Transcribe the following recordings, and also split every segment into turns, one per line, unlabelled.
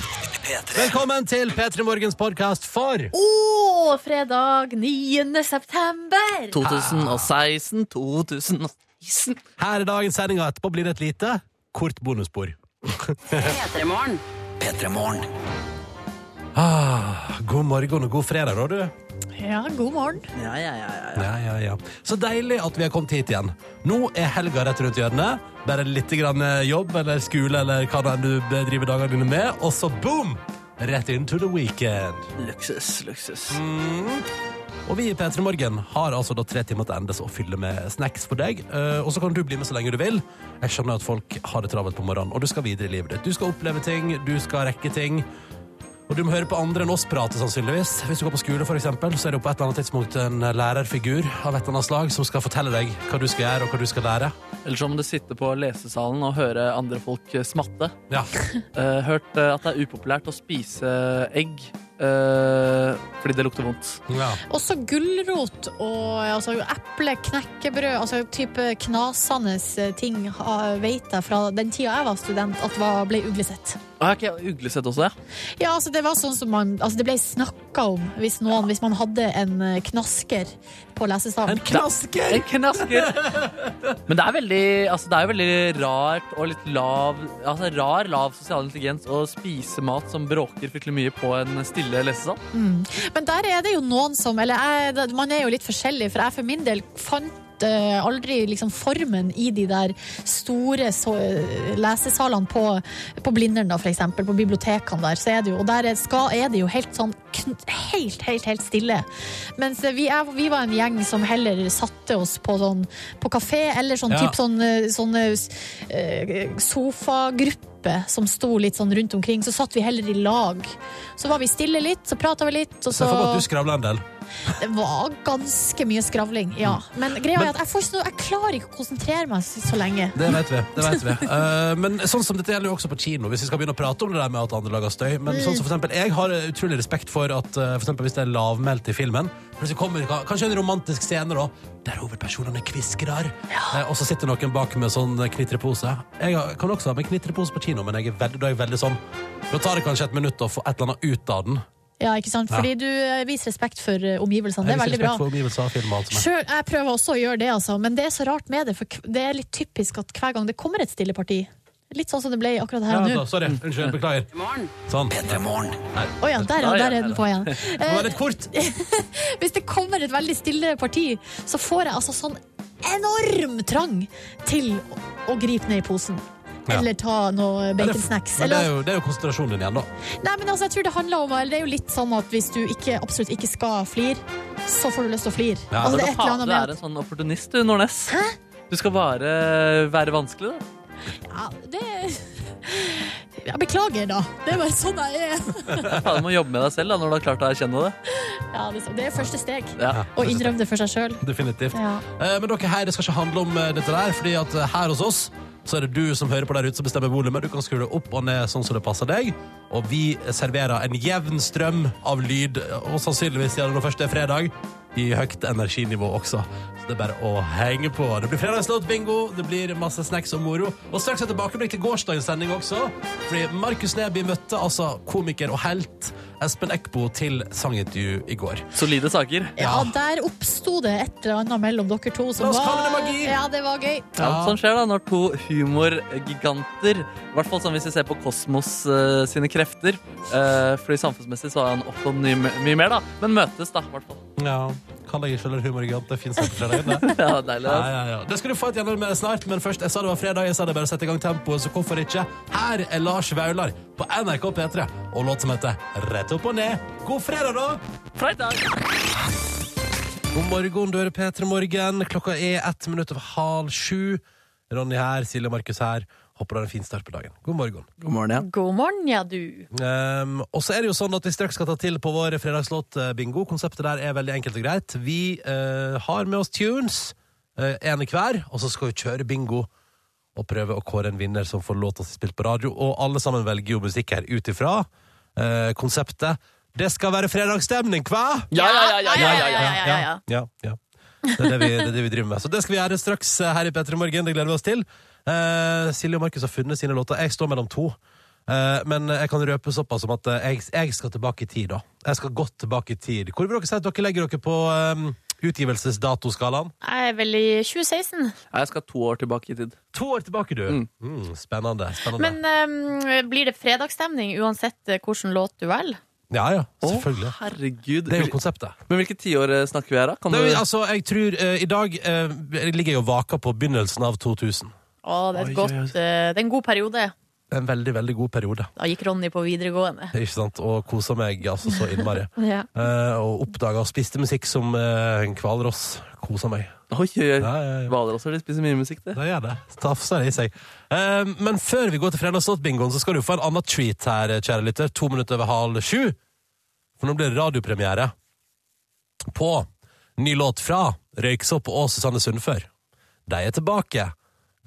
P3.
Velkommen til P3 Morgens podkast for
Å, fredag 9. september!
2016, 2016
Her er dagens sending, og etterpå blir det et lite, kort bonusbord.
P3morgen.
P3morgen.
Ah, god morgen og god fredag, da, du.
Ja, god morgen.
Ja, ja, ja, ja.
Ja, ja, ja. Så deilig at vi har kommet hit igjen. Nå er helga rett rundt hjørnet. Bare litt grann eh, jobb eller skole eller hva det er du driver dagene dine med, og så boom! Rett into the weekend.
Luksus, luksus
Og vi i P3 Morgen har altså da tre timer til endes å fylle med snacks for deg. Eh, og så kan du bli med så lenge du vil. Jeg skjønner at folk har det travelt på morgenen, og du skal videre i livet ditt. Du skal oppleve ting, du skal rekke ting. Og du må høre på andre enn oss prate, sannsynligvis. Hvis du går på skole, for eksempel, så er det jo på et eller annet tidspunkt en lærerfigur av et eller annet slag som skal fortelle deg hva du skal gjøre, og hva du skal lære.
Eller så må du sitte på lesesalen og høre andre folk smatte
Ja.
Eh, Hørt eh, at det er upopulært å spise egg eh, Fordi det lukter vondt
ja.
Også gulrot og altså, eple, knekkebrød, altså type knasende eh, ting ha- vet jeg fra den tida jeg var student at var, ble uglesett.
ah, okay, Uglesett også, ja
Ja, altså det var sånn som man Altså det ble snakka om hvis noen Hvis man hadde en eh, knasker på lesesalen.
En knasker!
En knasker Men det er veldig, altså, det er veldig rart og litt lav Altså rar, lav sosial intelligens Å spise mat som bråker fryktelig mye på en stille lesesal
Men der er det jo noen som Eller jeg, man er jo litt forskjellig, for jeg for min del fant eh, aldri liksom formen i de der store så, lesesalene på, på Blindern, da, for eksempel. På bibliotekene der. Så er det jo, og der er, skal, er det jo helt sånn kn helt, helt, helt stille. Mens eh, vi, er, vi var en gjeng som heller satte oss på sånn på kafé, eller sånn
Ja.
typ sånn, eh, sånn eh, sofagruppe. Som sto litt sånn rundt omkring. Så satt vi heller i lag. Så var vi stille litt, så prata vi litt. Og
Se
så
for meg at du skravla en del.
det var ganske mye skravling, ja. Men greia
Men-
er at jeg, får ikke noe, jeg klarer ikke å konsentrere meg så, så lenge.
Det vet vi. det vet vi Eh, Men sånn som dette gjelder jo også på kino, hvis vi skal begynne å prate om det der med at andre lager støy. Men sånn som for eksempel, jeg har utrolig respekt for at eh, for eksempel hvis det er lavmælt i filmen Plutselig kommer ka- kanskje en romantisk scene da der hovedpersonene kviskrer, eh, og så sitter noen bak med sånn knitrepose. Jeg har- kan også ha med knitrepose på kino, men jeg er veldig, da er jeg veldig sånn Da tar det kanskje et minutt å få et eller annet ut av den.
Ja, ikke sant?
Ja.
Fordi du eh, viser respekt for eh, omgivelsene. Det
Jeg viser
er veldig
respekt
bra.
for omgivelser av film og alt som er.
Selv, jeg prøver også å gjøre det, altså. men det er så rart med det. For k- det er litt typisk at hver gang det kommer et stille parti Litt sånn som det ble akkurat her
Ja,
og
altså,
nå.
sorry. Unnskyld. Beklager.
Morgen.
Sånn.
P3morgen.
Å ja, der, ja,
Ja, ja,
der er den på igjen.
Det var
Eh,
litt kort.
hvis det kommer et veldig stille parti, så får jeg altså sånn enorm trang til å, å gripe ned i posen.
Ja.
Eller ta noe
Men
baconsnacks.
det
Eller
er jo, det er jo konsentrasjonen din igjen, da.
Nei, men altså, jeg tror det handler om eller Det er jo litt sånn at hvis du ikke, absolutt ikke skal flire, så får du lyst til å flire.
Ja.
altså,
Men du
det er et eller
faen,
annet
du er
med at
en sånn opportunist, du, Nordnes Du skal bare være vanskelig, da
ja, det Jeg beklager, da. Det er bare sånn jeg er.
Ja, du må jobbe med deg selv da, når du har klart å erkjenne det.
Ja, det, det er første steg.
Ja.
Å innrømme det for seg sjøl.
Definitivt.
Ja.
Eh, Men dere her, det skal ikke handle om eh, dette der, fordi at eh, her hos oss så er det du som hører på der ute som bestemmer volumet. Du kan skru det opp og ned sånn som det passer deg. Og vi serverer en jevn strøm av lyd, eh, og sannsynligvis siden det nå først er fredag, i høyt energinivå også. Så det er bare å henge på. Det blir fredagslåtbingo, det blir masse snacks og moro. Og straks et tilbakeblikk til gårsdagens sending også. Fordi Markus Neby møtte altså komiker og helt Espen Eckbo til sangintervju i går.
Solide saker.
Ja, der oppsto det et eller annet mellom dere to
La
som
oss
var
kalle det magi.
Ja, det var gøy.
Ja. Alt som skjer da når to humorgiganter, i hvert fall sånn hvis vi ser på Kosmos eh, sine krefter eh, Fordi samfunnsmessig så har han oppnådd mye, mye mer, da. Men møtes, da. i hvert fall.
Ja, kan jeg ikke eller humorgigant, det finnes ikke fredag inne.
Ja, deilig.
Ja,
ass.
ja, ja. Det skal du få et gjennom med snart, men først, jeg sa det var fredag, jeg sa det bare sette i gang tempoet, så hvorfor ikke? Her er Lars Vaular på NRK P3, og låt som heter Rett opp og ned. God fredag, da!
Fredag!
God morgen, du hører P3 Morgen. Klokka er ett minutt over halv sju. Ronny her, Silje og Markus her. Håper du har en fin start på dagen. God morgen.
God morgen, ja.
God morgen, ja, du.
Um, og så er det jo sånn at vi straks skal ta til på vår fredagslåt eh, Bingo. Konseptet der er veldig enkelt og greit. Vi eh, har med oss tunes, uh, ene hver, og så skal vi kjøre bingo. Og prøve å kåre en vinner som får låta si spilt på radio. Og alle sammen velger jo musikk her ut ifra eh, konseptet. Det skal være fredagsstemning, hva?
Ja, ja, ja, ja, ja, ja, ja.
ja, ja, ja, ja. Det er det, vi, det er det vi driver med. Så det skal vi gjøre straks her i P3 Morgen. Det gleder vi oss til. Eh, Silje og Markus har funnet sine låter. Jeg står mellom to. Eh, Men jeg kan røpe såpass som at eh, jeg, jeg skal tilbake i tid, da. Jeg skal godt tilbake i tid. Hvor vil dere si at dere legger dere på um, utgivelsesdatoskalaen?
Jeg er vel i 2016.
Nei, jeg skal to år tilbake i tid.
To år tilbake, du! Mm.
Mm.
spennende. spennende.
Men eh, blir det fredagsstemning uansett eh, hvilken låt du velger?
ja, ja,
Å,
selvfølgelig.
herregud.
Det er jo konseptet.
Men hvilket tiår eh, snakker vi her, da? Kan
Nei,
du...
altså, jeg tror eh, I dag eh, ligger jeg og vaker på begynnelsen av 2000.
Å, det, er et
Oi,
godt,
oi, oi.
eh, det er en god periode.
En veldig, veldig god periode.
Da gikk Ronny på videregående.
Ikke sant? Og kosa meg altså så innmari.
Ja.
Eh, og oppdaga og spiste musikk som eh, en hvalross. Kosa meg.
Oi, oi, oi.
Ja, ja, ja.
Hvaler også, de spiser mye musikk, det.
Det gjør det. Tafser i seg. Eh, men før vi går til fredagslåtbingoen, så skal du få en annen treat her, kjære lytter. To minutter over halv sju. For nå blir det radiopremiere på ny låt fra Røyksopp og Susanne Sundfør. De er tilbake.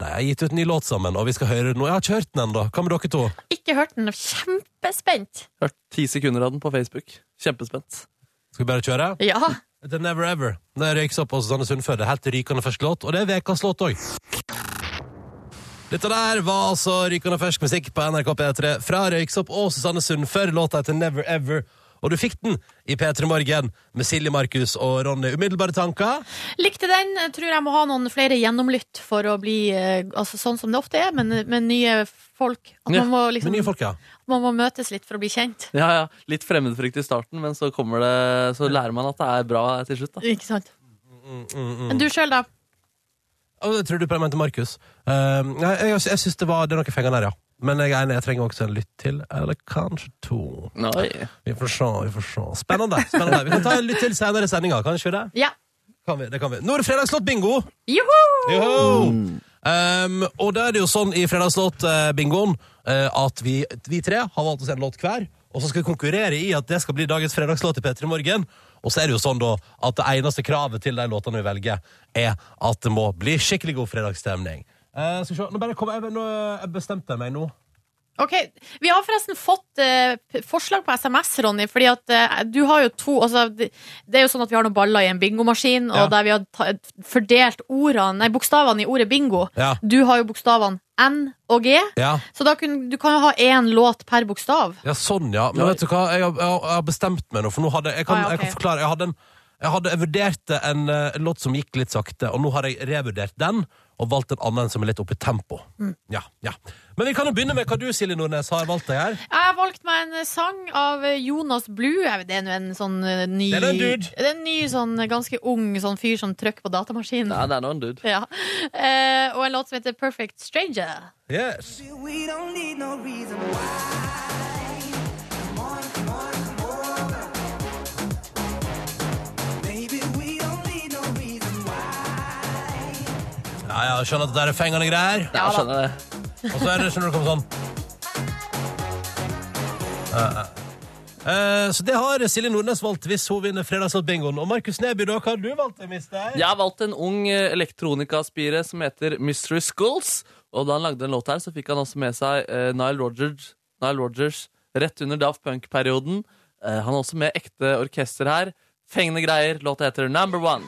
De har gitt ut ny låt sammen, og vi skal høre den nå. Jeg har ikke hørt den ennå. Hva med dere to?
Ikke hørt den. Kjempespent.
Hørt ti sekunder av den på Facebook. Kjempespent.
Skal vi bare kjøre?
Ja.
The Never Ever. Det er Røyksopp og Susanne Sundfør. Det er helt rykende fersk låt, og det er ukas låt òg. Dette der var altså rykende fersk musikk på NRK P3 fra Røyksopp og Susanne Sundfør. Låta heter Never Ever. Og du fikk den i P3 Morgen med Silje Markus og Ronny. Umiddelbare tanker?
Likte den. Jeg Tror jeg må ha noen flere gjennomlytt for å bli eh, altså, sånn som det ofte er, men med nye folk. At
Ja,
man må,
Med
liksom,
nye folk, ja.
man må møtes litt for å bli kjent.
Ja, ja. Litt fremmedfrykt i starten, men så, kommer det, så lærer man at det er bra til slutt. Da.
Ikke sant?
Mm,
Men du sjøl, da?
Og det tror du på jeg mente Markus. Um, nei, jeg jeg, jeg syns det var det er noe fengende der, ja. Men jeg er enig, jeg trenger også en lytt til. Eller kanskje to.
Oi.
Vi får se, vi får se. Spennende. spennende. Vi kan ta en lytt til senere i sendinga, kanskje det?
Ja.
Kan vi, det kan vi. Nå er det fredagslåt-bingo!
Joho!
Joho! Um, og da er det jo sånn i fredagslåt-bingoen eh, at vi, vi tre har valgt oss en låt hver, og så skal vi konkurrere i at det skal bli dagens fredagslåt i P3 Morgen. Og så er det jo sånn da at det eneste kravet til de låtene vi velger, er at det må bli skikkelig god fredagsstemning. Eh, skal vi se, nå bare kom, jeg, nå, jeg bestemte meg nå.
Ok, Vi har forresten fått eh, p- forslag på SMS, Ronny. fordi at eh, du har jo to altså, Det det er jo sånn at vi har noen baller i en bingomaskin,
Ja.
og der vi har ta, fordelt ordene, nei, bokstavene i ordet bingo.
Ja.
Du har jo bokstavene N og G,
Ja.
så da kun, du kan jo ha én låt per bokstav.
Ja, sånn, ja. Men vet du hva, jeg har, jeg har- jeg har bestemt meg nå, for nå hadde jeg kan,
Ah, ja, ok.
jeg kan forklare. Jeg hadde en jeg, hadde, jeg vurderte en eh, låt som gikk litt sakte, og nå har jeg revurdert den. Og valgt en annen som er litt oppe i tempo. Ja, ja. Men vi kan jo begynne med hva du, Silje Nordnes, har valgt deg her.
Jeg valgte meg en eh, sang av eh, Jonas Blue. Jeg vet, Det er nå en sånn eh, ny
Det er en dude.
Det er en ny sånn eh, ganske ung sånn fyr som trykker på datamaskinen.
Nei, det er nå en dude.
Ja. Eh, og en låt som heter Perfect Stranger.
Yes.
We don't need no reason why. Baby, we don't need no reason why.
Ja, ja, skjønner at det der er fengende greier.
Ja, jeg skjønner det.
Og så er det skjønner du kommer sånn. Eh, eh. Eh, så det har Silje Nordnes valgt hvis hun vinner fredagslåtbingoen. Og Markus Neby, da, hva har du valgt, mister?
Jeg har valgt en ung eh, elektronikaspire som heter Mystery Schools. Og da han lagde en låt her, så fikk han også med seg eh, Nile, Rodgers, Nile Rodgers rett under Daft Punk-perioden. Eh, han er også med ekte orkester her. Fengende greier. Låta heter Number One.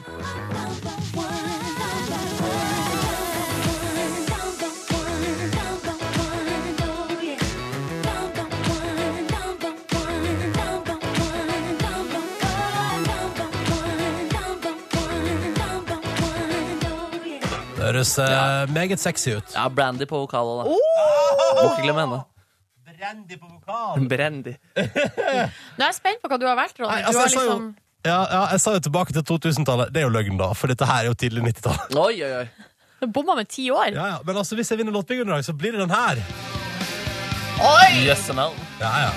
Det høres eh, meget sexy ut.
Ja, Brandy på vokal òg, da. Må ikke glemme henne.
Oh! Brandy på vokal.
Brandy.
Nå er jeg spent på hva du har valgt, Ronny.
Nei,
Du
altså,
har
jeg, sa jo,
liksom-
ja, ja, jeg sa jo tilbake til 2000-tallet. Det er jo løgn, da, for dette her er jo tidlig 90-tall.
Oi, oi, oi.
Du bomma med ti år?
Ja, ja. Men altså, hvis jeg vinner låtbygger i dag, så blir det den her.
Yes, ML.
Ja, ja.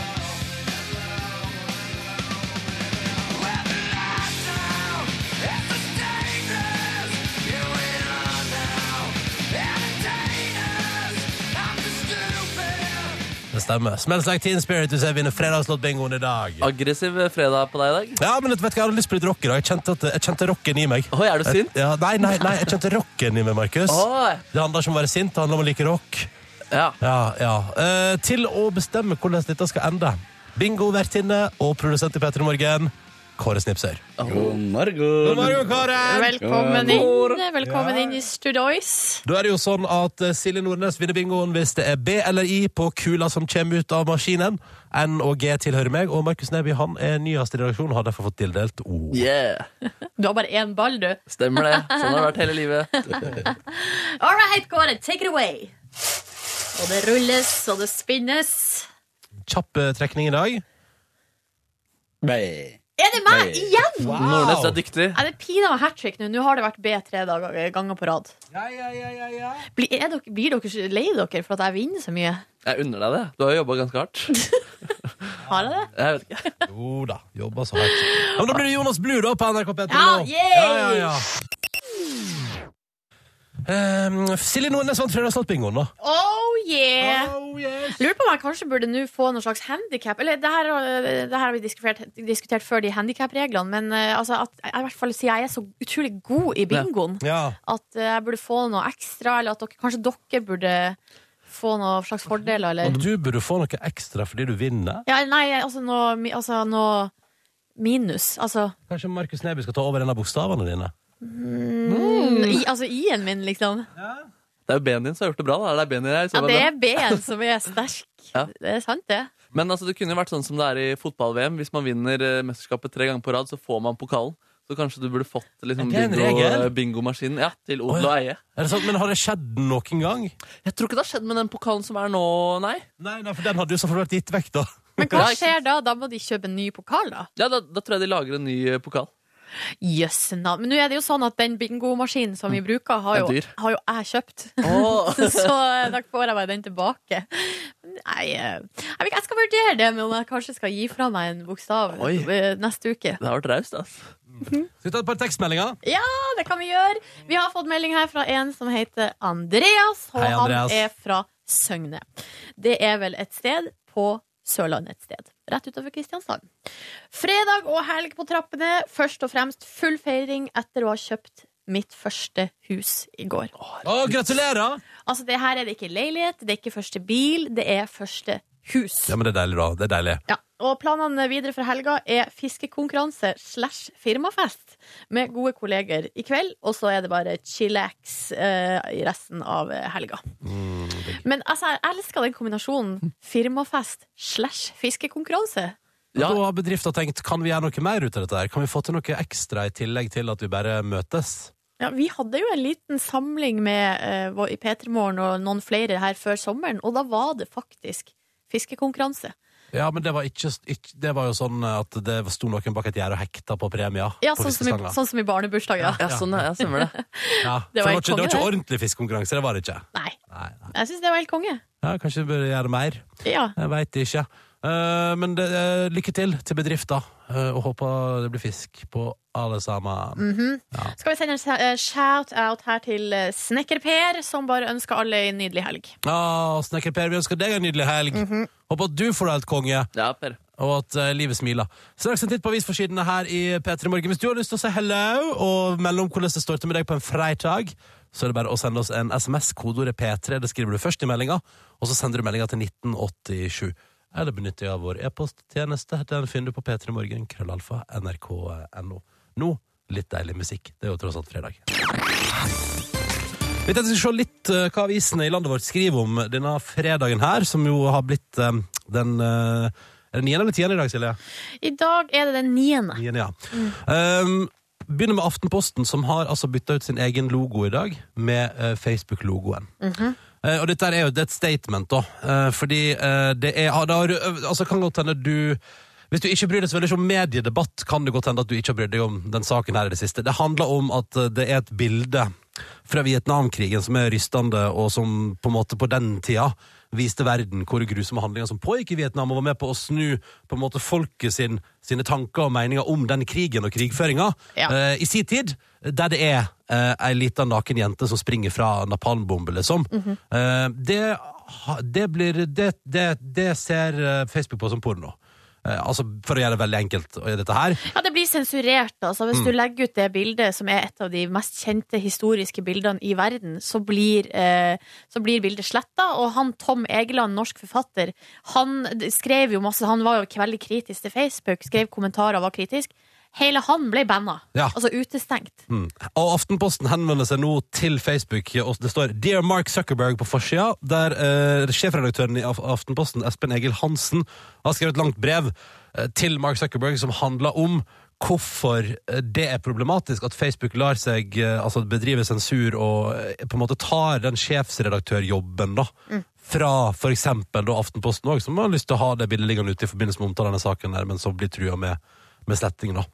Det stemmer. Smells like teen spirit hvis jeg vinner fredagslåtbingoen i dag.
Aggressiv fredag på deg i dag.
Ja, men vet du hva, Jeg hadde lyst på litt rock i dag. Jeg kjente, at, jeg kjente rocken i meg.
Oi, er du sint?
Ja, nei, nei, nei, jeg kjente rocken i meg, Markus.
Oi.
Det handler ikke om å være sint, det handler om å like rock.
Ja.
Ja, ja. Eh, til å bestemme hvordan dette skal ende. Bingo, vertinne og produsent i P3 Morgen, Kåre Snipser.
God morgen.
Velkommen inn, velkommen inn i Studois.
Da er det jo sånn at eh, Silje Nordnes vinner bingoen hvis det er B eller I på kula som kommer ut av maskinen. N og G tilhører meg, og Markus Neby han er nyest i redaksjonen og har derfor fått tildelt O.
Yeah,
Du har bare én ball, du.
Stemmer det. Sånn har det vært hele livet.
All right, Kåre, take it away. Og det rulles, og det spinnes.
Kjapp eh, trekning i dag.
Nei.
Er det meg
Nei.
igjen?
Nordnes du er dyktig.
Nei, det er pinadø hat trick nå. Nå har det vært B tre dager- ganger på rad. Blir, er dere, blir dere så lei dere for at jeg vinner så mye?
Jeg unner deg det. Du har jobba ganske hardt.
Har jeg det?
Jeg vet ikke.
Jo da, jobba så hardt. Ja, men da blir det Jonas Blue da på NRK P3
Ja,
nå.
yay!
Ja, ja, ja. Ehm, Silje Nordnes vant Fredagslåtbingoen, da.
Oh yeah! Lurer på om jeg kanskje burde nå få noe slags handikap. Eller det her, eh, det her har vi diskutert, diskutert før, de handikap-reglene. Men eh, altså, at, jeg, i hvert fall sier jeg er så utrolig god i bingoen
Ja.
at eh, jeg burde få noe ekstra. Eller at dere, kanskje dere burde få noe slags fordeler,
Og
eller
du burde få noe ekstra fordi du vinner.
ja, Nei, altså noe, mi- altså noe minus. Altså,
Kanskje Markus Neby skal ta over en av bokstavene dine.
i, altså i-en min, liksom.
Det er jo ben din som har gjort det bra. Da. Det er ben din jeg, i så
Ja, det
fall,
er B-en som er sterk.
Ja.
Det er sant, det.
da. Men altså, det kunne jo vært sånn som det er i fotball-VM. Hvis man vinner eh, mesterskapet tre ganger på rad, så får man pokalen. Så kanskje du burde fått liksom,
Er det en
bingo-
regel?
bingomaskinen ja, til
Å,
odel
ja.
og eie.
Er det sant? Men har det skjedd noen gang?
Jeg tror ikke det har skjedd med den pokalen som er nå, nei.
Nei, nei, for den hadde jo selvfølgelig vært gitt vekk, da.
Men hva
Ja, ikke
skjer da? Da må de kjøpe en ny pokal, da?
Ja, da, da tror jeg de lager en ny eh, pokal.
Jøss navn. Men nå er det jo sånn at den bingomaskinen som vi bruker, har
Den
jo,
Mm. er dyr.
har jo jeg kjøpt.
Åh.
Så eh, da får jeg bare den tilbake. Nei, eh, jeg vet ikke, jeg skal vurdere det med om jeg kanskje skal gi fra meg en bokstav
Oi.
eh, neste uke.
Det har vært raust, altså.
Skal vi ta et par tekstmeldinger?
Ja, det kan vi gjøre. Vi har fått melding her fra en som heter Andreas, og
Hei, Andreas.
han er fra Søgne. Det er vel et sted på Sørlandet et sted. Rett utover Kristiansand. Fredag og helg på trappene. Først og fremst full feiring etter å ha kjøpt mitt første hus i går.
Å, gratulerer!
Altså, det her er det ikke leilighet, det er ikke første bil, det er første hus.
Ja, men det er deilig, da. Det er deilig.
Ja, og planene videre for helga er fiskekonkurranse slash firmafest med gode kolleger i kveld, og så er det bare chillax eh, i resten av eh, helga.
Mm.
Men altså, jeg elsker den kombinasjonen firmafest slash fiskekonkurranse.
Ja.
Da har bedriften tenkt kan vi gjøre noe mer ut av dette. her? Kan vi få til noe ekstra i tillegg til at vi bare møtes?
Ja, vi hadde jo en liten samling med eh, vår- i P3morgen og noen flere her før sommeren, og da var det faktisk fiskekonkurranse.
Ja, men det var, ikke, ikke, det var jo sånn at det sto noen bak et gjerde og hekta på premier.
Ja,
på
sånn som, i,
fiskestanger.
sånn som i barnebursdager.
Ja, sånn er, ja, stemmer det.
ja. det,
Det var
var ikke,
helt
det var
konge,
ikke ordentlig fiskekonkurranse, det var det ikke.
Nei,
Nei, nei.
jeg syns det var helt konge.
Ja, kanskje vi bør gjøre mer.
Ja.
Jeg veit ikke. Eh, men det, eh, lykke til til bedrifta, eh, og håper det blir fisk på alle sammen.
Mm. Skal vi sende en eh, shout-out her til eh, Snekker-Per, som bare ønsker alle en nydelig helg.
Ja, Ah, Snekker Per, vi ønsker deg en nydelig helg.
Mhm.
Håper at du får det helt konge,
Ja, Per.
og at eh, livet smiler. Straks en titt på avisforsidene her i P3 Morgen. Hvis du har lyst til å si hello og melde om hvordan det står til med deg på en fredag, så er det bare å sende oss en SMS. Kodeordet P3. Det skriver du først i meldinga, og så sender du meldinga til 1987. Eller benytter deg av vår e-posttjeneste. Den finner du på P3 Morgen, krøllalfa, nrk.no. Nå litt deilig musikk. Det er jo tross alt fredag. Vi tenkte vi skulle se litt eh, hva avisene i landet vårt skriver om denne fredagen her, som jo har blitt eh, den eh, Er det niende eller tiende i dag, Silje?
I dag er det den niende.
Niende, ja. Um, begynner med Aftenposten, som har altså bytta ut sin egen logo i dag med eh, Facebook-logoen. Eh, og dette er jo det er et statement, da. Eh, fordi eh, det er ja, da har du, øv- Altså, kan godt hende du hvis du ikke bryr deg så veldig om mediedebatt, kan det godt hende at du ikke har brydd deg om den saken her i det siste. Det handler om at eh, det er et bilde fra Vietnamkrigen som er rystende, og som på en måte på den tida viste verden hvor grusomme handlinger som pågikk i Vietnam, og var med på å snu på en måte folket sin, sine tanker og meninger om den krigen og krigføringa
Ja.
eh, i sin tid, der det er eh, ei lita naken jente som springer fra napalmbombe, liksom. eh, det, ha- det blir det, det, det ser eh, Facebook på som porno. Eh, altså, for å gjøre det veldig enkelt, og dette her.
Ja, det blir sensurert, altså. Hvis du legger ut det bildet, som er et av de mest kjente historiske bildene i verden, så blir, eh, så blir bildet sletta. Og han Tom Egeland, norsk forfatter, han d- skrev jo masse Han var jo ikke veldig kritisk til Facebook, skrev kommentarer og var kritisk. Hele han ble banna.
Ja.
Altså utestengt.
Mm. Og Aftenposten henvender seg nå til Facebook. og Det står 'Dear Mark Zuckerberg' på forsida, der eh, sjefredaktøren i Af- Aftenposten, Espen Egil Hansen, har skrevet et langt brev eh, til Mark Zuckerberg som handler om hvorfor eh, det er problematisk at Facebook lar seg eh, altså bedrive sensur og eh, på en måte tar den sjefsredaktørjobben da, fra for eksempel da Aftenposten også, som har lyst til å ha det bildet liggende ute i forbindelse med omtalen av denne saken, der, men som blir trua med, med sletting. da.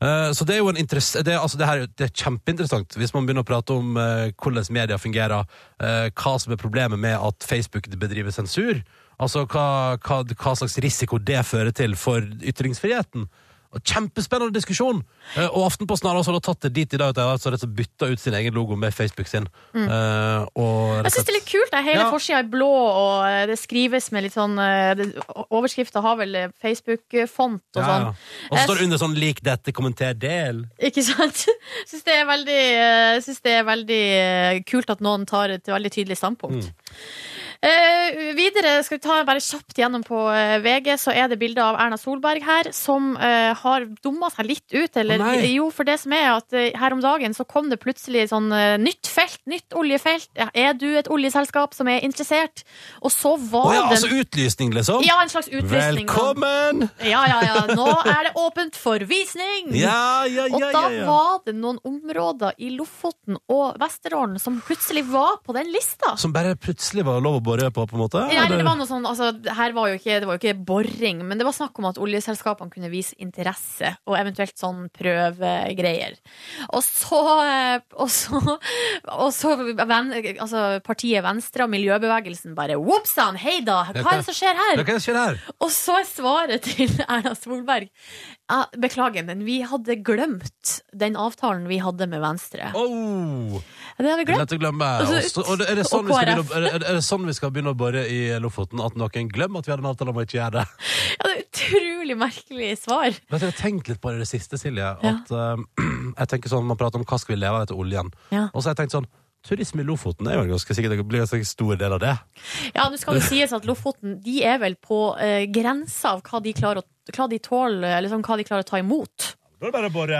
Eh, Så det er jo en interess- det, er- altså det, her, er jo- det er kjempeinteressant hvis man begynner å prate om eh, hvordan media fungerer, eh, hva som er problemet med at Facebook bedriver sensur, altså hva, hva, hva slags risiko det fører til for ytringsfriheten. Og Kjempespennende diskusjon! Eh, Og Aftenposten har altså da tatt det dit i dag at de har altså rett og slett bytta ut sin egen logo med Facebook sin. Eh, og rett og
Mm. Jeg syns
slett-
det er litt kult. Det. Hele
Ja.
forsida er blå, og eh, det skrives med litt sånn eh, det- Overskrifta har vel eh, Facebook-font og
Ja,
sånn.
ja. Og så står det under sånn 'lik dette, kommenter del'.
Ikke sant? Syns det er veldig, eh, synes det er veldig eh, kult at noen tar et veldig
Mm.
tydelig standpunkt. Eh, videre skal vi ta bare kjapt gjennom på eh, VG, så er det bilde av Erna Solberg her, som eh, har dumma seg litt ut. Eller,
Å, nei.
jo, for det som er at eh, her om dagen så kom det plutselig sånn eh, nytt felt, nytt oljefelt. Ja, Er du et oljeselskap som er interessert? Og så
Å
var
ja,
den
altså utlysning, liksom!
Ja, en slags utlysning.
Velkommen!
Ja, ja, ja. Nå er det åpent for visning!
Ja, ja, ja,
Og
ja,
da
ja.
var det noen områder i Lofoten og Vesterålen som plutselig var på den lista.
Som bare plutselig var lov å bore på, på en måte?
Nei,
eller?
det, var noe sånn, altså, her var jo ikke, det var jo ikke boring, men det var snakk om at oljeselskapene kunne vise interesse, og eventuelt sånn prøvegreier. Og så, eh, og så, og så ven, altså, partiet Venstre og miljøbevegelsen bare Whoopsan, hei da, hva er det som skjer her?
Da kan jeg kjøre her.
Og så er svaret til Erna Solberg ja, Beklager, men vi hadde glemt den avtalen vi hadde med Venstre.
Oh,
Det har vi
det er
glemt.
lett å glemme. Og så- og er, det sånn
Altså, Og
vi skal
KrF.
begynne, å- er, det- er det sånn vi skal begynne å bore i Lofoten? At noen glemmer at vi hadde en avtale om å ikke gjøre det?
Ja, det er utrolig merkelig svar.
Vet du, jeg har tenkt litt på det i det siste, Silje. At eh, jeg tenker sånn, Man prater om hva skal vi leve av etter oljen.
Ja.
Og så har jeg tenkt sånn Turisme i Lofoten er jo en ganske sikkert det blir en ganske stor del av det.
Ja, nå skal det sies at Lofoten de er vel på eh, grensa av hva de klarer å hva de tåler, eller sånn, hva de klarer å ta imot.
Da er det bare å bore.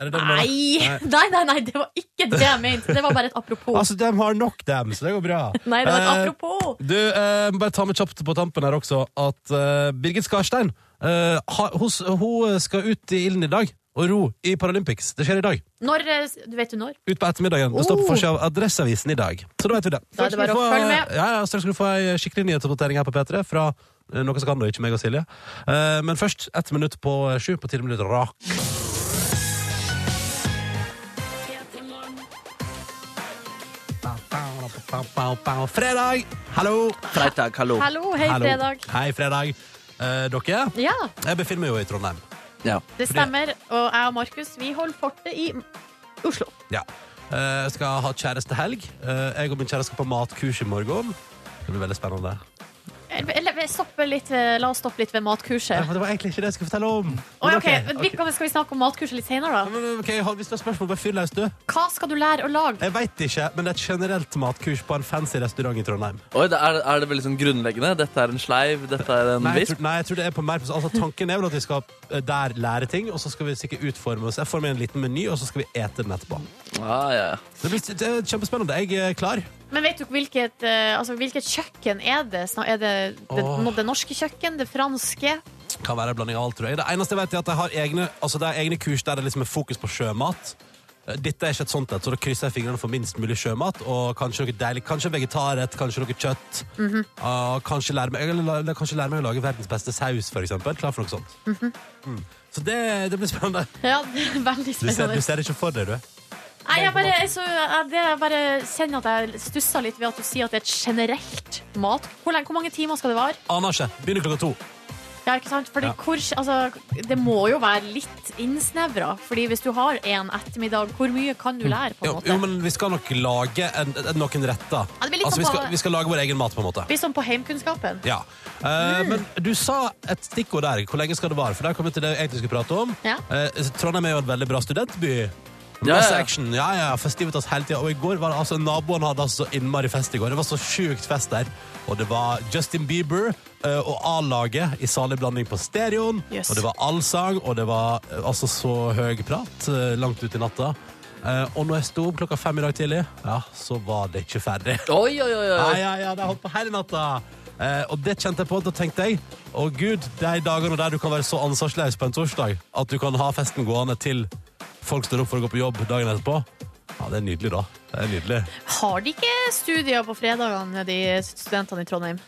Er det det du mener?
Nei. nei, nei, nei, det var ikke det jeg mente. Det var bare et apropos.
Altså, de har nok, dem, så det går bra.
Nei, det var et
Eh,
apropos.
Du, eh, bare ta med kjapt på tampen her også at eh, Birgit Skarstein eh, har- hos, hun skal ut i ilden i dag og ro i Paralympics. Det skjer i dag.
Når, eh, du vet du når?
Ut på ettermiddagen. Det står på
Oh.
forsida av Adresseavisen i dag. Så da vet vi det.
Da er det
Straks skal du
bare å
få,
følge med.
Ja, ja, straks skal du få ei skikkelig nyhetsoppdatering her på P3 fra eh, noe som kan da ikke meg og Silje. Eh, men først ett minutt på sju på ti minutter rak. Fredag! Hallo!
Freitag, hallo.
Hallo, hei,
Hallo.
fredag.
Hei, fredag. Eh, dere,
Ja,
jeg befinner meg jo i Trondheim.
Ja.
det stemmer. Og jeg og Markus, vi holder fortet i Oslo.
Ja. Eh, jeg skal ha kjærestehelg. Eh, jeg og min kjæreste skal på matkurs i morgen. Det blir veldig spennende.
Eller, eller vi stopper litt ved, La oss stoppe litt ved matkurset.
Ja, men det var egentlig ikke det jeg skulle fortelle om.
Oi,
Men
ok,
ok,
men
ok.
vi kan- Skal vi snakke om matkurset litt senere, da?
Men, men, ok, hold- Hvis du har spørsmål, bare fyr løs, du.
Hva skal du lære å lage?
Jeg veit ikke, men det er et generelt matkurs på en fancy restaurant i Trondheim.
Oi, det er, er det veldig sånn grunnleggende? Dette er en sleiv, dette er en
Nei, jeg
visp?
tror, nei, jeg tror det er på mer Altså, Tanken er vel at vi skal eh, der lære ting, og så skal vi sikkert utforme oss. Jeg får med en liten meny, og så skal vi ete den etterpå.
Ah, ja. ja.
Det blir det er kjempespennende. Jeg er klar.
Men vet du hvilket, eh, altså, hvilket kjøkken er det? Sna- Er det det,
Åh.
det norske kjøkken? Det franske?
Kan være en blanding av alt, tror jeg. Det eneste jeg vet, er at jeg har egne, altså det er egne kurs der det liksom er fokus på sjømat. Eh, Dette er ikke et sånt et, så da krysser jeg fingrene for minst mulig sjømat. Og kanskje noe deilig, kanskje vegetarrett, kanskje noe kjøtt.
Mhm.
Ah, kanskje, lære meg, eller, la- kanskje lære meg å lage verdens beste saus, for eksempel. Klar for noe sånt.
Mhm.
Mm. Så det, det blir spennende.
Ja, det er veldig
Du ser, du
spennende.
ser det ikke for deg, du.
Nei, jeg bare, jeg så, jeg, det, jeg bare kjenner at jeg stusser litt ved at du sier at det er et generelt mat... Hvor, lenge, hvor mange timer skal det vare?
Aner ikke. Begynner klokka to.
Ja, ikke sant? Fordi
Ja.
hvor, altså, det må jo være litt innsnevra. Fordi hvis du har en ettermiddag, hvor mye kan du lære? på
Hm.
en
Jo,
måte?
jo, men vi skal nok lage en, en, noen retter.
Ja, det blir litt
altså, vi
sånn på-
skal, vi skal lage vår egen mat, på en måte.
Blir som sånn på heimkunnskapen.
Ja.
Mm.
Eh, Men du sa et stikkord der. Hvor lenge skal det vare? For der kom vi til det jeg egentlig skulle prate om.
Ja.
Eh, Trondheim er jo en veldig bra studentby.
Ja,
Masse
ja, ja.
action. Ja, ja, festivitas hele tida. Og i går var det altså Naboen hadde altså så innmari fest i går. Det var så sjukt fest der. Og det var Justin Bieber eh, og A-laget i salig blanding på stereoen.
Yes.
Og det var allsang, og det var eh, altså så høy prat eh, langt ut i natta. Eh, og når jeg sto opp klokka fem i dag tidlig, ja, så var det ikke ferdig.
Oi, oi, oi,
Ja,
oi.
ja, ja, det har holdt på hele natta. Eh, og det kjente jeg på, da tenkte jeg Å gud, de dagene der du kan være så ansvarsløs på en torsdag at du kan ha festen gående til folk står opp for å gå på jobb dagen etterpå. Ja, det er nydelig, da. Det er nydelig.
Har de ikke studier på fredagene, de studentene i Trondheim?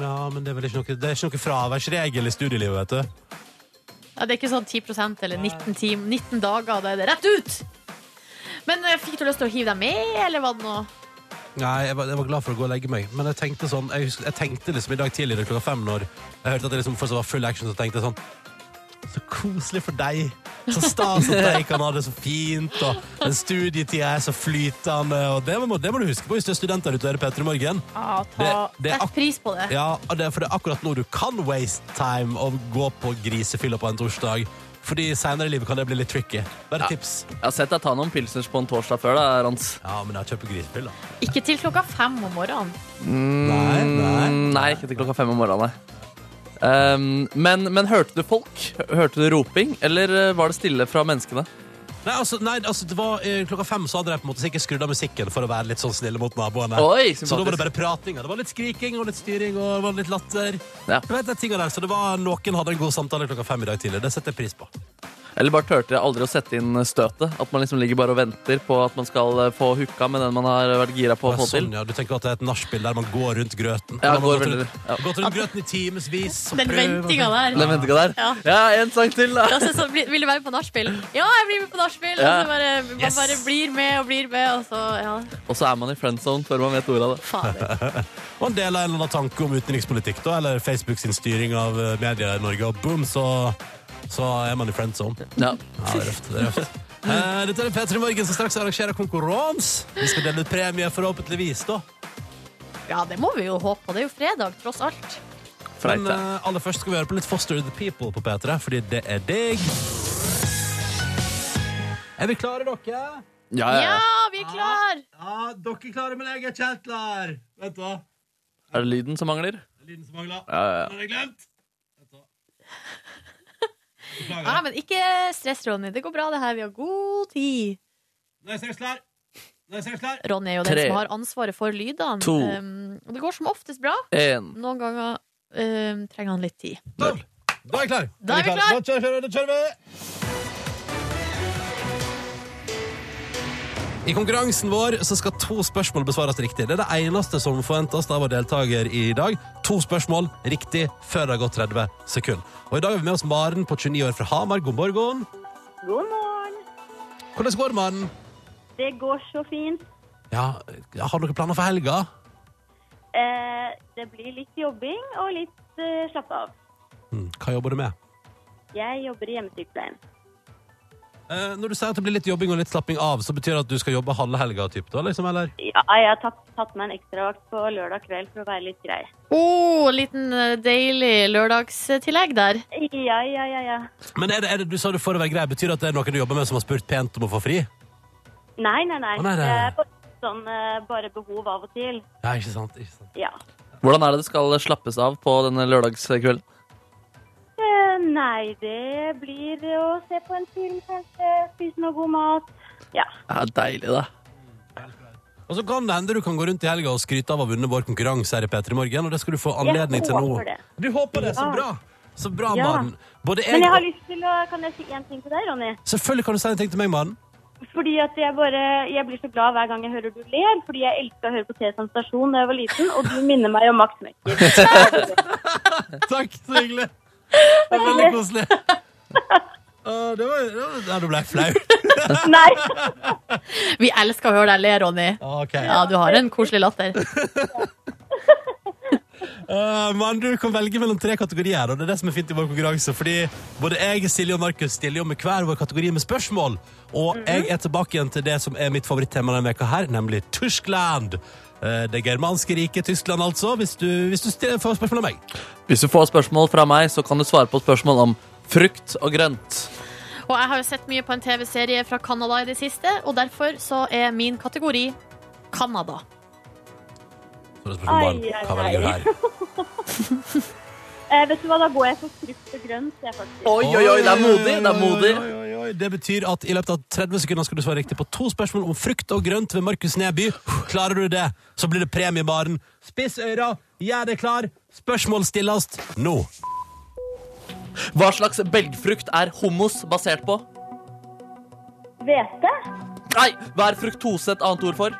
Ja, men det er vel ikke noe, det er ikke noe fraværsregel i studielivet, vet du.
Ja, det er ikke sånn 10 eller 19, tim- 19 dager, da er det rett ut! Men eh, fikk du lyst til å hive deg med, eller var det noe
Nei, jeg var, jeg var glad for å gå og legge meg, men jeg tenkte sånn Jeg, husker, jeg tenkte liksom i dag tidligere klokka fem når jeg hørte at det liksom fortsatt var full action, så tenkte jeg sånn Så koselig for deg. Så stas at de kan ha det så fint, og den studietida er så flytende, og det må, det må du huske på hvis du er student der ute og hører Petter i morgen.
Ja, ta
Det- det er
Sett
ak-
pris på det.
Ja, og det, er- for det er akkurat nå du kan waste time og gå på grisefylla på en torsdag. Fordi seinere i livet kan det bli litt tricky. Bare tips.
Jeg har sett deg ta noen pilsners på en torsdag før, da, Rans.
Ja, men jeg kjøper grisefylla.
Ikke til klokka fem om morgenen.
Nei, nei.
Mm, Nei, ikke til klokka fem om morgenen, nei. Ehm, men, men hørte du folk? Hørte du roping, eller eh, var det stille fra menneskene?
Nei, altså, nei, altså det var, eh, klokka fem så hadde de på en måte sikkert skrudd av musikken for å være litt sånn snille mot naboene.
Oi,
så da var det
sympatisk.
bare prating. og Det var litt skriking og litt styring og det var litt latter.
Ja.
Du vet, de tingene der, så det var Noen hadde en god samtale klokka fem i dag tidlig. Det setter jeg pris på.
Eller bare turte jeg aldri å sette inn støtet? At man liksom ligger bare og venter på at man skal eh, få hooka med den man har vært gira på å
Ja,
få til?
sånn, ja, du tenker at det er et nachspiel der man går rundt grøten. Man
Ja,
har
går
gått
veldig-
rundt,
ja.
gått rundt grøten i timevis. og
Den
prøver-
ventinga der.
Den venter ikke der?
Ja.
Ja, en sang til, da!
Altså, så blir- vil du være med på nachspiel? Ja, jeg blir med på nachspiel! Og
Ja.
så bare, man
Yes.
bare blir med og blir med, og så Ja,
Og så er man i friend zone før man vet ordet av det.
fader.
Og en del av en eller annen tanke om utenrikspolitikk, da, eller Facebook sin styring av eh, media i Norge, og boom, så, så er man i friend zone.
Ja.
Ja, det er røft. Det er røft. Eh, dette er P3 Morgen som straks arrangerer konkurranse. Vi skal dele ut premie, forhåpentligvis. da
Ja, det må vi jo håpe på. Det er jo fredag, tross alt.
Freit,
Men
ja.
eh, aller først skal vi høre på litt Foster the People på P3, fordi det er digg. Er vi klare, dere?
Ja, ja,
Ja,
ja.
vi er klar!
Ja, dere er klare, men jeg er ikke helt klar. Vent, da.
Er det lyden som mangler?
Det er lyden som mangler.
Ja, ja, ja.
Den har jeg glemt. Vent da. Beklager.
Ja, men ikke stress, Ronny. Det går bra, det her. Vi har god tid.
Nå er jeg straks klar. Nå er jeg straks klar.
Ronny er jo
Tre.
den som har ansvaret for lydene.
To.
Um, og det går som oftest bra.
En.
Noen ganger um, trenger han litt tid.
Sånn. Da er jeg klar.
Da er vi klar.
Da kjører, kjører, da kjører vi. I konkurransen vår så skal to spørsmål besvares riktig. Det er det eneste som forventes av vår deltaker i dag. To spørsmål riktig før det har gått 30 sekunder. Og i dag har vi med oss Maren på 29 år fra Hamar. God morgen.
God morgen.
Hvordan går det, Maren?
Det går så fint.
Ja, har dere planer for helga?
Eh, det blir litt jobbing og litt eh, slapp av.
Hm, Hva jobber du med?
Jeg jobber i hjemmesykepleien.
Eh, når du sier at det blir litt jobbing og litt slapping av, så betyr det at du skal jobbe halve helga, typ, da, liksom, eller?
Ja, jeg har tatt, tatt meg en ekstravakt på lørdag kveld for å være litt grei.
Å, liten eh, deilig lørdagstillegg der.
Ja, ja, ja, ja.
Men er det, er det, du sa du for å være grei, betyr det at det er noen du jobber med som har spurt pent om å få fri?
Nei, nei, nei.
Å, nei, nei, nei.
Det er bare sånn eh, bare behov av og til.
Ja, ikke sant, ikke sant.
Ja.
Hvordan er det det skal slappes av på denne lørdagskvelden?
Eh, nei, det blir å se på en film, kanskje. Spise noe god mat. Ja.
Ja, deilig, da.
Og så kan det hende du kan gå rundt i helga og skryte av å ha vunnet vår konkurranse her i P3 Morgen, og det skal du få anledning til nå.
håper det.
Du håper det, så
Ja.
bra! Så bra,
Ja.
Maren. Både jeg,
Men jeg har
og
lyst til å Kan jeg si én ting til deg, Ronny?
Selvfølgelig kan du si en ting til meg, Maren.
Fordi at jeg bare Jeg blir så glad hver gang jeg hører du ler, fordi jeg elska å høre på T-Sam stasjon da jeg var liten, og du minner meg om Max Mekker.
Takk, så hyggelig. Det var veldig koselig. Å, det var, det var, ja, du ble flau.
Nei!
Vi elsker å høre deg le, Ronny.
Ok.
Ja, du har en koselig latter.
Eh, men du kan velge mellom tre kategorier, og det er det som er fint i vår konkurranse. Fordi både jeg, Silje og Markus stiller jo med hver vår kategori med spørsmål. Og
Mhm.
jeg er tilbake igjen til det som er mitt favorittema denne veka her, nemlig Tyskland. Eh, Det germanske riket Tyskland, altså, hvis du, hvis du stiller, får spørsmål om meg.
Hvis du får spørsmål fra meg, så kan du svare på spørsmål om frukt og grønt.
Og jeg har jo sett mye på en TV-serie fra Canada i det siste, og derfor så er min kategori Canada.
Så det spørs om barn.
Ai, ai,
Hva velger du
ai.
her?
Eh, vet du hva, da går jeg for frukt og grønt, jeg, faktisk.
Oi, oi, oi, det er modig! Det er modig.
Oi, oi, oi, oi. Det betyr at i løpet av 30 sekunder skal du svare riktig på to spørsmål om frukt og grønt ved Markus Neby. Klarer du det, så blir det premie i baren. Spiss øra, gjør deg klar. Spørsmål stilles nå.
Hva slags belgfrukt er hummus basert på?
Hvete?
Nei, hva er fruktose et annet ord for?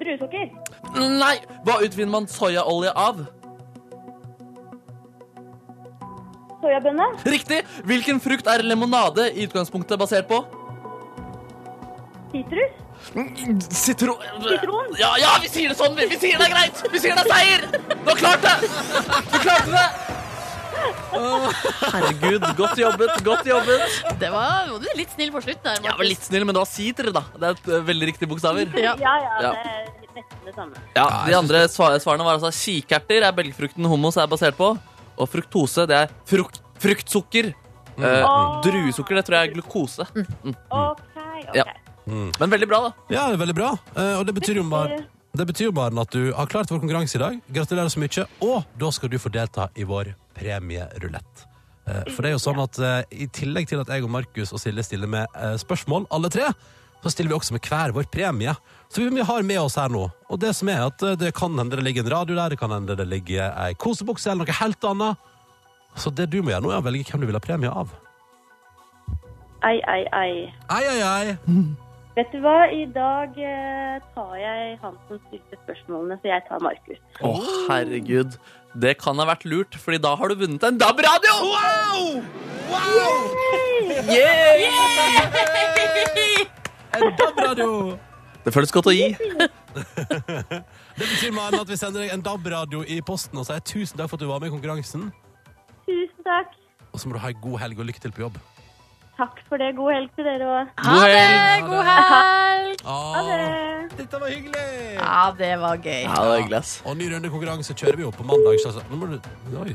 Druesukker?
Nei! Hva utvinner man soyaolje av?
Soyabønne?
Riktig! Hvilken frukt er limonade i utgangspunktet basert på?
Sitrus?
Sitron...
Sitron?
Ja, ja, vi sier det sånn! Vi, vi sier det er greit! Vi sier det er seier! Du har klart det! Du klarte det! Å, herregud, godt jobbet, godt jobbet.
Det var, var du litt snill på slutten der.
Jeg var
Markus.
litt snill, men det var sider, da. Det er et, eh, veldig riktige bokstaver.
Ja.
Ja, ja,
Ja. Mm.
det er nesten det samme.
Ja, De andre sva- svarene var altså kikerter er belgfrukten hummus er basert på, og fruktose det er frukt, fruktsukker. Eh,
Åh.
druesukker det tror jeg er glukose.
OK, OK.
Ja. Men veldig bra, da.
Ja, det er veldig bra. Eh, Og det betyr jo bare det betyr jo bare at du har klart vår konkurranse i dag. Gratulerer så mye. Og da skal du få delta i vår premierulett. Eh, For det er jo sånn at eh, i tillegg til at jeg og Markus og Silje stiller med eh, spørsmål, alle tre, så stiller vi også med hver vår premie. Så vi- vi har med oss her nå. Og det som er at eh, det kan hende det ligger en radio der, det kan hende det ligger ei kosebukse eller noe helt annet. Så det du må gjøre nå, er å velge hvem du vil ha premie av.
Ei, ei, ei.
Ei, ei, ei.
Vet du hva, i dag eh, tar jeg han som stilte spørsmålene, så jeg tar Markus.
Å, herregud. Det kan ha vært lurt, Fordi da har du vunnet en DAB-radio! Wow! Yeah!
En DAB-radio!
Det føles godt å gi.
Det betyr Maren, at vi sender deg en DAB-radio i posten og sier tusen takk for at du var med i konkurransen.
Tusen takk.
Og så må du ha ei god helg og lykke til på jobb.
Takk for det. God helg til dere òg.
Ha det! Eh, God helg!
Ha det.
dette var hyggelig!
Ja, det var gøy.
Ja, det var hyggelig, ass.
Og ny runde konkurranse kjører vi opp på mandag. Så altså- nå må du... Oi,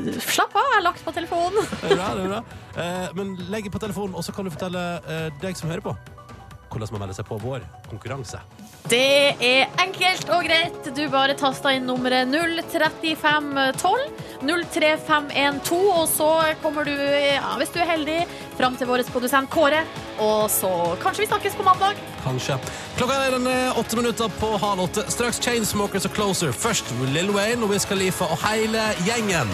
det
Slapp av, jeg har lagt på telefonen.
er bra, det er bra. Eh, men legg på telefonen, og så kan du fortelle eh, deg som hører på, hvordan man melder seg på vår konkurranse.
Det er enkelt og greit. Du bare taster inn nummeret 03512. 03512, og så kommer du, ja, hvis du er heldig, fram til vår produsent Kåre. Og så kanskje vi snakkes på mandag.
Kanskje. Klokka er den eh, åtte minutter på halv åtte. Straks Chainsmokers og Closer. Først Lill Wayne og Wiz Khalifa og hele gjengen.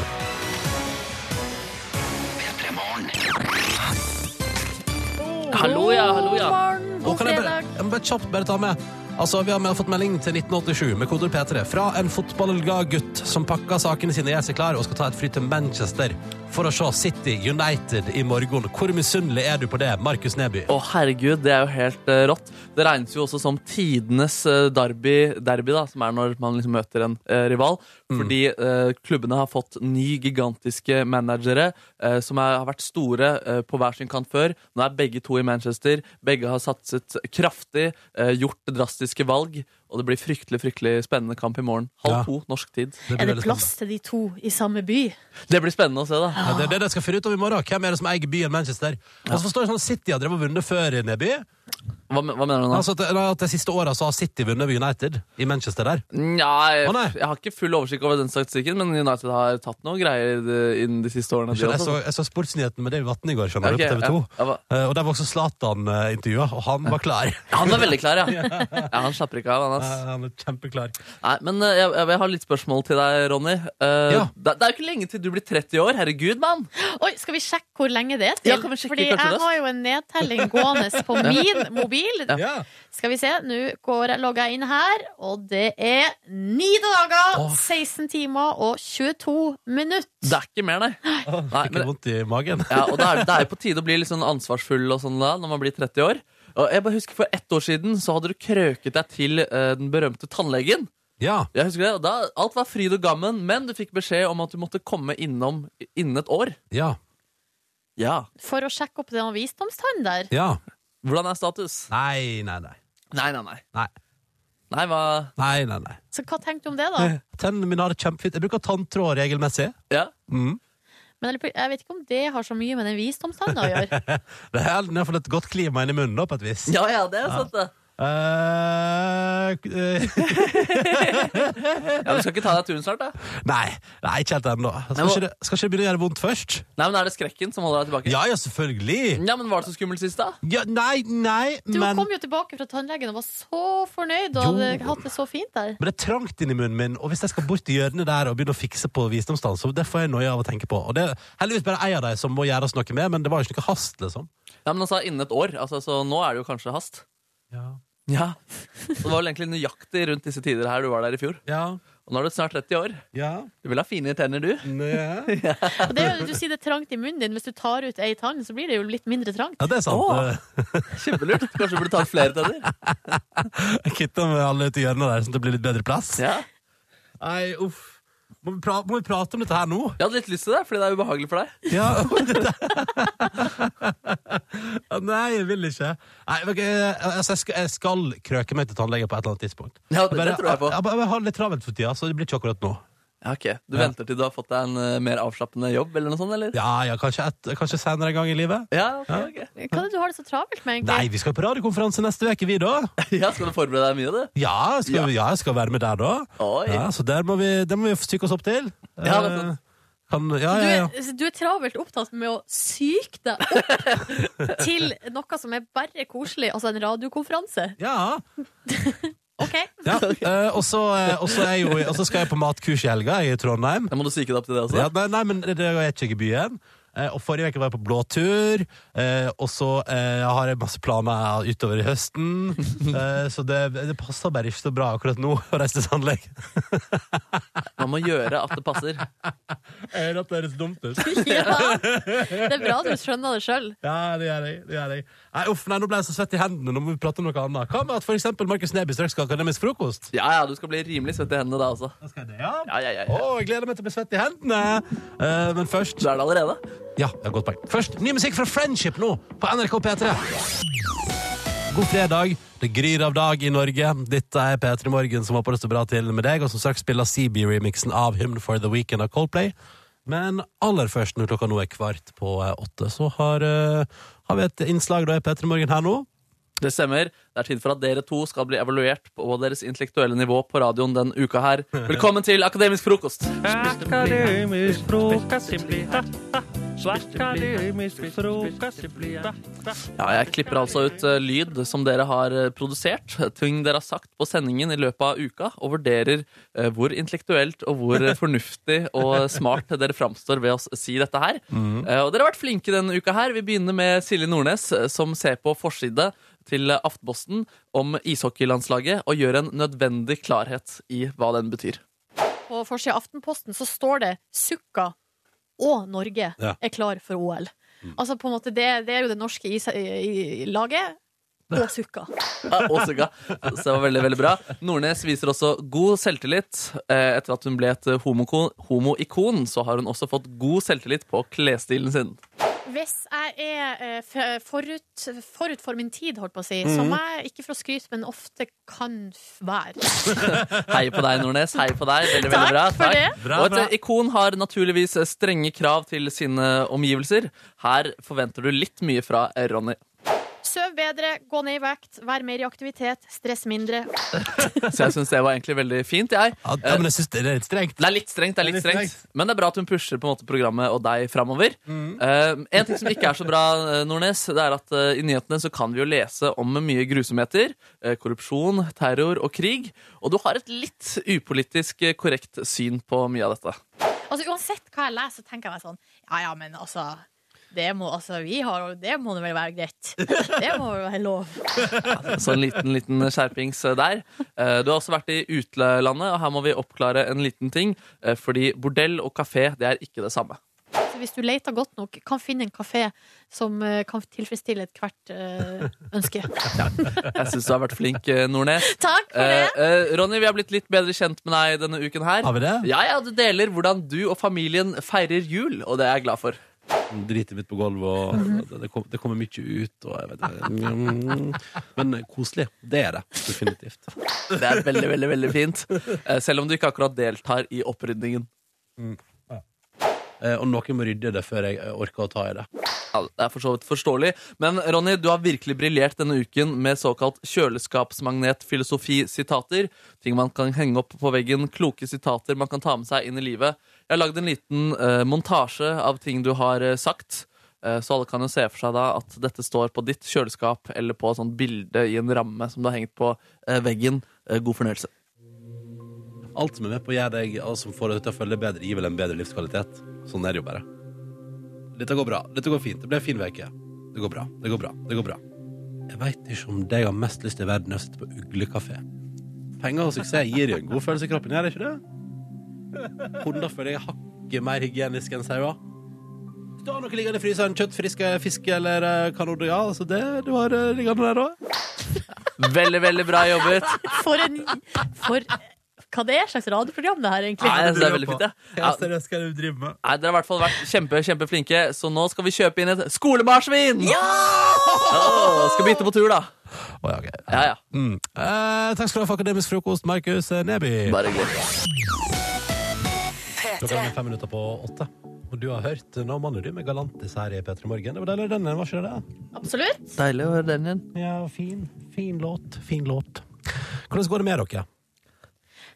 Hallo, ja. Hallo, ja.
God morgen,
Og
god
kan jeg, bare,
fredag.
jeg må bare kjapt bare ta med Altså, Vi har med- fått melding til 1987 med koder P3 fra en fotballglad gutt som pakker sakene sine, gjør seg klar og skal ta et fly til Manchester for å se City United i morgen. Hvor misunnelig er du på det, Markus Neby?
Å, herregud, det er jo helt eh, rått. Det regnes jo også som tidenes eh, derby, derby da, som er når man liksom møter en eh, rival.
Mm.
Fordi eh, klubbene har fått ni gigantiske managere eh, som er, har vært store eh, på hver sin kant før. Nå er begge to i Manchester. Begge har satset kraftig, eh, gjort drastiske valg. Og det blir fryktelig fryktelig spennende kamp i morgen. Halv
Ja.
to norsk tid.
blir
Er det
veldig
plass til de to i samme by?
Det blir spennende å se, da.
spennende. Ja, det er det de skal finne ut av i morgen. Hvem er det som eier byen Manchester? Og så forstår jeg sånn at City har drevet og vunnet før, Neby.
Hva, men- hva mener du nå?
Altså, at, eller at De siste åra har City vunnet ved United i Manchester der.
Nei,
Å, nei.
jeg har ikke full oversikt over den statistikken, men United har tatt noen greier eh, innen de siste årene. de
Jeg
også.
så, jeg så Sportsnyheten med David Vatne i går, skjønner du,
Ok,
på TV 2.
ja, ja, hva-
Eh, Og der var også Zlatan eh, intervjua, og han var klar.
Ja, Han var veldig klar, ja. ja han slapper ikke av, han.
Eh,
ass.
Han er kjempeklar.
Nei, men eh, jeg, jeg har litt spørsmål til deg, Ronny. Eh,
Ja.
det, det er jo ikke lenge til du blir 30 år. Herregud, mann!
Oi, skal vi sjekke hvor lenge det er
Ja,
til?
kan vi sjekke
Fordi
kanskje
jeg
det?
har jo en nedtelling gående på min mobil.
Ja.
Skal vi se, nå går jeg, logger jeg inn her, og det er ni dager,
Åh.
16 timer og 22 minutter.
Det er ikke mer, nei. nei
Fikk litt
men,
vondt i magen.
ja, og det er, det er jo på tide å bli litt sånn ansvarsfull og sånn da, når man blir 30 år. Og jeg bare husker For ett år siden så hadde du krøket deg til eh, den berømte tannlegen.
Ja.
Jeg husker det, og da, Alt var fryd og gammen, men du fikk beskjed om at du måtte komme innom innen et år.
Ja.
Ja.
For å sjekke opp den visdomstann der.
Ja.
Hvordan er status?
Nei, nei, nei.
Nei, nei, nei.
Nei,
Nei, hva...
nei, nei. nei. Eh.
Så hva tenkte du om det, da?
Tennene mine har det kjempefint. Jeg bruker tanntråd regelmessig.
Ja.
Mm.
Men jeg vet ikke om det har så mye med den visdomstanna å gjøre.
Det er i hvert fall et godt klima inni munnen, da, på et vis.
Ja, ja, det er sant, det.
Eh, eh,
Ja, Du skal ikke ta deg turen snart, da?
nei, nei, ikke helt ennå. Skal,
Nei,
ikke det- skal ikke det begynne å gjøre vondt først?
Nei, men Er det skrekken som holder deg tilbake?
Ja, ja, selvfølgelig.
ja men Var det så skummelt sist, da?
Ja, nei, nei,
Du
men
kom jo tilbake fra tannlegen og var så fornøyd og
Jo.
hadde hatt det så fint der.
Men det er trangt inni munnen min, og hvis jeg skal bort i hjørnet der og begynne å fikse på visdomstall, så det får jeg noia av å tenke på. Og det er heldigvis bare ei av dem som må gjøres noe med, men det var jo ikke noe hast, liksom.
Ja, men Han sa innen et år, altså, så nå er det jo kanskje hast.
Ja.
Ja. Så det var vel egentlig nøyaktig rundt disse tider her du var der i fjor.
Ja.
Og nå er du snart 30 år.
Ja.
Du vil ha fine tenner, du.
Ja,
Og det, er jo- du sier det er trangt i munnen din. Hvis du tar ut ei tann, så blir det jo litt mindre trangt.
det er sant.
Åh.
Eh,
Kjempelurt. Kanskje du burde tatt flere tenner.
Jeg Kitta med alle ute i hjørnet der, sånn at det blir litt bedre plass.
Ja.
Nei, uff. Må vi, pra må vi prate om dette her nå?
Jeg hadde litt lyst til det, fordi det er ubehagelig for deg.
Ja, det der. Nei, jeg vil ikke. Nei, men, eh, altså, jeg, skal, jeg skal krøke meg til tannlegen på et eller annet tidspunkt.
Ja, det, det tror jeg på.
Jeg, bare- jeg har det litt travelt for tida, så det blir ikke akkurat nå.
Ja, ok. Du
Ja.
venter til du har fått deg en eh, mer avslappende jobb, eller noe sånt? eller?
Ja, ja, kanskje, et, kanskje senere en gang i livet.
Ja, ok, ok.
Hva er det du har det så travelt
Nei,
med, egentlig?
vi skal på radiokonferanse neste uke, vi da.
ja Skal du forberede deg mye, du?
Ja, skal, ja, jeg skal være med der da.
Oi.
Ja, så der må vi, der må vi stykke oss opp til.
Ja, det er sant.
Eh, Kan, ja,
Du
ja, ja.
er, du er travelt opptatt med å syke deg opp til noe som er bare koselig, altså en radiokonferanse.
Ja,
OK?
ja. Eh, og så eh, og så er jeg jo, og så skal jeg på matkurs i helga i Trondheim.
Da må du psyke deg opp til det også.
Ja, nei, nei, men det er ikke i byen. Eh, og forrige uke var jeg på blåtur, eh, og så eh, har jeg masse planer utover i høsten. Eh, så det, det passer bare ikke så bra akkurat nå å reise til tannlegen.
Man må gjøre at det passer.
Jeg hører at det høres dumt ut.
Ja. Det er bra du skjønner det sjøl.
Ja, det gjør jeg. det gjør jeg Nei, uff, nei, Nå ble jeg så svett i hendene. Nå må vi prate om noe annet. Hva med at for eksempel Markus Neby straks skal ha akademisk frokost?
Ja, ja, du skal bli rimelig svett i hendene da altså. også.
Da skal jeg det, ja.
Ja, ja, ja,
Å,
ja.
jeg gleder meg til å bli svett i hendene! Eh, men først
Du er det allerede?
Ja, det er et godt poeng. Først ny musikk fra Friendship nå, på NRK P3. God fredag. Det gryr av dag i Norge. Dette er P3 Morgen, som håper det står bra til med deg, og som straks spiller CB-remixen av Hymn for the Weekend av Coldplay. Men aller først, når klokka nå er kvart på eh, åtte, så har, eh, har vi et innslag da i P3 Morgen her nå.
Det stemmer. Det er tid for at dere to skal bli evaluert på deres intellektuelle nivå på radioen den uka her. Velkommen til Akademisk frokost! Ja, jeg klipper altså ut eh, lyd som dere har eh, produsert, ting dere har sagt på sendingen i løpet av uka, og vurderer eh, hvor intellektuelt og hvor eh, fornuftig og smart dere framstår ved å s- si dette her. Eh, Og dere har vært flinke denne uka her. Vi begynner med Silje Nordnes, eh, som ser på forside til eh, Aftenposten om ishockeylandslaget og gjør en nødvendig klarhet i hva den betyr.
På forsida av Aftenposten så står det 'Sukka og Norge
Ja.
er klar for OL'. Altså på en måte, det, det er jo det norske is i, i laget. Og Sukka.
Ja, og sugga. Så det var veldig, veldig bra. Nordnes viser også god selvtillit. Eh, Etter at hun ble et homoko- homoikon, så har hun også fått god selvtillit på klesstilen sin.
Hvis jeg er eh, f- forut, forut for min tid, holdt på å si,
Mhm.
som jeg ikke for å skryte, men ofte kan f- være
Hei på deg, Nordnes. Hei på deg. Veldig, veldig bra.
for det.
Bra,
og et
bra.
eh, ikon har naturligvis eh, strenge krav til sine eh, omgivelser. Her forventer du litt mye fra eh, Ronny.
Søv bedre, gå ned i vekt, vær mer i aktivitet, stress mindre.
Så jeg syns det var egentlig veldig fint, jeg.
Ja, ja, men jeg synes det er litt strengt.
Det er litt strengt, det er litt
Det er litt
strengt. men det er bra at hun pusher på en måte programmet og deg framover. Eh, en ting som ikke er så bra, eh, Nordnes, det er at eh, i nyhetene så kan vi jo lese om mye grusomheter. eh, korrupsjon, terror og krig. Og du har et litt upolitisk eh, korrekt syn på mye av dette.
Altså Uansett hva jeg leser, så tenker jeg meg sånn Ja ja, men altså det må, altså, vi har, det må vel være greit. Det må vel være lov.
Så en liten, liten skjerpings eh, der. Eh, Du har også vært i utlandet, og her må vi oppklare en liten ting. eh, Fordi bordell og kafé, det er ikke det samme.
Så hvis du leter godt nok, kan finne en kafé som eh, kan tilfredsstille ethvert eh, ønske.
Jeg syns du har vært flink, eh, Nordnes.
Takk for det!
Eh, eh, Ronny, vi har blitt litt bedre kjent med deg denne uken her.
Har vi det?
Ja, ja, du deler hvordan du og familien feirer jul, og det er jeg glad for.
Driter mitt på gulvet, og det, kom, det kommer mye ut, og jeg vet ikke. Men koselig. Det er det. Definitivt.
Det er veldig, veldig, veldig fint. Eh, Selv om du ikke akkurat deltar i opprydningen.
eh, og noen må rydde det før jeg eh, orker å ta i det.
Ja, det er for så vidt forståelig. Men Ronny, du har virkelig briljert denne uken med såkalt kjøleskapsmagnetfilosofi-sitater. Ting man kan henge opp på veggen, kloke sitater man kan ta med seg inn i livet. Jeg har lagd en liten eh, montasje av ting du har eh, sagt. Eh, Så alle kan jo se for seg da at dette står på ditt kjøleskap eller på et sånt bilde i en ramme som du har hengt på eh, veggen. Eh, God fornøyelse.
Alt som er med på å gjøre deg alt som får deg til å føle deg bedre, gir vel en bedre livskvalitet. Sånn er det jo bare. Dette går bra. Dette går fint. Det ble en fin uke. Det går bra. Det går bra. Det går bra. Jeg veit ikke om det jeg har mest lyst til i verden, er å sitte på uglekafé. Penger og suksess gir jo en god følelse i kroppen, gjør det ikke det? Hunder føler jeg er hakket mer hygienisk enn sauer. Hvis du har noe liggende i fryseren, kjøtt, frisk fisk eller eh, kanonde, ja, altså det, det var eh, liggende der òg.
Veldig, veldig bra jobbet.
For en For Hva det er slags radioprogram det her, egentlig?
Nei, altså, det er veldig fint, ja. ja.
seriøst, hva er det du driver med?
Nei, Dere har i hvert fall vært kjempe, kjempeflinke, så nå skal vi kjøpe inn et skolemarsvin! Ja! skal bytte på tur, da.
Å, ja, ok.
Ja, ja.
Mm. Eh, takk skal du ha for akademisk frokost, Markus eh, Neby.
Bare gled
Klokka er fem minutter på åtte. Og du har hørt Nå manner du med Galantis her i P3 Morgen. Det var deilig, denne, var ikke det?
Absolutt.
Deilig å høre den igjen.
Ja, fin. Fin låt. Fin låt. Hvordan går det med dere?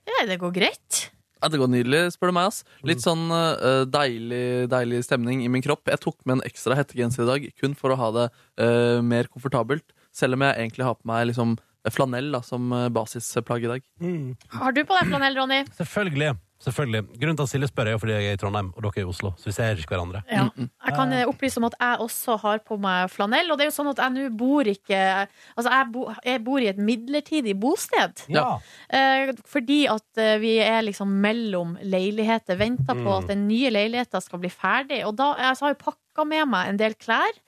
Ja, det går greit.
Ja, det går nydelig, spør du meg. ass. Litt sånn eh, deilig, deilig stemning i min kropp. Jeg tok med en ekstra hettegenser i dag, kun for å ha det eh, mer komfortabelt. Selv om jeg egentlig har på meg liksom flanell da, som eh, basisplagg i dag.
Har du på deg flanell, Ronny?
Selvfølgelig. selvfølgelig. Grunnen til at Silje spør, er jo fordi jeg er i Trondheim, og dere er i Oslo. Så vi ser ikke hverandre.
Ja. Jeg kan eh, opplyse om at jeg også har på meg flanell. Og det er jo sånn at jeg nå bor ikke Altså, jeg, bo, jeg bor i et midlertidig bosted.
Ja.
Eh, fordi at eh, vi er liksom mellom leiligheter, venter på
Mm.
at den nye leiligheten skal bli ferdig. Og da jeg så har jeg pakka med meg en del klær.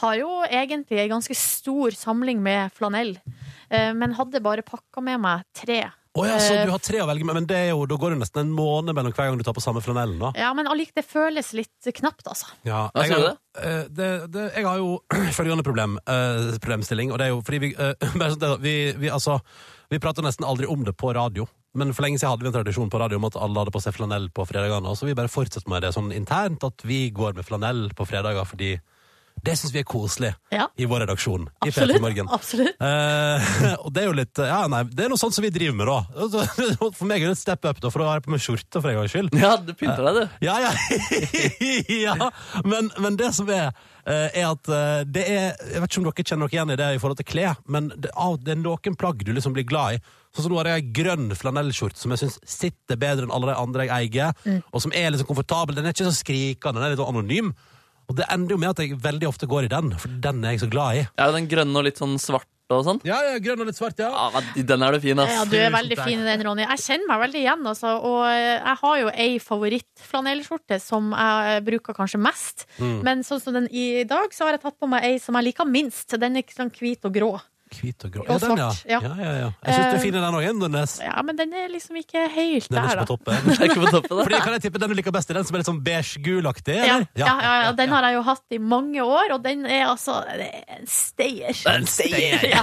Har jo egentlig en ganske stor samling med flanell. Eh, men hadde bare pakka med meg tre.
Å ja, så du har tre å velge med, men det er jo, da går det nesten en måned mellom hver gang du tar på samme flanellen. da.
Ja, men allike, det føles litt knapt, altså.
Ja,
Hva
jeg,
sier du
har- eh, det, det, jeg har jo følgende problem, eh, problemstilling, og det er jo fordi vi, eh, bare sånn det da, vi, vi altså Vi prater nesten aldri om det på radio, men for lenge siden hadde vi en tradisjon på radio om at alle hadde på seg flanell på fredagene, og så vi bare fortsetter med det sånn internt, at vi går med flanell på fredager fordi det syns vi er koselig
Ja.
i vår redaksjon. i P3
Absolutt.
Morgen.
Absolutt.
Eh, og det er jo litt Ja, nei, det er noe sånt som vi driver med, da. Altså, For meg er det et step up, da, for da har jeg på meg skjorte for en gangs skyld.
Ja, du pynter deg, du.
Ja, ja. ja. Men, men det som er, eh, er at eh, det er Jeg vet ikke om dere kjenner dere igjen i det i forhold til klær, men det, av- det er noen plagg du liksom blir glad i. Sånn som Nå har jeg en grønn flanellskjorte som jeg syns sitter bedre enn alle de andre jeg eier, og som er liksom komfortabel. Den er ikke så skrikende, den er litt sånn anonym. Og det ender jo med at jeg veldig ofte går i den, for den er jeg så glad i.
Ja, Den grønne og litt sånn svarte og sånn.
Ja, ja, grønn og litt svart, ja.
Ja, Den er du fin, ass.
Ja, du er
Tusen
veldig
takk.
fin i den, Ronny. Jeg kjenner meg veldig igjen, altså. Og eh, jeg har jo ei favorittflanellskjorte som jeg bruker kanskje mest. Men sånn som den i dag, så har jeg tatt på meg ei som jeg liker minst. Den er sånn hvit og grå.
Hvit og grå.
Og
den,
svart, ja.
Ja, ja, ja. Jeg syns du er fin i den òg, Nordnes.
Ja, men den er liksom ikke helt
Den er
der,
ikke på
da.
toppen.
Det er ikke på toppen, da.
Fordi kan jeg tippe den du liker best, er den som er litt sånn beige-gulaktig?
Ja,
eller?
ja, ja, ja, den har jeg jo hatt i mange år, og den er altså det er en stayer.
En stayer.
Ja.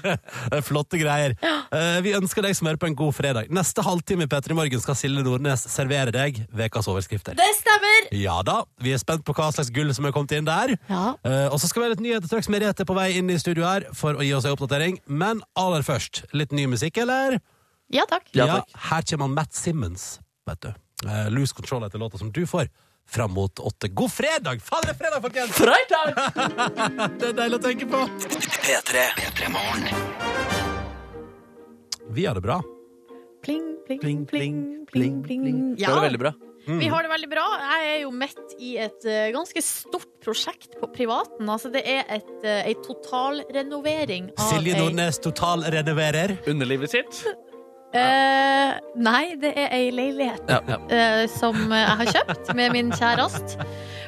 Det er Flotte greier. Eh, vi ønsker deg som hører på en god fredag. Neste halvtime i P3 Morgen skal Silje Nordnes servere deg ukas overskrifter.
Det stemmer!
Ja da, vi er spent på hva slags gull som er kommet inn der.
Ja.
Eh, og så skal vi ha litt nyheter straks. Merete er på vei inn i studio her for å gi oss en oppdatering. Men aller først, litt ny musikk, eller?
Ja, takk.
Ja, takk.
her kommer Matt Simmons, vet du. Eh, Lose Control heter låta som du får fram mot åtte. God fredag! Fader, det er fredag, folkens!
Freitag!
Det er deilig å tenke på.
P3. P3 Morgen.
Vi har det bra.
Pling, pling, pling, pling, pling.
Det var veldig bra.
Vi har det veldig bra. Jeg er jo midt i et eh, ganske stort prosjekt på privaten. Altså, det er et, eh, ei totalrenovering av
Silje
ei-
Nordnes totalrenoverer.
Underlivet sitt.
Eh, nei, det er ei leilighet
Ja, ja.
eh, som eh, jeg har kjøpt med min kjæreste.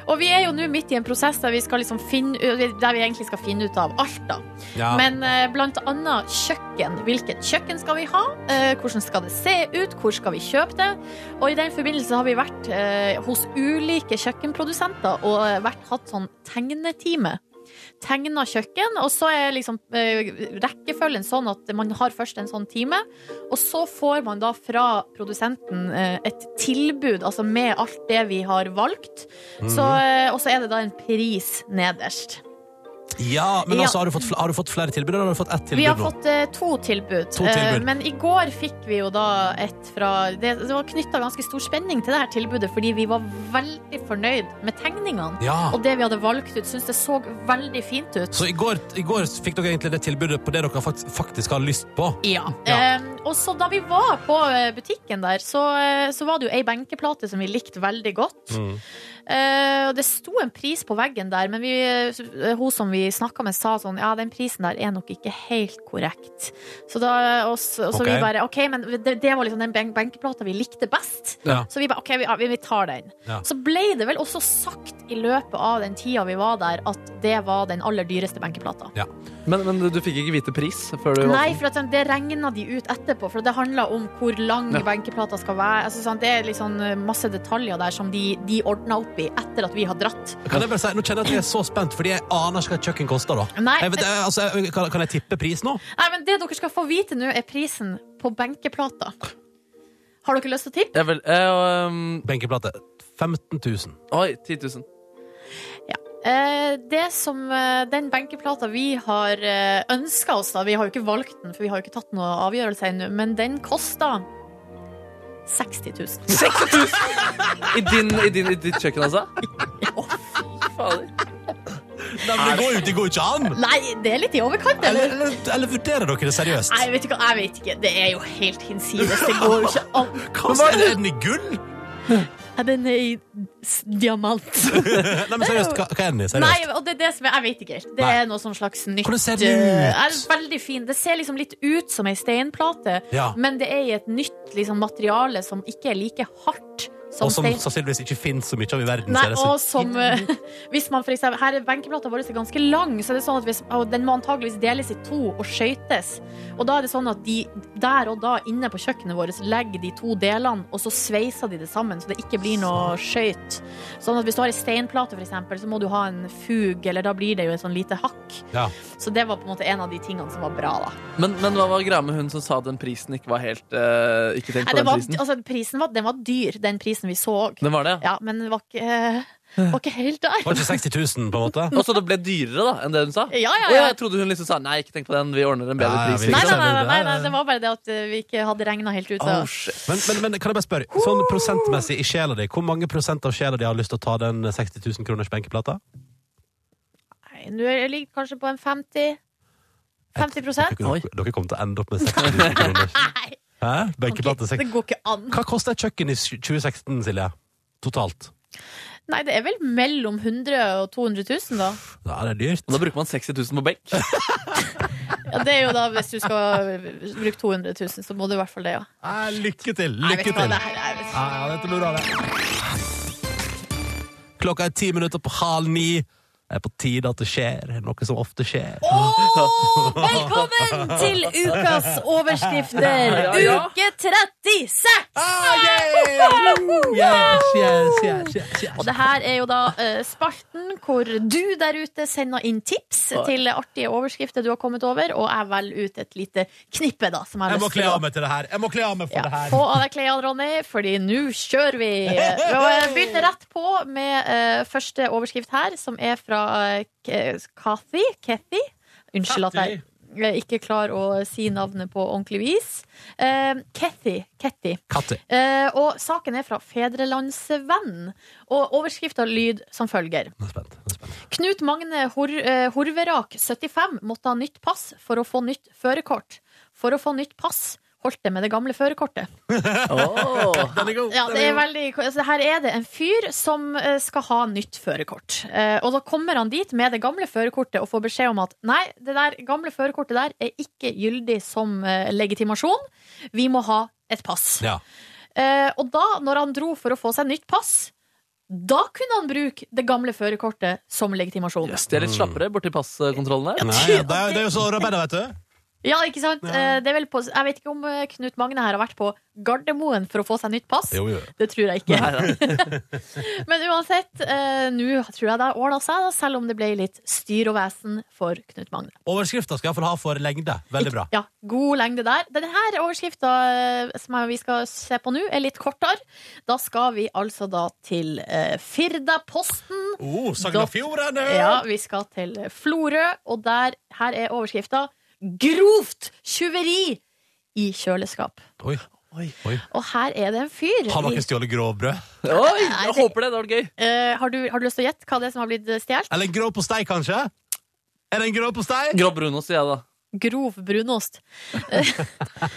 Og vi er jo nå midt i en prosess der vi, skal liksom finne, u- der vi egentlig skal finne ut av alt, da.
Ja.
Men eh, blant annet kjøkken. Hvilket kjøkken skal vi ha? Eh, hvordan skal det se ut? Hvor skal vi kjøpe det? Og i den forbindelse har vi vært eh, hos ulike kjøkkenprodusenter og eh, vært, hatt sånn tegnetime. tegna kjøkken, og så er liksom eh, rekkefølgen sånn at man har først en sånn time, og så får man da fra produsenten eh, et tilbud, altså med alt det vi har valgt, så, eh, og så er det da en pris nederst.
Ja, men
Ja.
altså, har du fått, fl- har du fått flere tilbud, eller har du fått ett tilbud
Vi har
nå?
fått eh, to tilbud,
To tilbud.
Eh, men i går fikk vi jo da et fra Det, det var knytta ganske stor spenning til det her tilbudet, fordi vi var veldig fornøyd med tegningene.
Ja.
Og det vi hadde valgt ut, syns det så veldig fint ut.
Så i går, i går fikk dere egentlig det tilbudet på det dere faktisk, faktisk har lyst på.
Ja.
Ja.
Eh, og så da vi var på eh, butikken der, så, eh, så var det jo ei benkeplate som vi likte veldig godt.
Mm.
Eh, og det sto en pris på veggen der, men vi, eh, hun som vi snakka med, sa sånn Ja, den prisen der er nok ikke helt korrekt. Så da og, så- og så
Ok.
vi bare OK, men det, det var liksom den ben benkeplata vi likte best.
Ja.
Så vi bare OK, vi, ja, vi, vi tar den.
Ja.
Så ble det vel også sagt i løpet av den tida vi var der, at det var den aller dyreste benkeplata.
Men, men du, du fikk ikke vite pris før du
Nei, for at, sånn, det regna de ut etterpå, for det handla om hvor lang
Ja.
benkeplata skal være. Altså, sånn, det er liksom eh, masse detaljer der som de, de ordna opp i etter at vi har dratt.
Kan jeg bare si, Nå kjenner jeg at jeg er så spent, fordi jeg aner ikke hva et kjøkken koster. da
Nei,
jeg vet, jeg, altså, jeg, kan, kan jeg tippe pris nå?
nei, men det dere skal få vite nå, er prisen på benkeplata. Har dere lyst til å tippe?
Jeg vel, eh, um,
Benkeplate 15 000.
Oi, 10 000.
Eh, det som, eh, den benkeplata vi har eh, ønska oss, da Vi har jo ikke valgt den, for vi har jo ikke tatt noen avgjørelse ennå, men den kosta 60 000.
I, din, i, din, I ditt kjøkken, altså? Fy fader.
Nei, men det går jo det går jo ikke an!
Nei, det er litt i overkant, eller?
Eller, eller, eller vurderer dere det seriøst?
Nei, vet du hva, jeg vet ikke. Det er jo helt hinsides. Det går jo ikke an.
Hva er det? Er den i gull?
Ja, Den er i s- diamant.
Nei, men seriøst, hva, hva er den i? Seriøst?
Nei, og det er det som er, jeg vet ikke helt. Det
Nei.
er noe sånn slags nytt.
Hvordan ser den
eh,
ut?
Er veldig fin. Det ser liksom litt ut som ei steinplate,
Ja.
men det er i et nytt liksom, materiale som ikke er like hardt som
Og som
stein.
sannsynligvis ikke finnes så mye av i verden.
Nei,
ser det
og
ut.
som eh, Hvis man for eksempel Her er benkeplata vår er ganske lang, så det er sånn at hvis, og den må antageligvis deles i to og skøytes. Og da er det sånn at de der og da inne på kjøkkenet vårt legger de to delene, og så sveiser de det sammen, så det ikke blir noe skøyt. Sånn at hvis du har ei steinplate, for eksempel, så må du ha en fug, eller da blir det jo et sånn lite hakk.
ja.
Så det var på en måte en av de tingene som var bra, da.
Men, men hva var greia med hun som sa at den prisen ikke var helt eh, Ikke tenkt
Nei,
på
det
den
var,
prisen?
altså, prisen var, den var dyr, den prisen vi så òg.
Den var det, ja.
Ja, men den var ikke, eh, var ikke helt der.
Var det ikke 60 000, på en måte?
Og så det ble dyrere da enn det hun sa?
Ja, ja,
Å,
ja.
jeg trodde hun liksom sa nei, ikke tenk på den, vi ordner en bedre
Ja, ja,
pris.
vi-
Nei,
Liksom.
sant?
nei, nei, nei, nei,
Ja, ja.
det var bare det at eh, vi ikke hadde regna helt ut.
Å,
så-
Oh, shit.
Men, men, men kan jeg bare spørre, sånn prosentmessig i sjela di, hvor mange prosent av sjela di har lyst til å ta den 60 000 kroners benkeplata?
Nei, Nå er- jeg ligger kanskje på en 50 50 prosent?
Dere, dere kommer til å ende opp med 60 000 kroners
Nei,
Hæ?
ok,
benkeplate. seks-
det går ikke an.
Hva kosta et kjøkken i 2016, Silje? Totalt.
Nei, det er vel mellom 100 og 200 000, da.
Ja, det er dyrt.
Og da bruker man 60 000 på benk.
Ja, det er jo da, hvis du skal bruke 200 000, så må du i hvert fall det, ja.
Nei, lykke til!
Nei,
Lykke
vet du hva,
til!
det her er-
Ja, ja, dette blir bra, det. Klokka er ti minutter på halv ni. Det er på tide at det skjer noe som ofte
Ah,
skjer.
Åh, velkommen til ukas overskrifter, uke 36!
Ah, yeah! Yes, yes, yes, yes, yes.
Og det her er jo da eh, spalten hvor du der ute sender inn tips til artige overskrifter du har kommet over, og jeg velger ut et lite knippe, da. Som jeg, har
Jeg må
lyst til
kle
å-
av meg til det her. Jeg må kle av meg for
Ja,
det her.
få av deg klærne, Ronny, fordi nå kjører vi! Og jeg begynner rett på med eh, første overskrift her, som er fra eh, K- Kathy. Kathy. Unnskyld at jeg eh, ikke klarer å si navnet på ordentlig vis. Eh, Kathy. Kathy.
Katti.
Eh, og saken er fra Fedrelandsvenn. Og overskrifta lyd som følger.
Nå er jeg spent. Nå er jeg spent.
Knut Magne Hor eh, Horverak, 75, måtte ha nytt pass for å få nytt førerkort. For å få nytt pass holdt det med det gamle førerkortet.
Åh.
Den er god.
Ja,
den
det
er
er
god.
veldig, altså, her er det en fyr som eh, skal ha nytt førerkort. Eh, og da kommer han dit med det gamle førerkortet og får beskjed om at nei, det der gamle førerkortet der er ikke gyldig som eh, legitimasjon. Vi må ha et pass.
Ja.
Eh, og da, når han dro for å få seg nytt pass, da kunne han bruke det gamle førerkortet som legitimasjon.
Jøss, de er litt slappere borti passkontrollen der.
Nei, ja, det, er- det er jo så arbeidet, vet du.
Ja, ikke sant? Eh, Det er vel på, jeg vet ikke om eh, Knut Magne her har vært på Gardermoen for å få seg nytt pass.
Jo, jo.
Det tror jeg ikke. Men uansett, eh, nå tror jeg det har ordna seg, da, selv om det ble litt styr og vesen for Knut Magne.
Overskrifta skal iallfall ha for lengde. Veldig bra.
Ja, god lengde der. Denne overskrifta eh, som vi skal se på nå, er litt kortere. Da skal vi altså da til eh, Firdaposten.
Oh, Sogn og
Dot-
Fjordane!
Ja, vi skal til Florø, og der, her er overskrifta 'Grovt tjuveri i kjøleskap'.
Oi.
Oi.
Oi.
Og her er det en fyr.
Har
i-
noen stjålet grovbrød?
Oi,
Nei,
jeg
det-
håper det. Det var gøy.
Eh, har, du, har du lyst til å gjette hva det er som har blitt stjålet?
Eller en grov postei, kanskje? Er det en grov postei?
Grå brunost, sier jeg da.
Grov brunost. Eh,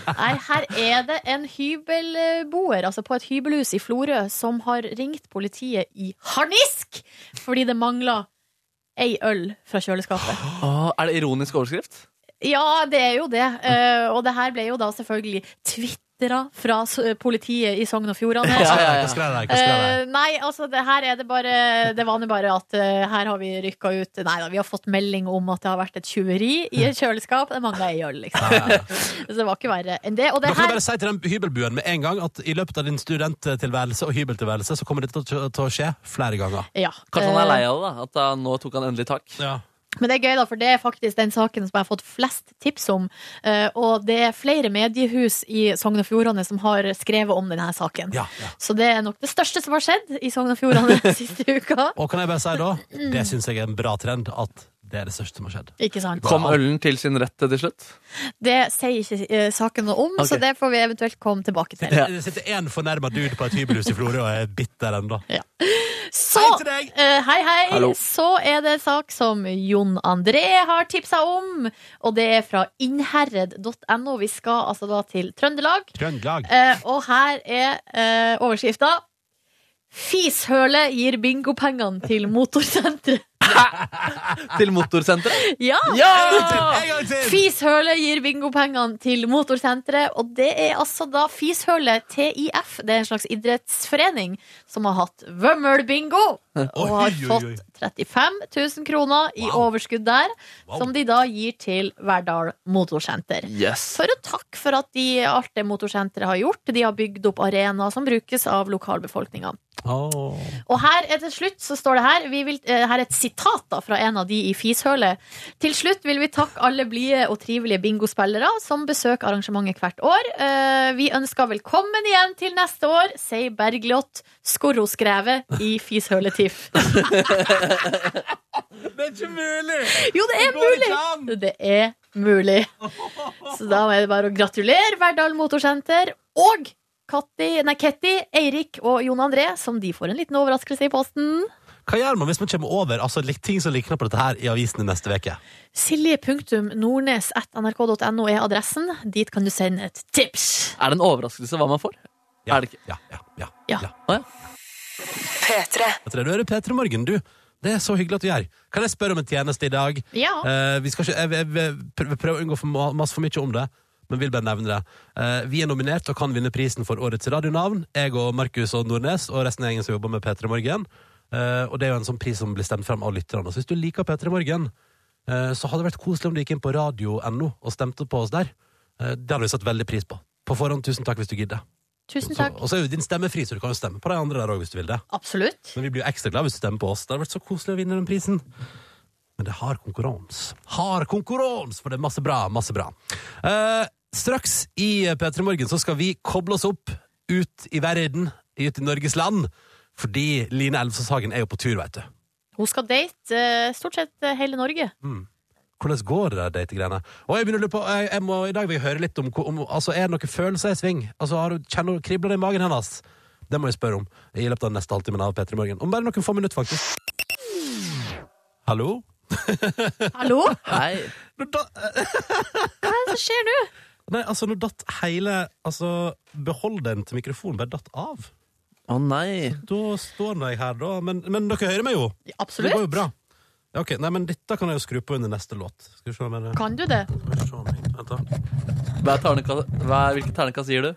Nei, her er det en hybelboer, altså på et hybelhus i Florø, som har ringt politiet i harnisk fordi det mangla ei øl fra kjøleskapet.
Åh, er det ironisk overskrift?
Ja, det er jo det. Eh, og det her ble jo da selvfølgelig twitra fra s- politiet i Sogn og Fjordane.
Ja, ja, ja.
Hva skrev de? Hva skrev de?
Eh, nei, altså det her er det bare Det var nå bare at eh, her har vi rykka ut Nei da, vi har fått melding om at det har vært et tjuveri i et kjøleskap. Det mangla ei øl, liksom. Så det var ikke verre enn det. Og det
Da kan jeg
her
bare si til den hybelbuen med en gang at i løpet av din studenttilværelse og hybeltilværelse så kommer dette til å- til å skje flere ganger.
ja,
Kanskje han er
eh,
lei av det? da, At han, nå tok han endelig tak?
Men det er gøy, da, for det er faktisk den saken som jeg har fått flest tips om. Eh, og det er flere mediehus i Sogn og Fjordane som har skrevet om denne saken.
Ja, ja.
Så det er nok det største som har skjedd i Sogn og Fjordane siste uka.
Og kan jeg bare si da, det syns jeg er en bra trend, at det er det største som har skjedd.
Ikke sant?
Kom ølen til sin rett til slutt?
Det sier ikke eh, saken noe om,
Ok.
så det får vi eventuelt komme tilbake til.
Ja.
Det sitter én fornærma dude på et hybelhus i Florø og er bitter ennå.
Så,
Hei til deg!
eh, hei, hei.
Hallo.
Så er det en sak som Jon André har tipsa om, og det er fra innherred.no. Vi skal altså da til Trøndelag.
Trøndelag.
Eh, og her er eh, overskrifta. Fishøle gir bingopengene til motorsenteret.
Til motorsenteret?
Ja!
En gang til!
Fishøle gir bingopengene til motorsenteret, og det er altså da Fishøle TIF. Det er en slags idrettsforening som har hatt vømmelbingo og har
Oi, oi, oi.
fått 35 000 kroner i
Wow.
overskudd der,
Wow.
som de da gir til Verdal motorsenter.
Yes.
for å takke for at de, alt det motorsenteret har gjort. De har bygd opp arenaer som brukes av lokalbefolkninga.
Åh.
Og her er til slutt så står det her vi vil, eh, Her er et sitat da fra en av de i Fishølet. Til slutt vil vi takke alle blide og trivelige bingospillere som besøker arrangementet hvert år. Eh, Vi ønsker velkommen igjen til neste år, sier Bergljot Skorroskrevet i Fishølet TIFF.
Det er ikke mulig!
Jo, det er
Det går
mulig!
ikke an!
Det er mulig. Så da er det bare å gratulere Verdal Motorsenter og Katti, nei, Ketty, Eirik og Jon André, som de får en liten overraskelse i posten.
Hva gjør man hvis man kommer over altså, lik- ting som likner på dette her i avisene neste uke?
Silje.nordnes.nrk.no er adressen. Dit kan du sende et tips.
Er det en overraskelse hva man får?
Ja,
Er det ikke?
Ja, ja, ja,
Ja.
Å, ja.
Jeg tror du hører Petra Morgen, du. Det er så hyggelig at du gjør. Kan jeg spørre om en tjeneste i dag?
Ja.
Eh, vi skal ikke, jeg, jeg, jeg prøver- prøver å unngå for, ma- masse for mye om det, men vil bare nevne det. Eh, vi er nominert og kan vinne prisen for årets radionavn, jeg og Markus og Nordnes og resten av gjengen som jobber med P3 Morgen. Eh, og det er jo en sånn pris som blir stemt frem av lytterne. Så hvis du liker P3 Morgen, eh, så hadde det vært koselig om du gikk inn på radio.no og stemte på oss der. Eh, det hadde vi satt veldig pris på. På forhånd, tusen takk hvis du gidder.
Tusen
Så,
takk.
og så er jo din stemme fri, så du kan jo stemme på de andre der òg hvis du vil det.
Absolutt.
Men vi blir jo ekstra glad hvis du stemmer på oss. Det hadde vært så koselig å vinne den prisen. Men det har konkurranse. Har konkurranse! For det er masse bra, masse bra. Eh, straks i P3 Morgen så skal vi koble oss opp ut i verden, ut i Norges land. Fordi Line Elvsås Hagen er jo på tur, veit du.
Hun skal date eh, stort sett eh, hele Norge.
Hvordan går det der dategreiene? Og jeg begynner å lure på, jeg, jeg må, I dag vil jeg høre litt om, hvor- om altså, Er det noen følelser i sving? Altså, har, hun- kjenner hun kribler det i magen hennes? Det må jeg spørre om i løpet av den neste halvtimen av P3 Morgen. Om bare noen få minutter, faktisk. Hallo?
Hallo? Hva
Nei.
Nå da, eh,
er det som skjer nå?
nei, altså, nå datt hele altså, Beholderen til mikrofonen bare datt av.
Å nei.
Da står nå jeg her, da. Men, men dere hører meg jo. Det går jo
Absolutt.
bra. Ja, ok, nei, men Dette kan jeg jo skru på under neste låt. Skal vi se om jeg
Kan du det?
se om jeg- Vent, da.
Hva er terneka, hva er, hvilket ternekast gir du?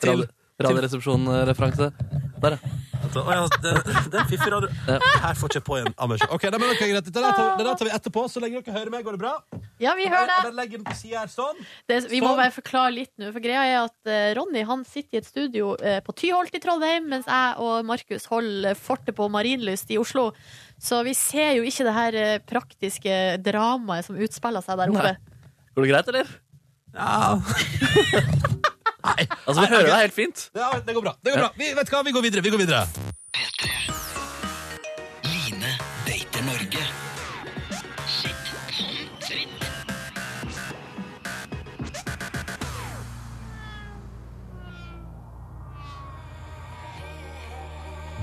Til-
Radio- Radioresepsjon-referanse. Der, ja.
Å ja, det, det er fiffig radio. Her får ikke jeg på igjen av meg selv. Ok, nei, men ok, greit. Det der tar, det der tar vi etterpå, så lenge dere hører meg, går det bra?
Ja, vi hører
Jeg
det.
bare legger den på siden her sånn.
det vi må
Sånn.
bare forklare litt nå, for greia er at eh, Ronny han sitter i et studio eh, på Tyholt i Trondheim, mens jeg og Markus holder fortet på Marienlyst i Oslo. Så vi ser jo ikke det her eh, praktiske dramaet som utspiller seg der oppe.
Går det greit, eller?
Ja.
Altså, vi hører deg helt fint.
Ja, det går bra. Det går bra. Vi, vet du hva, vi går videre. Vi går videre.
P3. Line dater Norge. Shit, sånn dritt.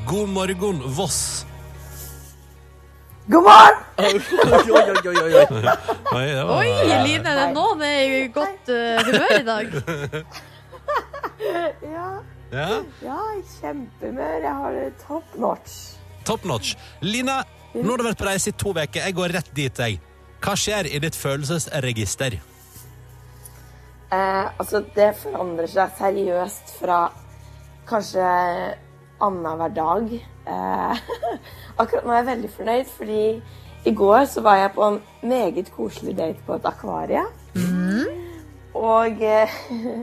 God morgen, Voss.
Oi, oi, oi, oi, oi.
Oi, det var-
Oi, Line, det er noen er i godt eh, humør i dag.
Ja,
Ja.
ja kjempehumør. Jeg har det top notch.
Top notch. Line, nå har du vært på reise i to uker. Jeg går rett dit, jeg. Hva skjer i ditt følelsesregister?
Eh, altså, det forandrer seg seriøst fra kanskje annenhver dag. Eh, akkurat nå er jeg veldig fornøyd, fordi i går så var jeg på en meget koselig date på et akvarie. Og, eh,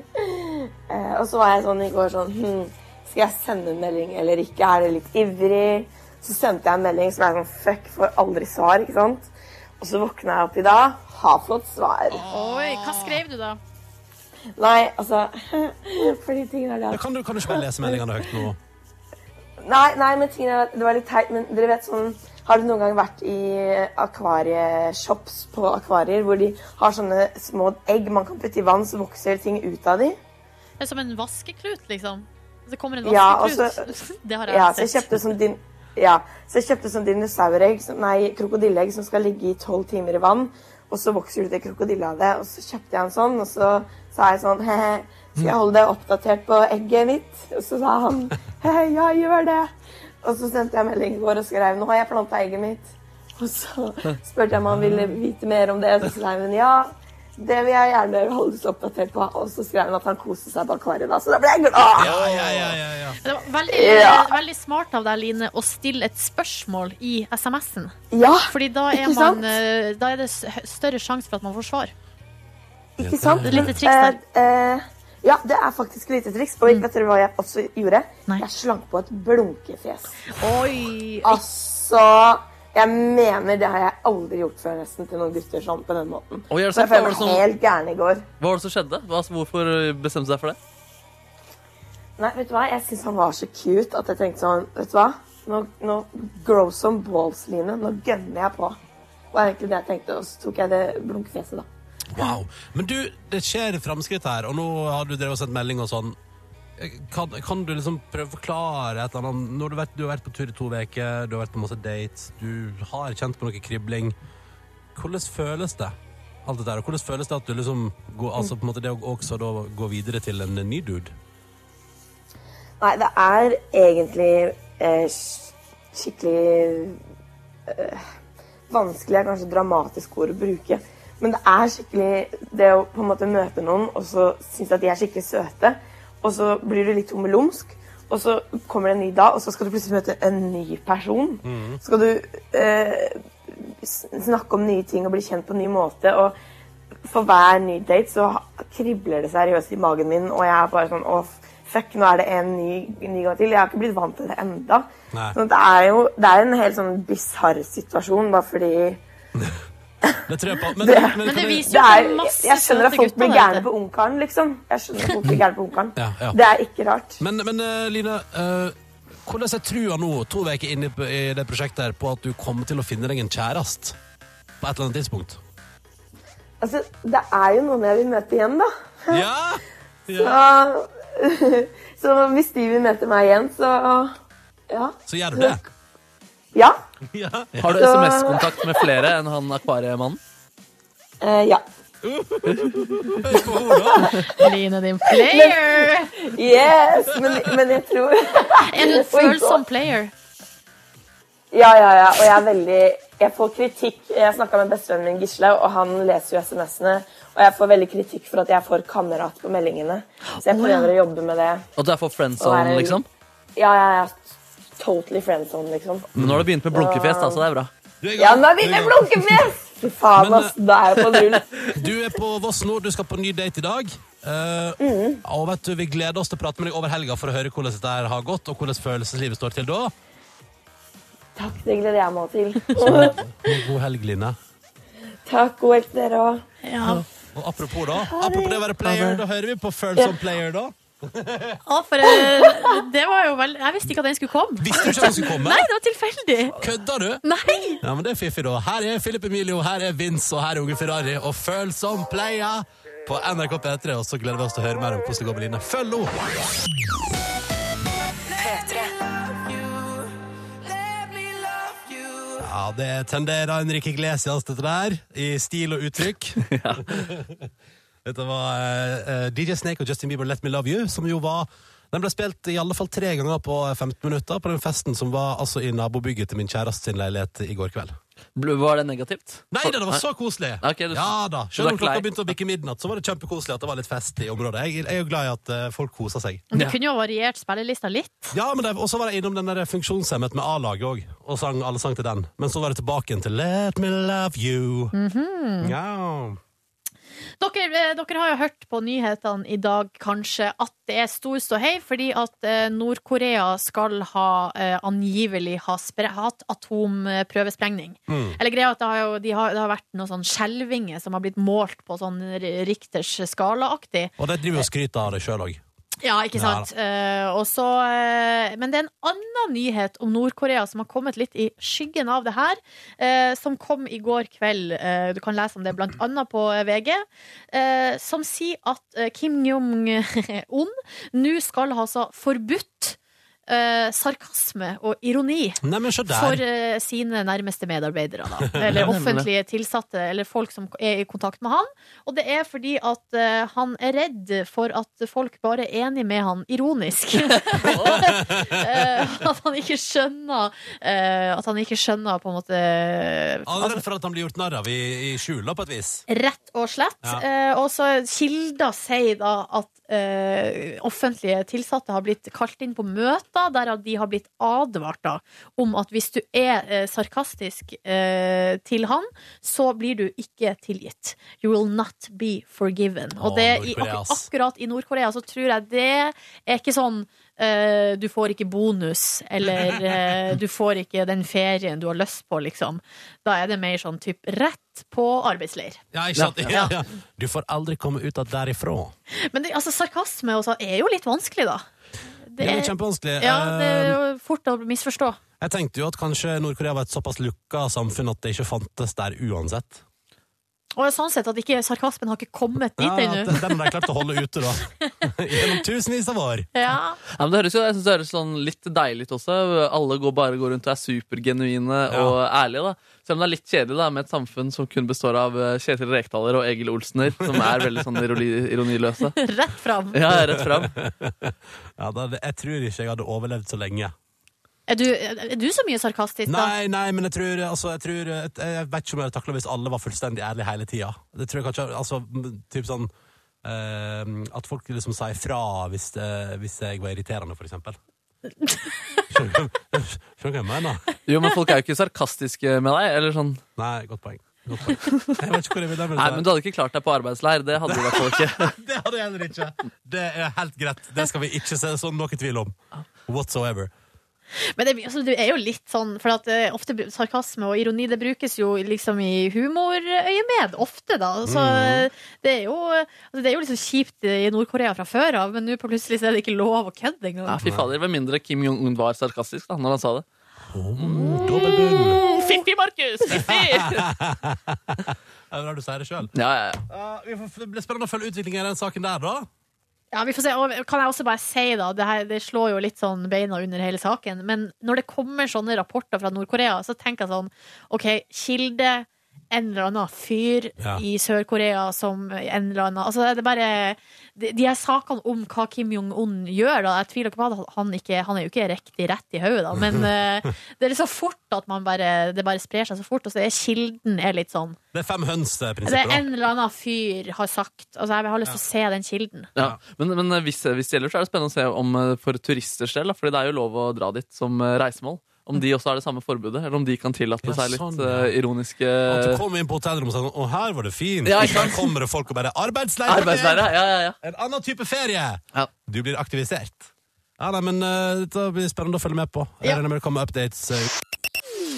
eh, og så var jeg sånn i går sånn hm, Skal jeg sende en melding eller ikke? Er det litt ivrig? Så sendte jeg en melding som er sånn fuck, får aldri svar, ikke sant? Og så våkna jeg opp i dag, har fått svar.
Oi, hva skrev du da?
Nei, altså Fordi tingen er det
Ja,
at
Kan du, kan du ikke bare lese meldingene høyt nå?
Nei, nei, men tingen er at det var litt teit, men dere vet sånn Har du noen gang vært i akvarieshops på akvarier hvor de har sånne små egg man kan putte i vann, så vokser ting ut av de?
Det er som en vaskeklut, liksom. Så kommer en
Ja,
vaskeklut.
altså-
det har jeg
Ja, så jeg
sett.
kjøpte sånn din... Ja, så jeg kjøpte sånn dinosauregg, som- nei, krokodilleegg som skal ligge i tolv timer i vann, og så vokser det ut en krokodille av det, og så kjøpte jeg en sånn, og så sa jeg sånn, hehe, skal jeg holde deg oppdatert på egget mitt? Og så sa han, hehe, ja, gjør det. Og så sendte jeg melding i går og skrev, nå har jeg plantet egget mitt. Og så spurte jeg om han ville vite mer om det, og så skrev hun, ja, det vil jeg gjerne holdes oppdatert på. Og så skrev hun at han koste seg på akvariet da, så da ble jeg glad.
Ja, ja, ja, ja, ja.
Det var veldig,
Ja.
veldig smart av deg, Line, å stille et spørsmål i SMS-en.
Ja,
Fordi da er,
Ikke sant?
man, eh, da er det s- større sjanse for at man får svar.
Ikke sant?
Det er litt triks Mm.
Eh, eh, ja, det er faktisk lite triks. Og vet dere hva jeg også gjorde?
Nei.
Jeg slang på et blunkefjes.
Oi!
Altså Jeg mener det har jeg aldri gjort før nesten til noen gutter sånn på den måten.
Oi, er det
Så
sant?
jeg
Hva var
føler meg
det som,
helt gæren i går.
hva var det som skjedde? Hva, hvorfor bestemte du deg for det?
Nei, vet du hva? Jeg syns han var så cute at jeg tenkte sånn Vet du hva? Nå, nå grow some balls, Line. Nå gønner jeg på. Det var egentlig det jeg tenkte, og så tok jeg det blunkefjeset, da.
Wow. Men du, det skjer framskritt her, og nå har du drevet og sendt melding og sånn. Kan, kan du liksom prøve å forklare et eller annet? Nå har du, vært, du har vært på tur i to uker, du har vært på masse dates, du har kjent på noe kribling. Hvordan føles det? Alt dette her, og Hvordan føles det at du liksom går, altså på en måte det å også da gå videre til en ny dude?
Nei, det er egentlig eh, sk- skikkelig eh, vanskelig, er kanskje et dramatisk ord å bruke. Men det er skikkelig det å på en måte møte noen, og så synes at de er skikkelig søte. Og så blir du litt tommelumsk, og så kommer det en ny dag, og så skal du plutselig møte en ny person. Så skal du eh, s- snakke om nye ting og bli kjent på en ny måte. og for hver ny date så ha- kribler det seriøst i magen min, og jeg er bare sånn Å, fuck, nå er det en ny, ny gang til. Jeg har ikke blitt vant til det enda.
Nei.
Sånn at det er jo det er en helt sånn bisarr situasjon, bare fordi
Det tror jeg på. Men,
Det-
Men det viser
det
jo
er,
til
jeg,
masse
jeg skjønner at
søte
folk blir
gutter,
gærne
dette.
på ungkaren, liksom. Jeg skjønner at folk blir gærne på ungkaren.
Ja, ja.
Det er ikke rart.
Men, men eh, Line, eh, hvordan er trua nå, to uker inn i, i det prosjektet her, på at du kommer til å finne deg en kjæreste på et eller annet tidspunkt?
Altså, det er jo noen jeg vil møte igjen, da.
Ja! ja.
Så, så hvis de vil møte meg igjen, så Ja.
Så gjør du det.
Ja.
Ja.
Har du
Så-
SMS-kontakt med flere enn han akvariemannen?
Eh, ja.
Line, din player!
Yes! Men, men jeg tror
Er du en
Oi, God.
følsom player?
Ja, ja, ja. Og jeg er veldig Jeg får kritikk. Jeg snakka med bestevennen min Gisle, og han leser jo SMS-ene. Og jeg får veldig kritikk for at jeg får kamerat på meldingene. Så jeg prøver å jobbe med det.
At du er for friendzone,
Å, herregud.
liksom?
Ja, ja, ja. Totally friendzone, liksom.
Men nå har du begynt med blunkefjes, da, så det er bra.
Du er i gang.
Ja, nå er
Du
vi
er i
med
gang.
blunkefjes! Fy faen,
Men,
ass. Da er jeg på null.
Du er på Voss nå, du skal på ny date i dag. Eh, Og vet du, Vi gleder oss til å prate med deg over helga for å høre hvordan dette her har gått. og hvordan følelseslivet står til da.
Takk, det gleder jeg meg til.
God helg, Line.
Takk, god helg til dere òg.
Og apropos da, apropos det å være player, da hører vi på følsom player da.
Å, for eh, det var jo vel Jeg visste ikke at den skulle komme.
Visste du ikke at han skulle komme?
Nei, det var tilfeldig.
Kødder du?
Nei!
Ja, men det er fiffig, da. Her er Filip Emilio, her er Vince, og her er Unge Ferrari. Og føl som pleia på NRK P3. Og så gleder vi oss til å høre mer om hvordan det går med Line. Følg henne! Ja, det tenderer Henrik Iglesias, dette der, i stil og uttrykk. Dette var eh, eh, DJ Snake og Justin Bieber Let Me Love You, som jo var Den ble spilt i alle fall tre ganger på 15 minutter på den festen som var altså i nabobygget til min kjæreste sin leilighet i går kveld.
Ble- Var det negativt?
Nei da, det var så koselig!
Ok, du-
ja da,
du
Selv
var
om
klei.
klokka begynte å bikke midnatt, så var det kjempekoselig at det var litt fest i området. Jeg, jeg er jo glad i at eh, folk koser seg.
Men du
Ja.
kunne jo ha variert spillelista litt.
Ja, men det- Og så var jeg innom den der funksjonshemmet med A-laget òg, og sang, alle sang til den. Men så var det tilbake igjen til Let Me Love You.
Mhm.
ja.
Dere, eh, dere har jo hørt på nyhetene i dag kanskje at det er stor ståhei fordi at eh, Nord-Korea skal ha eh, angivelig ha spre hatt atomprøvesprengning.
Mm.
Eller greia er at det har, jo, de har, det har vært noen sånn skjelvinger som har blitt målt på sånn R- Richters skala-aktig.
Og de driver jo og skryter av det sjøl òg.
Ja, ikke
Ja da.
sant? Eh, og så, eh, men det er en annen nyhet om Nord-Korea som har kommet litt i skyggen av det her, eh, som kom i går kveld. Eh, du kan lese om det blant annet på eh, VG. Eh, som sier at eh, Kim Jong-un nå skal ha altså forbudt eh, sarkasme og ironi.
Neimen, se der.
For eh, sine nærmeste medarbeidere, da. Eller offentlige tilsatte, eller folk som er i kontakt med han. Og det er fordi at eh, han er redd for at folk bare er enig med han ironisk. Eh, at han ikke skjønner eh, At han ikke skjønner på en måte
Han er
altså,
redd for at han blir gjort narr av i, i skjula, på et vis.
Rett og slett.
Ja.
Eh, og så kilder sier da at eh, offentlige tilsatte har blitt kalt inn på møter der at de har blitt advart da, om at hvis du er eh, sarkastisk eh, til han, så blir du ikke tilgitt. You will not be forgiven. Og
Å,
det, i, ak
Nord-Korea, ass.
akkurat i Nord-Korea så tror jeg det er ikke sånn eh, du får ikke bonus, eller eh, du får ikke den ferien du har lyst på, liksom. Da er det mer sånn typ rett på arbeidsleir.
Ja, ikke sant? Ja,
Ja.
ja. Du får aldri komme ut av derifra.
Men det, altså, sarkasme også er jo litt vanskelig, da.
Det
Det
er
er,
jo kjempevanskelig.
ja, det er
Eh,
jo fort å misforstå.
Jeg tenkte jo at kanskje Nord-Korea var et såpass lukka samfunn at det ikke fantes der uansett.
Og sånn sett at ikke sarkasmen har ikke kommet dit
Ja, at
ennå.
den har de klart å holde ute, da. Gjennom tusenvis av år.
Ja.
Ja, men det høres jo, jeg synes det høres sånn litt deilig ut også. Alle går bare går rundt og er supergenuine og ærlige. da. Selv om det er litt kjedelig da, med et samfunn som kun består av eh, Kjetil Rekdaler og Egil Olsener, som er veldig sånn ironi, ironiløse.
Rett fram.
Ja, rett fram.
Ja, da, jeg tror ikke jeg hadde overlevd så lenge.
Er du, er du så mye sarkastisk, da?
Nei, nei, men jeg tror, altså, jeg, tror jeg, jeg vet ikke om jeg hadde takla hvis alle var fullstendig ærlige hele tida. Det tror jeg kanskje Altså, m- typ sånn eh, At folk liksom sa ifra hvis, eh, hvis jeg var irriterende, for eksempel. Skjønner du hva- skjønner du hva jeg mener?
Jo, men folk er jo ikke sarkastiske med deg. eller sånn.
Nei, godt poeng. Godt poeng. Jeg vet ikke hvor jeg vil
Nei, men du hadde ikke klart deg på arbeidsleir. Det hadde du i hvert fall ikke.
Det hadde jeg heller ikke. Det er helt greit. Det skal vi ikke se sånn noe tvil om. Whatsoever.
Men det, er mye- altså, det er jo litt sånn, for at eh, ofte br- sarkasme og ironi det brukes jo liksom i humorøyemed, ofte da. Så eh, det er jo, altså, det er jo liksom kjipt i Nord-Korea fra før av, men nå plutselig så er det ikke lov å kødde engang.
Ja, fy fader, Med mindre Kim Jong-un var sarkastisk da, når han sa det.
Dobbeltbunn.
Fiffi, Markus! Fiffi!
Det er bra du sier det sjøl.
Ja, ja, ja.
det blir spennende å følge utviklingen i den saken der, da.
Ja, vi får se. Og kan jeg også bare si, da, det, her, det slår jo litt sånn beina under hele saken, men når det kommer sånne rapporter fra Nord-Korea, så tenker jeg sånn OK, kilde en eller annen fyr
Ja.
i Sør-Korea som en eller annen Altså, det er bare De, de her sakene om hva Kim Jong-un gjør, da, jeg tviler ikke på at han ikke Han er jo ikke riktig rett i hodet, da, men eh, det er litt så fort at man bare Det bare sprer seg så fort, og så er kilden er litt sånn
Det er fem
Det
høns-prinsippet,
er
da.
en eller annen fyr har sagt Altså, jeg har lyst til å se den kilden.
ja. Men, men eh, hvis, hvis det gjelder, så er det spennende å se om eh, for turisters del. da, fordi det er jo lov å dra dit som eh, reisemål. Om de også har det samme forbudet, eller om de kan tillate
Ja,
seg litt
sånn, ja.
eh, ironiske
At du kom inn på hotellrommet og sa sånn, å, her var det fint.
Ja, ikke
her kommer det folk og bare arbeidsleir.
arbeidslære. Ja, ja, ja.
En annen type ferie.
Ja.
Du blir aktivisert. Ja, nei, men eh, Dette blir spennende å følge med på. Jeg
Ja.
regner med det kommer updates. eh.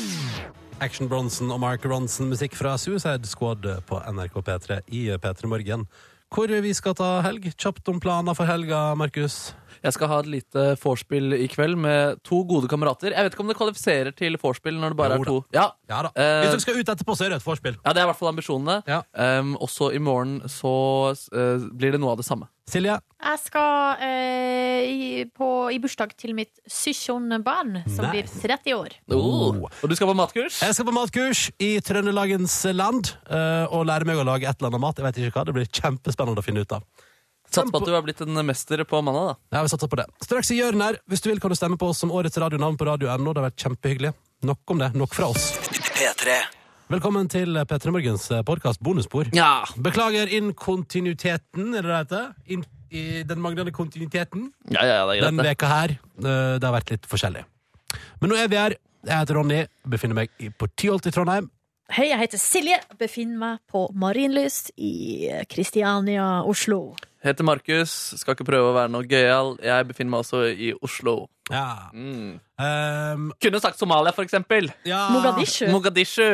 Action Bronson og Mark Ronson-musikk fra Suicide Squad på NRK P3 i P3 Morgen. Hvor vi skal ta helg? Kjapt om planer for helga, Markus.
Jeg skal ha et lite vorspiel i kveld med to gode kamerater. Jeg vet ikke om det kvalifiserer til vorspiel når det bare
Jo
er
da.
to. Ja,
Ja da.
Eh,
Hvis dere skal ut etterpå, så er det et vorspiel.
ja det er i hvert fall ambisjonene.
Ja.
Ehm, også i morgen så eh, blir det noe av det samme.
Silje?
Jeg skal eh, i, på, i bursdag til mitt sysjonbarn, som
Nei.
blir 30 år.
Oh.
Og du skal på matkurs?
Jeg skal på matkurs i Trøndelagens land eh, og lære meg å lage et eller annet mat. Jeg vet ikke hva, Det blir kjempespennende å finne ut av.
Satser på at du har blitt en mester på mandag, da.
Ja, vi satser på det. Straks i hjørnet her. Hvis du vil, kan du stemme på oss som årets radionavn på radio.no. Det har vært kjempehyggelig. Nok om det. Nok fra oss.
P3.
Velkommen til P3 Morgens podkast Bonusspor.
Ja.
Beklager inkontinuiteten, er det det heter? In i den manglende kontinuiteten
Ja, ja, det er greit.
den
det.
veka her. eh, Det har vært litt forskjellig. Men nå er vi her. Jeg heter Ronny, befinner meg i- på Tyholt i Trondheim.
Hei, jeg heter Silje. Befinner meg på Marienlyst i Kristiania, Oslo.
Heter Markus, skal ikke prøve å være noe gøyal. Jeg befinner meg også i Oslo.
Ja.
Mm.
Ehm,
Kunne sagt Somalia, for eksempel.
ja.
Mogadishu.
Mogadishu.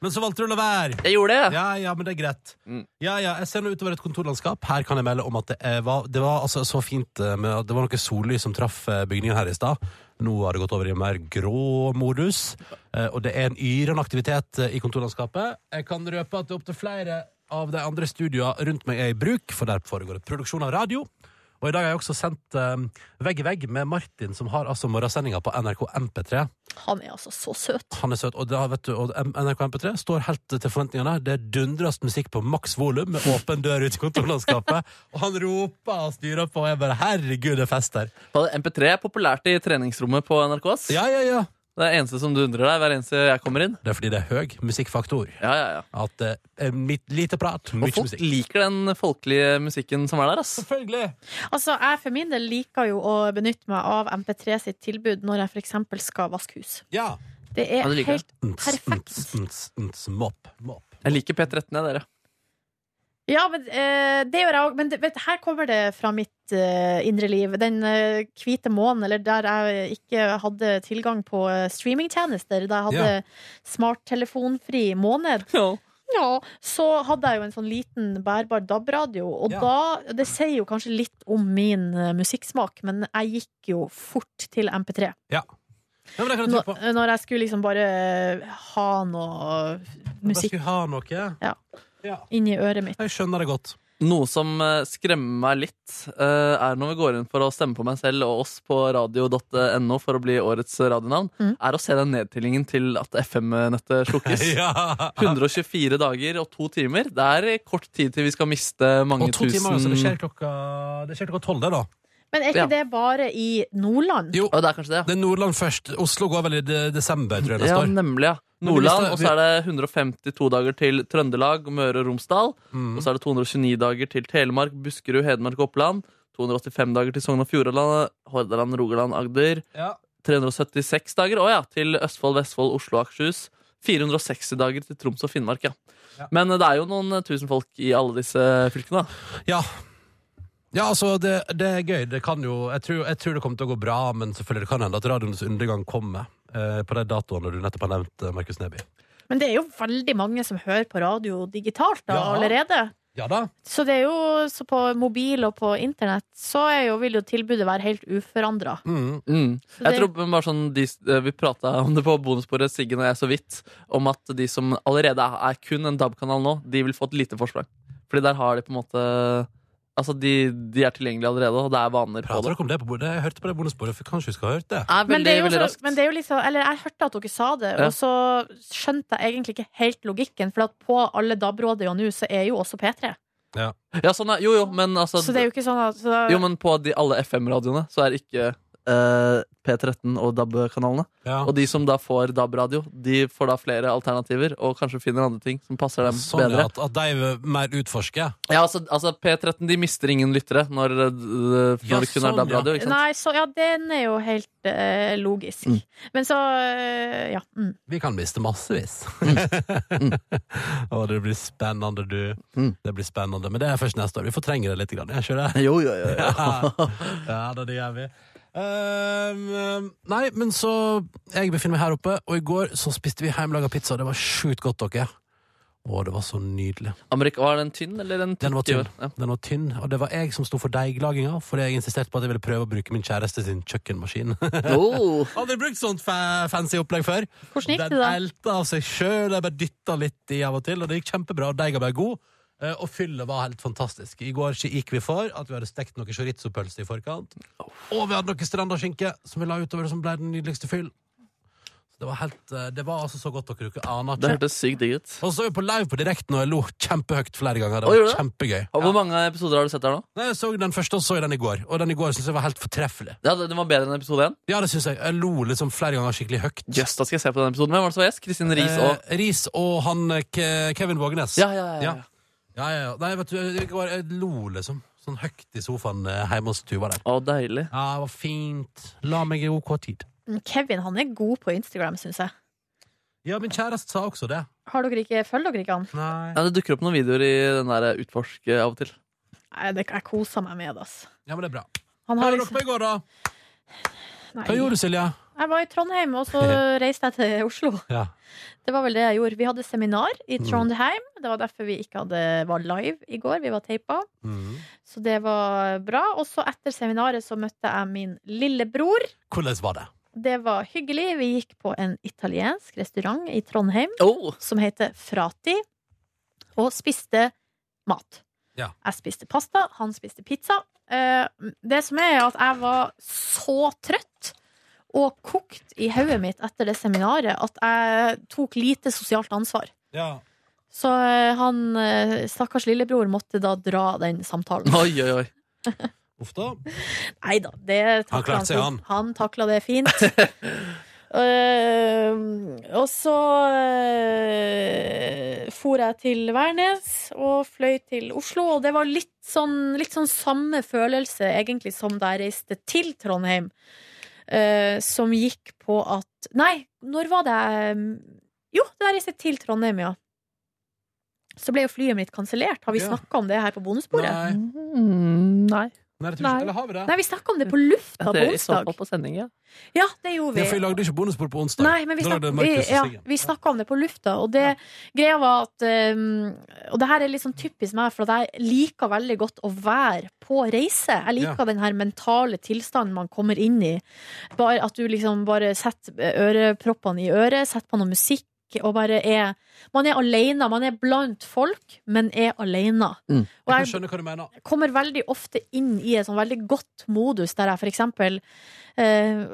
Men så valgte du å la være.
Jeg gjorde det.
Ja, ja, men det er greit.
Mm.
Ja, ja, Jeg ser nå utover et kontorlandskap. Her kan jeg melde om at det eh, var, det var altså så fint eh, med, Det var noe sollys som traff eh, bygningen her i stad. Nå har det gått over i en mer grå modus, eh, og det er en yrende aktivitet eh, i kontorlandskapet. Jeg kan røpe at det er opptil flere av de andre studioene rundt meg er i bruk, for der foregår det produksjon av radio. Og i dag har jeg også sendt eh, vegg i vegg med Martin, som har altså morgensendinga på NRK MP3.
Han er altså så søt.
Han er søt, og, det, har- vet du, og NRK MP3 står helt til forventningene. Det dundres musikk på maks volum med åpen dør ut i kontorlandskapet. og han roper og styrer på, og jeg bare 'herregud, det er fest her'.
Både MP3 er populært i treningsrommet på NRK. ass.
Ja, ja, ja.
Det er eneste som du undrer deg hver eneste jeg kommer inn.
Det er fordi det er høy musikkfaktor.
Ja, ja, ja.
At det er mitt, lite prat,
Og
mye
folk
musikk.
liker den folkelige musikken som er der. ass.
Selvfølgelig.
Altså, Jeg for min del liker jo å benytte meg av MP3 sitt tilbud når jeg f.eks. skal vaske hus.
Ja.
Det er
Ja, det liker jeg.
helt
Ns,
Perfekt.
ns, ns, ns, mopp, mopp.
Jeg liker P13, jeg, dere.
Ja, men eh, det gjør jeg òg. Men det, vet, her kommer det fra mitt eh, indre liv. Den eh, hvite månen, eller der jeg ikke hadde tilgang på eh, streamingtjenester, da jeg hadde smarttelefonfri måned, ja, så hadde jeg jo en sånn liten bærbar DAB-radio. Og
Ja.
da Det sier jo kanskje litt om min eh, musikksmak, men jeg gikk jo fort til MP3.
Ja, men det kan jeg
Når,
tro på.
når jeg skulle liksom bare ha noe
Jeg
musikk
skulle ha noe.
Ja.
ja.
inni øret mitt.
Jeg skjønner det godt.
Noe som eh, skremmer meg litt, eh, er når vi går inn for å stemme på meg selv og oss på radio.no for å bli årets radionavn,
Mm.
er å se den nedtellingen til at FM-nettet slukkes.
Ja.
124 dager og to timer. Det er kort tid til vi skal miste
Og
mange
to
tusen
timer, altså. Det skjer klokka Det skjer klokka tolv, det, da.
Men er ikke
Ja.
det bare i Nordland?
Jo,
Å, det er kanskje det, ja.
Det er Nordland først. Oslo går vel i de- desember, tror jeg neste
Ja,
år.
nemlig, ja.
Men vi
Nordland,
skal-
og så er det 152 dager til Trøndelag, Møre og Romsdal.
Mm.
Og så er det 229 dager til Telemark, Buskerud, Hedmark og Oppland. 285 dager til Sogn og Fjordane, Hordaland, Rogaland, Agder.
Ja.
376 dager å ja, til Østfold, Vestfold, Oslo og Akershus. 460 dager til Troms og Finnmark, ja.
Ja.
Men eh, det er jo noen eh, tusen folk i alle disse fylkene. da.
Ja. Ja, altså, det, det er gøy. Det kan jo jeg tror, jeg tror det kommer til å gå bra, men selvfølgelig det kan hende at radioens undergang kommer eh, på de datoene du nettopp har nevnt, eh, Markus Neby.
Men det er jo veldig mange som hører på radio digitalt da,
Ja.
allerede.
Ja da.
Så det er jo så på mobil og på internett så er jo, vil jo tilbudet være helt uforandra.
Mm.
Mm. Jeg
det-
tror bare sånn de, eh, Vi prata om det på bonusbordet, Siggen og jeg, så vidt. Om at de som allerede er- er kun en DAB-kanal nå, de vil få et lite forsprang. Fordi der har de på en måte Altså, de, de er tilgjengelige allerede, og det er vaner på
Prater
det.
dere om det på bordet? Jeg hørte på det bonusbordet, for kanskje vi skal ha hørt det.
Er veldig,
Men det er jo,
veldig
så,
raskt.
men det er jo liksom Eller jeg hørte at dere sa det,
Ja.
og så skjønte jeg egentlig ikke helt logikken, for at på alle DAB-rådene nå så er jo også P3.
Ja, sånn er, jo, jo, men altså
Så det er jo ikke sånn at så,
Jo, men på de, alle FM-radioene så er ikke eh, P13 og DAB-kanalene.
Ja.
Og de som da får DAB-radio, de får da flere alternativer og kanskje finner andre ting som passer dem
Sånn ja,
bedre.
at, at de mer utforsker.
Ja, altså, altså P13 de mister ingen lyttere når, eh, når
Ja,
det kun
sånn,
er DAB-radio. ikke sant?
Nei, så ja, den er jo helt eh, logisk.
Mm.
Men så eh, ja. Mm.
Vi kan miste massevis. Å, det blir spennende, du.
Mm.
Det blir spennende. Men det er først neste år. Vi fortrenger det litt. Grann. Jeg skjønner det.
Jo, jo, jo, jo.
ja, da, det gjør vi. Ehm, nei, men så Jeg befinner meg her oppe, og i går så spiste vi hjemmelaga pizza. og Det var sjukt godt, dere. Å, det var så nydelig.
Amerika, var den tynn, eller den
Den var
tykke?
tynn.
Ja.
Den var tynn, og det var jeg som sto for deiglaginga, fordi jeg insisterte på at jeg ville prøve å bruke min kjæreste sin kjøkkenmaskin.
Oh.
Aldri brukt sånt fa fancy opplegg før.
Hvordan gikk det
Den
da?
elta av seg sjøl. Jeg bare dytta litt i av og til, og det gikk kjempebra. og Deiga ble god. eh, Og fyllet var helt fantastisk. I går gikk vi for at vi hadde stekt noe chorizo-pølse i forkant. Og vi hadde noe strandaskinke som vi la utover, og som ble den nydeligste fyll. Så det var, helt, eh, det var altså så godt dere ikke aner.
Det
ikke.
hørtes sykt digg ut.
Og så er vi på live på direkten, og jeg lo kjempehøyt flere ganger. Det
Å,
var
gjorde du
kjempegøy.
Og Hvor mange episoder har du sett der nå?
Nei, jeg så Den første og så jeg den i går, og den i går synes jeg var helt fortreffelig.
Ja, Den var bedre enn episode én.
Ja, det synes Jeg Jeg lo liksom flere ganger skikkelig høyt.
Jøss, da skal jeg se på den episoden. Hvem var det som var gjest? Kristin Riis og
Eh, Riis og han eh, Ke- Kevin Vågenes.
ja, ja, ja,
Ja.
ja.
Ja, ja, ja. Nei, vet du, jeg, går, jeg lo, liksom. Sånn høyt i sofaen eh, hjemme hos Tuva der.
Å, deilig.
Ja, det var fint. La meg i OK tid.
Men Kevin han er god på Instagram, syns jeg.
Ja, min kjæreste sa også det.
Har dere ikke, Følger dere ikke han?
Nei.
Ja, det dukker opp noen videoer i den der Utforsk eh, av og til.
Nei, det, jeg koser meg med det. altså. ass.
Ja, men det er bra.
Han
Hva gjorde dere
har liksom,
på i går, da?
nei,
Hva gjorde du, Silja?
jeg var i Trondheim, og så reiste jeg til Oslo.
Ja.
Det var vel det jeg gjorde. Vi hadde seminar i
Mm.
Trondheim. Det var derfor vi ikke hadde, var live i går. Vi var teipa.
Mhm.
Så det var bra. Og så etter seminaret så møtte jeg min lillebror.
Hvordan var det?
Det var hyggelig. Vi gikk på en italiensk restaurant i Trondheim
Oh,
som heter Frati, og spiste mat.
Ja.
Jeg spiste pasta, han spiste pizza. Eh, Det som er, er at jeg var så trøtt og kokt i hodet mitt etter det seminaret at jeg tok lite sosialt ansvar.
Ja.
Så eh, han eh, stakkars lillebror måtte da dra den samtalen.
oi, oi, oi.
Uff da.
Nei da, det takla
Han klarte seg, han.
fint. Han takla det fint. Eh, og så eh, for jeg til Værnes og fløy til Oslo, og det var litt sånn, litt sånn samme følelse egentlig som da jeg reiste til Trondheim, eh, som gikk på at Nei, når var det jeg Jo, da jeg reiste til Trondheim, ja. Så ble jo flyet mitt kansellert. Har vi
Ja.
snakket snakka om det her på bonusbordet?
Nei.
Mm, nei.
Nei, det tror jeg
Nei.
ikke. Eller har vi det?
Nei, vi snakka om det på lufta på
Det er i så
onsdag.
fall på sending, ja.
Ja, det gjorde
Ja, for
vi.
vi lagde ikke bonusbord på onsdag.
Nei, men vi
Da lagde
snakka
Markus og
ja,
Siggen.
vi snakket om det på lufta, og det greia var at um, Og det her er litt sånn typisk meg, for at jeg liker veldig godt å være på reise. Jeg liker
Ja.
den her mentale tilstanden man kommer inn i. Bare, at du liksom bare setter øreproppene i øret, setter på noe musikk. Og bare er Man er alene. Man er blant folk, men er alene.
Mm.
Og
Jeg kan
jeg
skjønne hva du mener.
kommer veldig ofte inn i et sånn veldig godt modus der jeg for eksempel eh,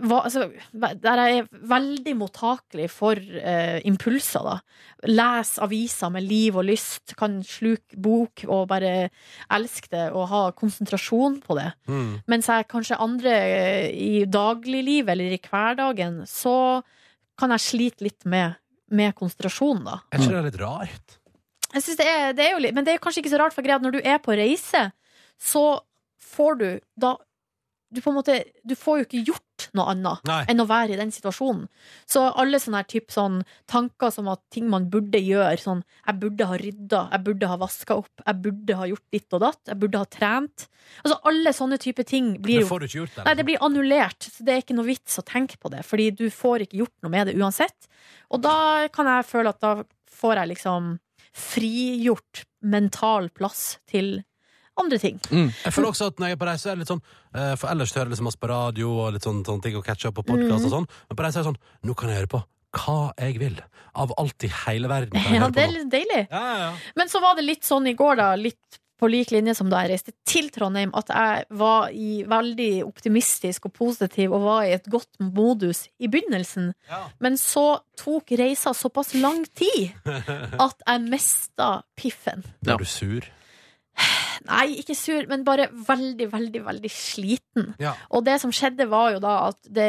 var, altså, Der jeg er veldig mottakelig for eh, impulser, da. Les aviser med liv og lyst, kan sluke bok og bare elske det og ha konsentrasjon på det.
Mm.
Mens jeg kanskje andre eh, i dagliglivet eller i hverdagen, så kan jeg slite litt med, med konsentrasjon, da.
Er ikke det litt rart?
Jeg synes det er, det er jo litt, men det er jo kanskje ikke så rart, for greia at når du er på reise, så får du da Du på en måte Du får jo ikke gjort noe annet
Nei.
enn å være i den situasjonen. Så alle sånne her typ sånn tanker som at ting man burde gjøre, sånn Jeg burde ha rydda, jeg burde ha vaska opp, jeg burde ha gjort ditt og datt, jeg burde ha trent Altså alle sånne type ting blir
Det
jo
får du ikke gjort.
Nei, det blir annullert, så det er ikke noe vits å tenke på det. Fordi du får ikke gjort noe med det uansett. Og da kan jeg føle at da får jeg liksom frigjort mental plass til andre ting.
Jeg føler også at når jeg er på reise, er det litt sånn eh, For ellers hører jeg liksom masse på radio og litt sånn, sånne ting og catch up på podcast
Mhm.
og sånn. Men på reise er det sånn Nå kan jeg høre på hva jeg vil. Av alt i hele verden. Kan jeg
Ja,
høre på
det er
nå.
litt deilig.
ja, ja, ja.
Men så var det litt sånn i går, da. Litt på lik linje som da jeg reiste til Trondheim, at jeg var i veldig optimistisk og positiv og var i et godt modus i begynnelsen.
Ja.
Men så tok reisa såpass lang tid at jeg mista piffen.
Ble du sur?
Nei, ikke sur, men bare veldig, veldig, veldig sliten.
Ja.
Og det som skjedde var jo da at det,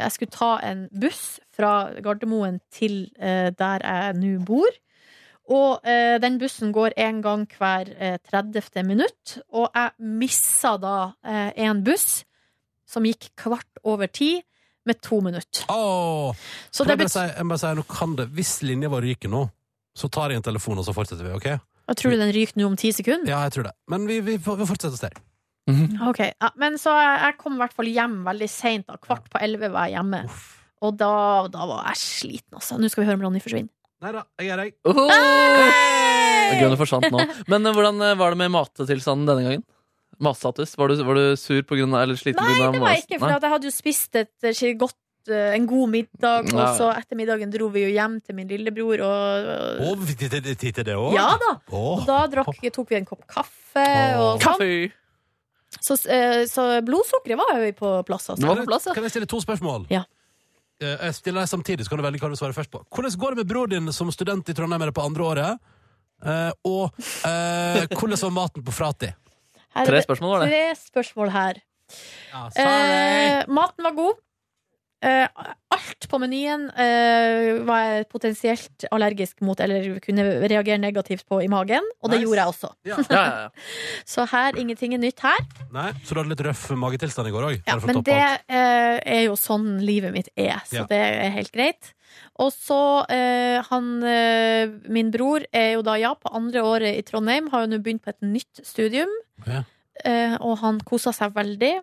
jeg skulle ta en buss fra Gardermoen til eh, der jeg nå bor. Og eh, den bussen går en gang hver eh, 30. minutt, og jeg missa da eh, en buss som gikk kvart over ti med to minutter.
Åh,
Så
kan
det
jeg, bare
bet
si, jeg må bare si, nå kan det, Hvis linja vår ryker nå, så tar jeg en telefon, og så fortsetter vi. ok?
jeg tror den ryker nå om ti sekunder.
Ja, jeg tror det. Men vi, vi, får- vi fortsetter å stille.
Ok, ja, Men så jeg, jeg kom i hvert fall hjem veldig seint. da. Kvart på elleve var jeg hjemme. Og da, da var jeg sliten, altså. Nå skal vi høre om Ronny forsvinner.
Nei da, jeg er deg.
Oh! Gunnar forsvant nå. Men eh, hvordan eh, var det med mattilstanden denne gangen? Matstatus? Var du, var du sur på grunn av, eller sliten
Nei,
pga.
det var jeg ikke, for at jeg hadde jo spist et, eh, skje- godt, eh, en god middag, og
Ja.
så etter middagen dro vi jo hjem til min lillebror, og eh,
Oh, titt, titt, titt, det også?
Ja da!
Åh.
Og da drakk, tok vi en kopp kaffe, og sånn.
Kaffe!
Så, eh, så blodsukkeret var jo på plass,
Det
altså.
var på plass, ja.
Kan jeg stille to spørsmål?
Ja.
Eh, Jeg stiller deg samtidig, så kan du velge hva du svarer først på. Hvordan går det med bror din som student i Trondheim er det på andre året? Eh, og eh, hvordan var maten på Frati?
Her er
Tre
det
spørsmål var det.
tre spørsmål her.
Ja, sorry.
Eh, maten var god. Eh, alt på menyen eh, var jeg potensielt allergisk mot eller kunne reagere negativt på i magen, og det
Nice.
gjorde jeg også.
Ja.
Ja, ja, ja.
Så her ingenting er nytt her.
Nei, så du hadde litt røff magetilstand i går òg?
Ja, men det eh, er jo sånn livet mitt er, så
Ja.
det er helt greit. Og så eh, han eh, Min bror er jo da, ja, på andre året i Trondheim, har jo nå begynt på et nytt studium.
Ja.
Eh, og han kosa seg veldig.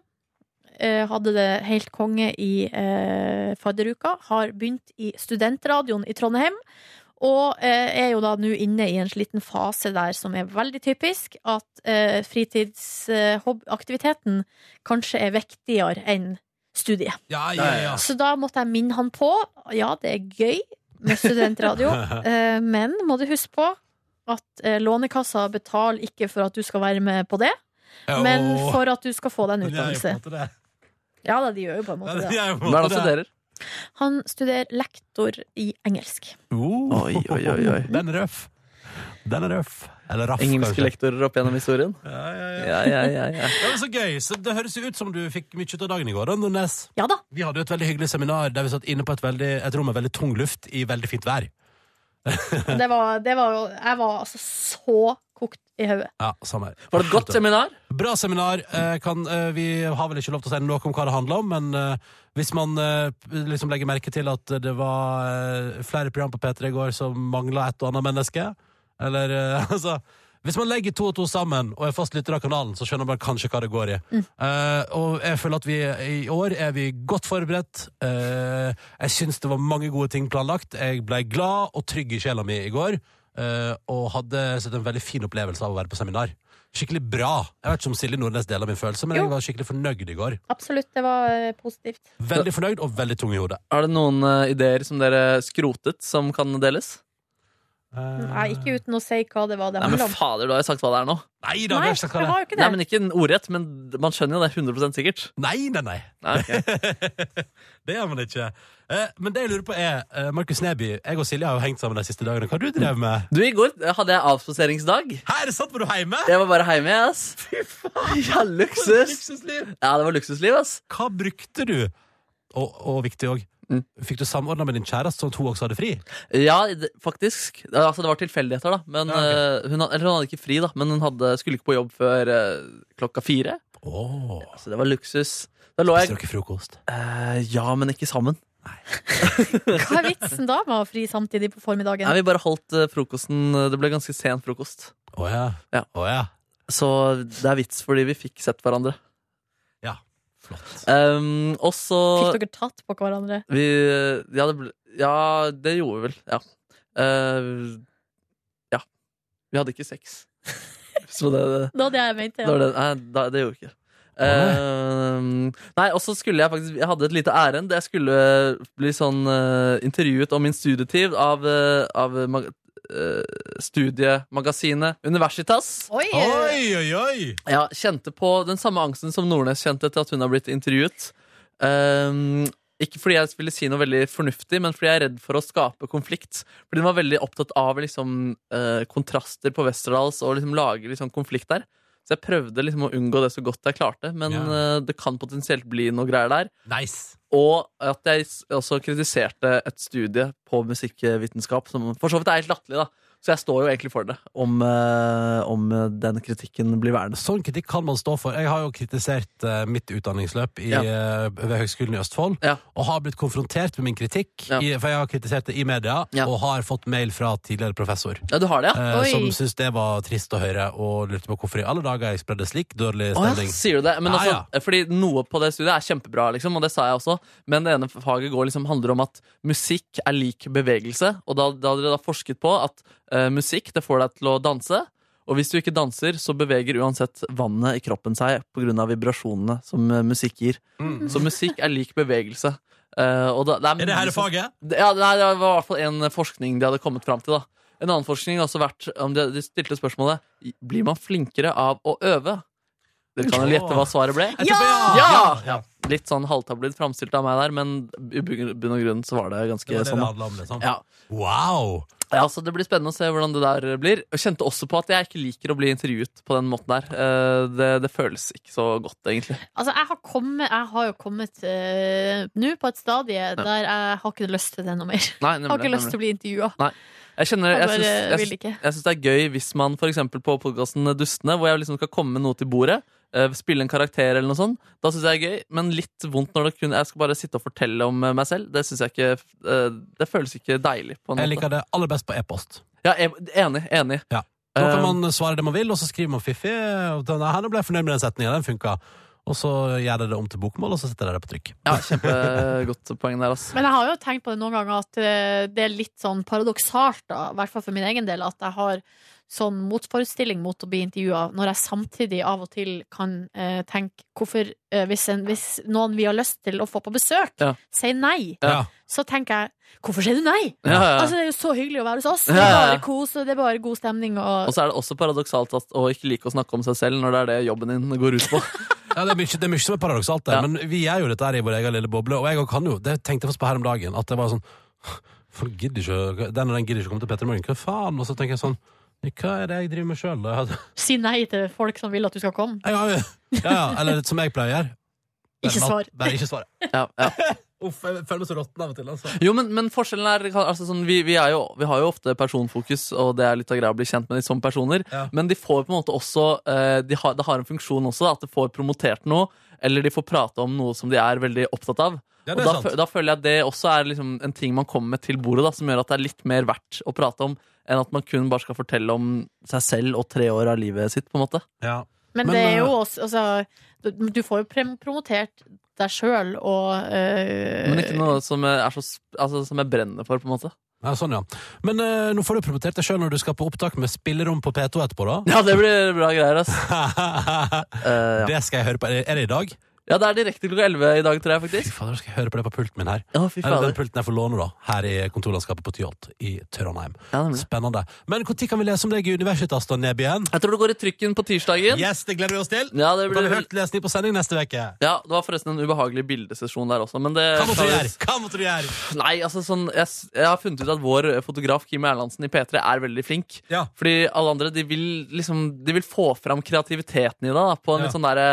Eh, hadde det helt konge i eh, fadderuka. Har begynt i studentradioen i Trondheim. Og eh, er jo da nå inne i en sliten fase der som er veldig typisk, at eh, fritidsaktiviteten kanskje er viktigere enn studiet.
Ja, ja, ja.
Så da måtte jeg minne han på Ja, det er gøy med studentradio, eh, men må du huske på at eh, Lånekassa betaler ikke for at du skal være med på det, men
Åh.
for at du skal få deg en
Men jeg er jo på en
utdannelse.
måte det.
Ja da, de gjør jo på en
Ja,
måte det.
jeg er jo på en
Hva er det han
måte det.
studerer?
Han studerer lektor i engelsk.
Oh.
Oi, oi, oi, oi.
Den er røff. Den er røff. Eller raff,
Engelske
kanskje.
lektorer opp gjennom historien?
Ja, ja, ja.
Ja, ja, ja, ja.
Det var så gøy. Så det høres jo ut som du fikk mye ut av dagen i går. Da, Nordnes.
Ja da.
Vi hadde jo et veldig hyggelig seminar der vi satt inne på et, veldig, et rom med veldig tung luft i veldig fint vær.
Det var, det var jo Jeg var altså så kokt i hodet.
Ja, samme her.
Var det et godt seminar?
Bra seminar. Eh, Kan, eh, vi har vel ikke lov til å si noe om hva det handler om, men eh, hvis man eh, liksom legger merke til at det var eh, flere program på P3 i går som mangla et og annet menneske, eller eh, altså hvis man legger to og to sammen og er fast lytter av kanalen, så skjønner man kanskje hva det går i. Eh, og jeg føler at vi i år er vi godt forberedt. Eh, jeg syns det var mange gode ting planlagt. Jeg ble glad og trygg i sjela mi i går. eh, og hadde sett en veldig fin opplevelse av å være på seminar. Skikkelig bra. Jeg vet ikke om Silje Nordnes deler min følelse, men
Jo.
jeg var skikkelig fornøyd i går.
Absolutt, det var eh, positivt.
Veldig fornøyd og veldig tung i hodet.
Er det noen eh, ideer som dere skrotet, som kan deles?
Nei, ikke uten å si hva det var det
Nei, men
handla om.
fader, du har jo sagt hva det er nå.
Nei da, vi
Nei,
har ikke
jeg
sagt hva det
har
er.
jo ikke
Nei,
det.
men Ikke en ordrett, men man skjønner jo det 100 sikkert.
Nei, nei, nei.
Nei, ok.
Det gjør man ikke. Eh, men det jeg lurer på er, eh, Markus Neby, jeg og Silje har jo hengt sammen de siste dagene. Hva har du drevet med?
Du, I går eh, hadde jeg avspaseringsdag.
Her satt var du hjemme!
Jeg var bare hjemme, jeg, ass. Fy faen! Ja, luksus.
Luksusliv.
Ja, det var luksusliv, ass.
Hva brukte du? Og, og viktig òg,
Mm.
fikk du samordna med din kjæreste sånn at hun også hadde fri?
Ja, det- faktisk. Ja, Altså, det var tilfeldigheter, da. Men,
Ja, ok.
eh, hun, had- eller hun hadde ikke fri, da, men hun hadde, skulle ikke på jobb før eh, klokka fire.
Åh,
Så det var luksus. Da lå
Spiste
jeg
dere frokost?
eh, Ja, men ikke sammen.
Hva er vitsen da med å ha fri samtidig på formiddagen?
Nei, vi bare holdt eh, frokosten Det ble ganske sen frokost.
Å ja.
Ja.
Å ja.
Så det er vits, fordi vi fikk sett hverandre.
Ja. Flott.
Um, og så
Fikk dere tatt på hverandre?
Vi Ja, det, ble, ja, det gjorde vi vel. Ja. Eh, ja. Vi hadde ikke sex. Så det, det,
Det var det jeg mente.
det,
Ja.
var det, nei, da- det gjorde vi ikke. Eh, nei, og så skulle jeg faktisk Jeg hadde et lite ærend. Jeg skulle bli sånn eh, intervjuet om min studietid av, eh, av mag eh, studiemagasinet Universitas.
Oi!
Oi, oi, oi!
Ja, kjente på den samme angsten som Nordnes kjente til at hun har blitt intervjuet. Ehm, ikke fordi jeg ville si noe veldig fornuftig, men fordi jeg er redd for å skape konflikt. Fordi hun var veldig opptatt av liksom, eh, kontraster på Westerdals og liksom lage liksom, konflikt der. Så jeg prøvde liksom å unngå det så godt jeg klarte, men
Ja.
eh, det kan potensielt bli noe greier der.
Nice.
Og at jeg s- også kritiserte et studie på musikkvitenskap, som for så vidt er helt latterlig, da. Så jeg står jo egentlig for det, om, eh, om eh, den kritikken blir værende.
Sånn kritikk kan man stå for. Jeg har jo kritisert eh, mitt utdanningsløp i,
Ja.
eh, ved Høgskolen i Østfold,
Ja.
og har blitt konfrontert med min kritikk,
Ja.
i, for jeg har kritisert det i media,
Ja.
og har fått mail fra tidligere professor.
Ja, du har det, ja?
eh,
Oi.
som syntes det var trist å høre, og lurte på hvorfor i alle dager jeg spredde slik dårlig
Å ja,
stemning.
sier du det? Men
Ja,
altså, Fordi noe på det studiet er kjempebra, liksom, og det sa jeg også, men det ene faget går liksom, handler om at musikk er lik bevegelse, og da, da hadde dere da forsket på at eh, musikk det får deg til å danse, og hvis du ikke danser, så beveger uansett vannet i kroppen seg pga. vibrasjonene som eh, musikk gir.
Mm.
Så musikk er lik bevegelse. Eh, og da, det er,
Er det her
mye
i
som-
faget?
det- Ja, nei, det var i hvert fall en forskning de hadde kommet fram til. da En annen forskning har også vært om de, de stilte spørsmålet Blir man flinkere av å øve. Dere kan jo gjette hva svaret ble.
Jeg tipper
Ja!
Ja!
Litt sånn halvtablet framstilt av meg der, men i bunn bunn og grunn så var det ganske
Det var det det
sånn. da.
handla om, liksom.
Ja.
Wow!
ja, så Det blir spennende å se hvordan det der blir. Jeg kjente også på at jeg ikke liker å bli intervjuet på den måten der. Eh, Det, det føles ikke så godt, egentlig.
Altså, jeg har, kommet, jeg har jo kommet eh, nå på et stadie der jeg har ikke lyst til det noe mer.
Nei,
Jeg har
nemlig,
ikke lyst
nemlig.
til å bli intervjua.
Jeg kjenner,
Jeg
jeg
bare
syns, jeg,
vil
syns-
ikke.
jeg syns det er gøy hvis man for eksempel på podkasten Dustene, hvor jeg liksom skal komme med noe til bordet, eh, spille en karakter eller noe sånt, da syns jeg det er gøy, men litt vondt når det kun, jeg skal bare sitte og fortelle om eh, meg selv. Det syns jeg ikke eh, Det føles ikke deilig på en
Jeg
måte.
liker det aller best på e-post.
Ja, jeg- enig, enig. Eh,
Da kan man svare det man vil, og så skriver man fiffig. Og den, her ble jeg fornøyd med den setninga, den funka. Og så gjør jeg det om til bokmål, og så setter jeg det på trykk.
Ja, kjempegodt poeng der, ass.
Men jeg har jo tenkt på det noen ganger at eh, det er litt sånn paradoksalt, da, i hvert fall for min egen del, at jeg har sånn motforestilling mot å bli intervjua, når jeg samtidig av og til kan eh, tenke hvorfor eh, hvis, en, hvis noen vi har lyst til å få på besøk,
Ja.
sier nei,
Ja.
så tenker jeg hvorfor sier du nei?
Ja, ja, ja.
Altså, det er jo så hyggelig å være hos oss.
Ja,
Det er
ja, ja.
bare kos, og det er bare god stemning.
Og
Og...
så er det også paradoksalt at, å ikke like å snakke om seg selv når det er det jobben din går ut på.
Ja, det, er mye, det er mye som er paradoksalt, der,
Ja.
men vi gjør jo dette her i vår egen lille boble. Og jeg også kan jo, det tenkte jeg faktisk på her om dagen, at det var sånn Folk gidder ikke å- Den og den gidder ikke å komme til Petter i Morgen. Hva faen? Og så tenker jeg sånn Hva er det jeg driver med sjøl? Ja,
Si nei til folk som vil at du skal komme.
ja, ja, eller som jeg pleier å gjøre.
Ikke svar.
Bare ikke svar.
Ja, ja.
Uff, jeg føler meg så råtten av og til. Altså.
Jo, men, men forskjellen er altså, sånn, vi, vi, er jo, vi har jo ofte personfokus, og det er litt av greia å bli kjent med de som personer.
Ja.
Men de får på en måte også eh, de har, Det har en funksjon også, da, at de får promotert noe, eller de får prate om noe som de er veldig opptatt av.
Ja,
og
det er
da,
sant.
fø- da føler jeg at det også er liksom en ting man kommer med til bordet, da, som gjør at det er litt mer verdt å prate om, enn at man kun bare skal fortelle om seg selv og tre år av livet sitt, på en måte.
Ja.
Men,
Men,
det er jo
eh,
også altså, du, du får jo prem- promotert deg sjøl og eh,
Men ikke noe som er, så, sp- altså, som jeg brenner for, på en måte.
Ja, sånn, ja. Men eh, nå får du promotert deg sjøl når du skal på opptak med spillerom på P2 etterpå, da.
Ja, det blir bra greier, ass. Eh, ja.
Det skal jeg høre på. Er det- Er det i dag?
ja, det er direkte klokka 11 i dag, tror jeg,
Fy
faktisk.
fader, skal jeg høre på det på pulten min her.
Ja, fy
Eller den
fader.
pulten jeg får låne, da. Her i kontorlandskapet på Tyholt i Trondheim.
Ja, nemlig.
Spennende. Men når kan vi lese om deg i Universitas, da, Nebyen?
Jeg tror det går i trykken på tirsdagen.
Yes, det gleder vi oss til!
Ja,
Da
det blir
kan vi hørt lesning på sending neste uke.
ja, det var forresten en ubehagelig bildesesjon der også, men det
Hva måtte du gjøre? Hva måtte du gjøre?
Nei, altså sånn jeg, s- jeg har funnet ut at vår fotograf Kim Erlandsen i P3 er veldig flink.
Ja.
Fordi alle andre, de vil liksom De vil få fram kreativiteten i deg, da, på en
Ja.
litt sånn derre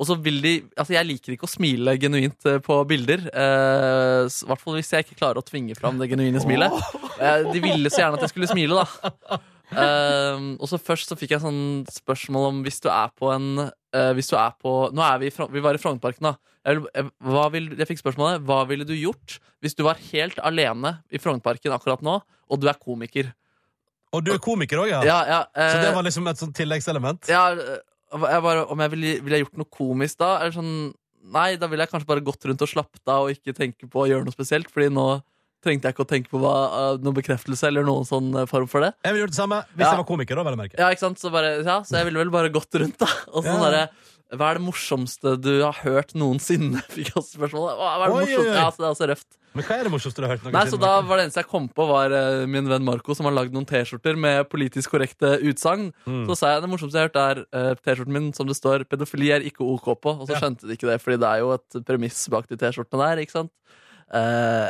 og så vil de, altså Jeg liker ikke å smile genuint eh, på bilder. eh, I hvert fall hvis jeg ikke klarer å tvinge fram det genuine smilet. Eh, de ville så gjerne at jeg skulle smile, da. Eh, og så Først så fikk jeg sånn spørsmål om hvis du er på en eh, Hvis du er på Nå er vi, i Frogn- vi var i Frognerparken, da. Jeg, vil, jeg, hva vil, jeg fikk spørsmålet Hva ville du gjort hvis du var helt alene i Frognerparken akkurat nå, og du er komiker?
Og du er komiker òg, ja.
Ja, ja,
Så
eh,
det var liksom et sånt tilleggselement?
ja, øh, jeg bare, om jeg ville, ville jeg gjort noe komisk da? Eller sånn, nei, da ville jeg kanskje bare gått rundt og slappet av og ikke tenke på å gjøre noe spesielt, fordi nå trengte jeg ikke å tenke på hva, øh, noen bekreftelse eller noen sånn øh, form for det.
Jeg ville gjort det samme hvis
Ja.
jeg var komiker. da, vel å merke.
Ja, ikke sant? Så, bare, ja, så jeg ville vel bare gått rundt da, og sånn
Ja.
derre hva er det morsomste du har hørt noensinne? Fikk jeg også spørsmål. Hva hva er det
Oi,
morsomste?
oi, oi.
Ja, så det er også røft.
Men hva er det morsomste du har hørt? noen
Nei, så
siden,
da
Markus?
var det eneste jeg kom på, var eh, min venn Marco, som har lagd noen T-skjorter med politisk korrekte utsagn. Så sa jeg det morsomste jeg har hørt, er eh, T-skjorten min som det står 'pedofili er ikke OK på'. Og så
Ja.
skjønte de ikke det, fordi det er jo et premiss bak de T-skjortene der, ikke sant. Eh,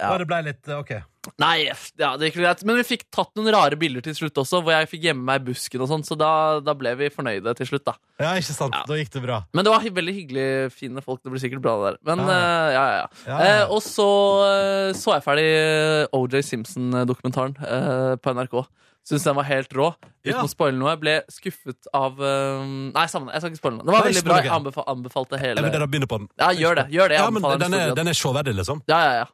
ja.
Og det ble litt eh, OK.
Nei, ja, det gikk vel greit. Men vi fikk tatt noen rare bilder til slutt også, hvor jeg fikk gjemme meg i busken og sånn, så da, da ble vi fornøyde til slutt, da.
Ja, ikke sant?
Ja.
Da gikk det bra.
Men det var hy- veldig hyggelig fine folk. Det blir sikkert bra, det der. Men
Ja.
eh, ja, ja, ja.
Ja, ja.
Eh, og så eh, så jeg ferdig eh, OJ Simpson-dokumentaren eh, på NRK. Syns den var helt rå. Uten
Ja.
å spoile noe. Jeg ble skuffet av eh, Nei, sammen, jeg skal ikke spoile noe. Det var
Nei,
veldig
spoil
bra.
ikke.
Jeg anbefa anbefalte
Jeg
hele
vurderer å begynne på den.
Ja, gjør det. gjør det jeg
Ja, men
anbefaler
den er,
den
den er showverdig, liksom.
Ja, ja, ja.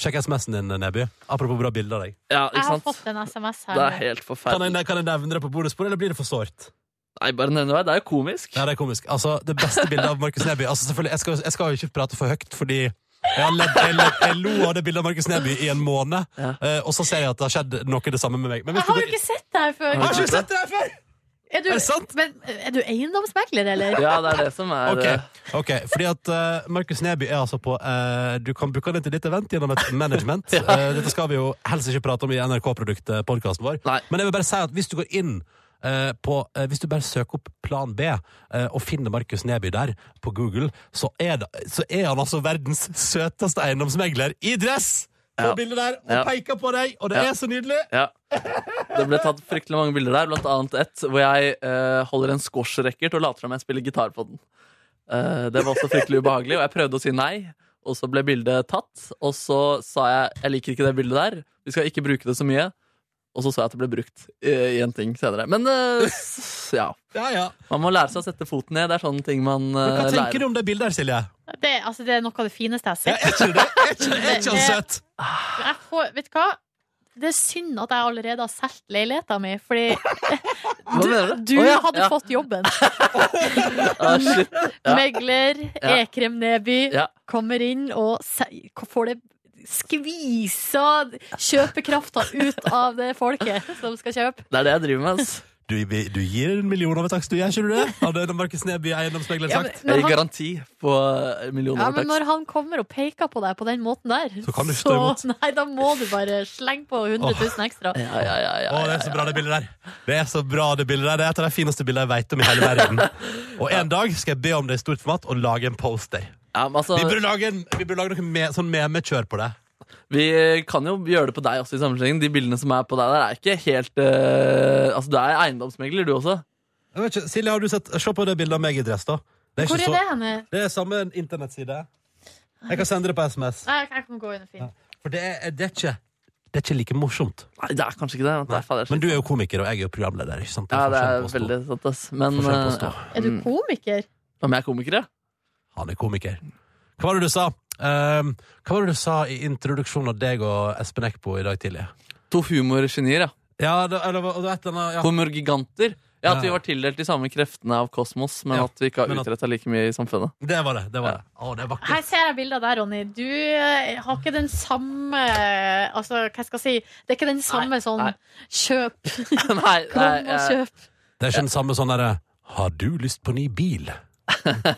Sjekk SMS-en din, Neby. Apropos bra bilder av deg.
ja
Jeg
ikke
har
sant?
fått en SMS
Det er
her.
helt
Kan
forferdelig.
jeg, kan jeg nevne det på bonussporet, eller blir det for sårt?
Nei, bare nevn det. Det er jo komisk.
Ja, det er komisk. Altså, det beste bildet av Markus Neby Altså, selvfølgelig, jeg skal, jeg skal jo ikke prate for høyt, fordi jeg, har ledd, jeg, ledd, jeg lo av det bildet av Markus Neby i en måned,
Ja.
eh, og så ser jeg at det har skjedd noe det samme med meg. Men
Jeg
hvis du
har jo
går-
ikke sett det her før.
Jeg har ikke sett det her før!
Er du,
Er det sant?
men, er du eiendomsmegler, eller?
Ja, det er det som er
Ok,
eh,
ok, fordi at eh, Markus Neby er altså på eh, Du kan booke den til ditt event gjennom et management. Eh, dette skal vi jo helst ikke prate om i NRK-produktet, podkasten vår.
Nei.
Men jeg vil bare si at hvis du går inn eh, på, eh, hvis du bare søker opp Plan B eh, og finner Markus Neby der på Google, så er, det, så er han altså verdens søteste eiendomsmegler i dress! På
Ja.
bildet der, og
Ja.
peker på deg, og det
Ja.
er så nydelig!
Ja. Det ble tatt fryktelig mange bilder der, blant annet ett hvor jeg eh, holder en squash-racket og later som jeg spiller gitar på den. Eh, det var også fryktelig ubehagelig, og jeg prøvde å si nei, og så ble bildet tatt. Og så sa jeg jeg liker ikke det bildet der, vi skal ikke bruke det så mye. Og så så jeg at det ble brukt eh, i en ting senere. Men eh, s- ja,
Ja, ja.
man må lære seg å sette foten ned. Det er sånne ting man
Men
eh,
hva tenker
lærer.
du om det bildet der, Silje?
Det, altså, det er noe av det fineste jeg
Ja,
har
er
sett.
ikke det? Er ikke, er ikke han søt?
Jeg får, vet du hva? Det er synd at jeg allerede har solgt leiligheten min, fordi
Hva mener
du
Å, ja,
hadde
ja.
fått jobben.
Ah, shit. Ja.
Megler,
Ja.
Ekrem Neby,
Ja.
kommer inn og se- får det skvisa kjøpekrafta ut av det folket som skal kjøpe.
Det er det jeg driver med. ass.
Du, du gir en million av en takst, du gjør ikke du det? Hadde Markus Neby eiendomsmegleren
Ja, men
sagt.
Jeg
når
gir
han,
garanti på eh, millioner.
ja,
av
men
tekst.
når han kommer og peker på deg på den måten der,
Så kan du ikke stå imot.
nei, da må du bare slenge på 100 000 ekstra.
ja, ja, ja, ja,
Å, det er så bra det bildet der. Det er så bra det bildet der. Det er et av de fineste bildene jeg vet om i hele verden. Og en dag skal jeg be om det i stort format og lage en poster.
Ja, men altså,
Vi burde lage, en, vi burde lage noe me, sånn memekjør på det.
Vi eh, kan jo gjøre det på deg også i sammenhengen. De bildene som er på deg der, er ikke helt eh, Altså, du er eiendomsmegler, du også.
Jeg vet ikke, Silje, har du sett, se på det bildet av meg i dress, da. Det er,
Hvor
ikke
er
så,
det henne?
det er samme internettside. Jeg kan sende det på SMS.
Nei, jeg kan gå inn og finne.
For det er, det er, ikke, det er ikke like morsomt.
Nei, det er kanskje ikke det. vent, det er fader,
Men du er jo komiker, og jeg er jo programleder. ikke sant?
ja, det
forskjell
er
på oss to.
veldig sant, ass. Men
Forskjell på oss
eh,
to.
Er
Mm.
du komiker?
om jeg er komiker, ja?
Han er komiker. Hva var det du sa? Ehm, hva var det du sa i introduksjonen av deg og Espen Eckbo i dag tidlig?
To humorgenier, ja.
Ja, det, eller, hva- det var et eller annet ja.
Humorgiganter. Ja, At vi
Ja.
var tildelt de samme kreftene av kosmos, men
Ja,
at vi ikke har
men at-
utretta like mye i samfunnet.
Det var det. det, var det. Å, det er
Her
vakkert.
ser jeg bilder der, Ronny. Du eh, har ikke den samme Altså, hva skal jeg si? Det er ikke den samme sånn
nei.
kjøp,
nei, nei,
kom og
eh,
kjøp.
Det er ikke den samme sånn derre Har du lyst på ny bil?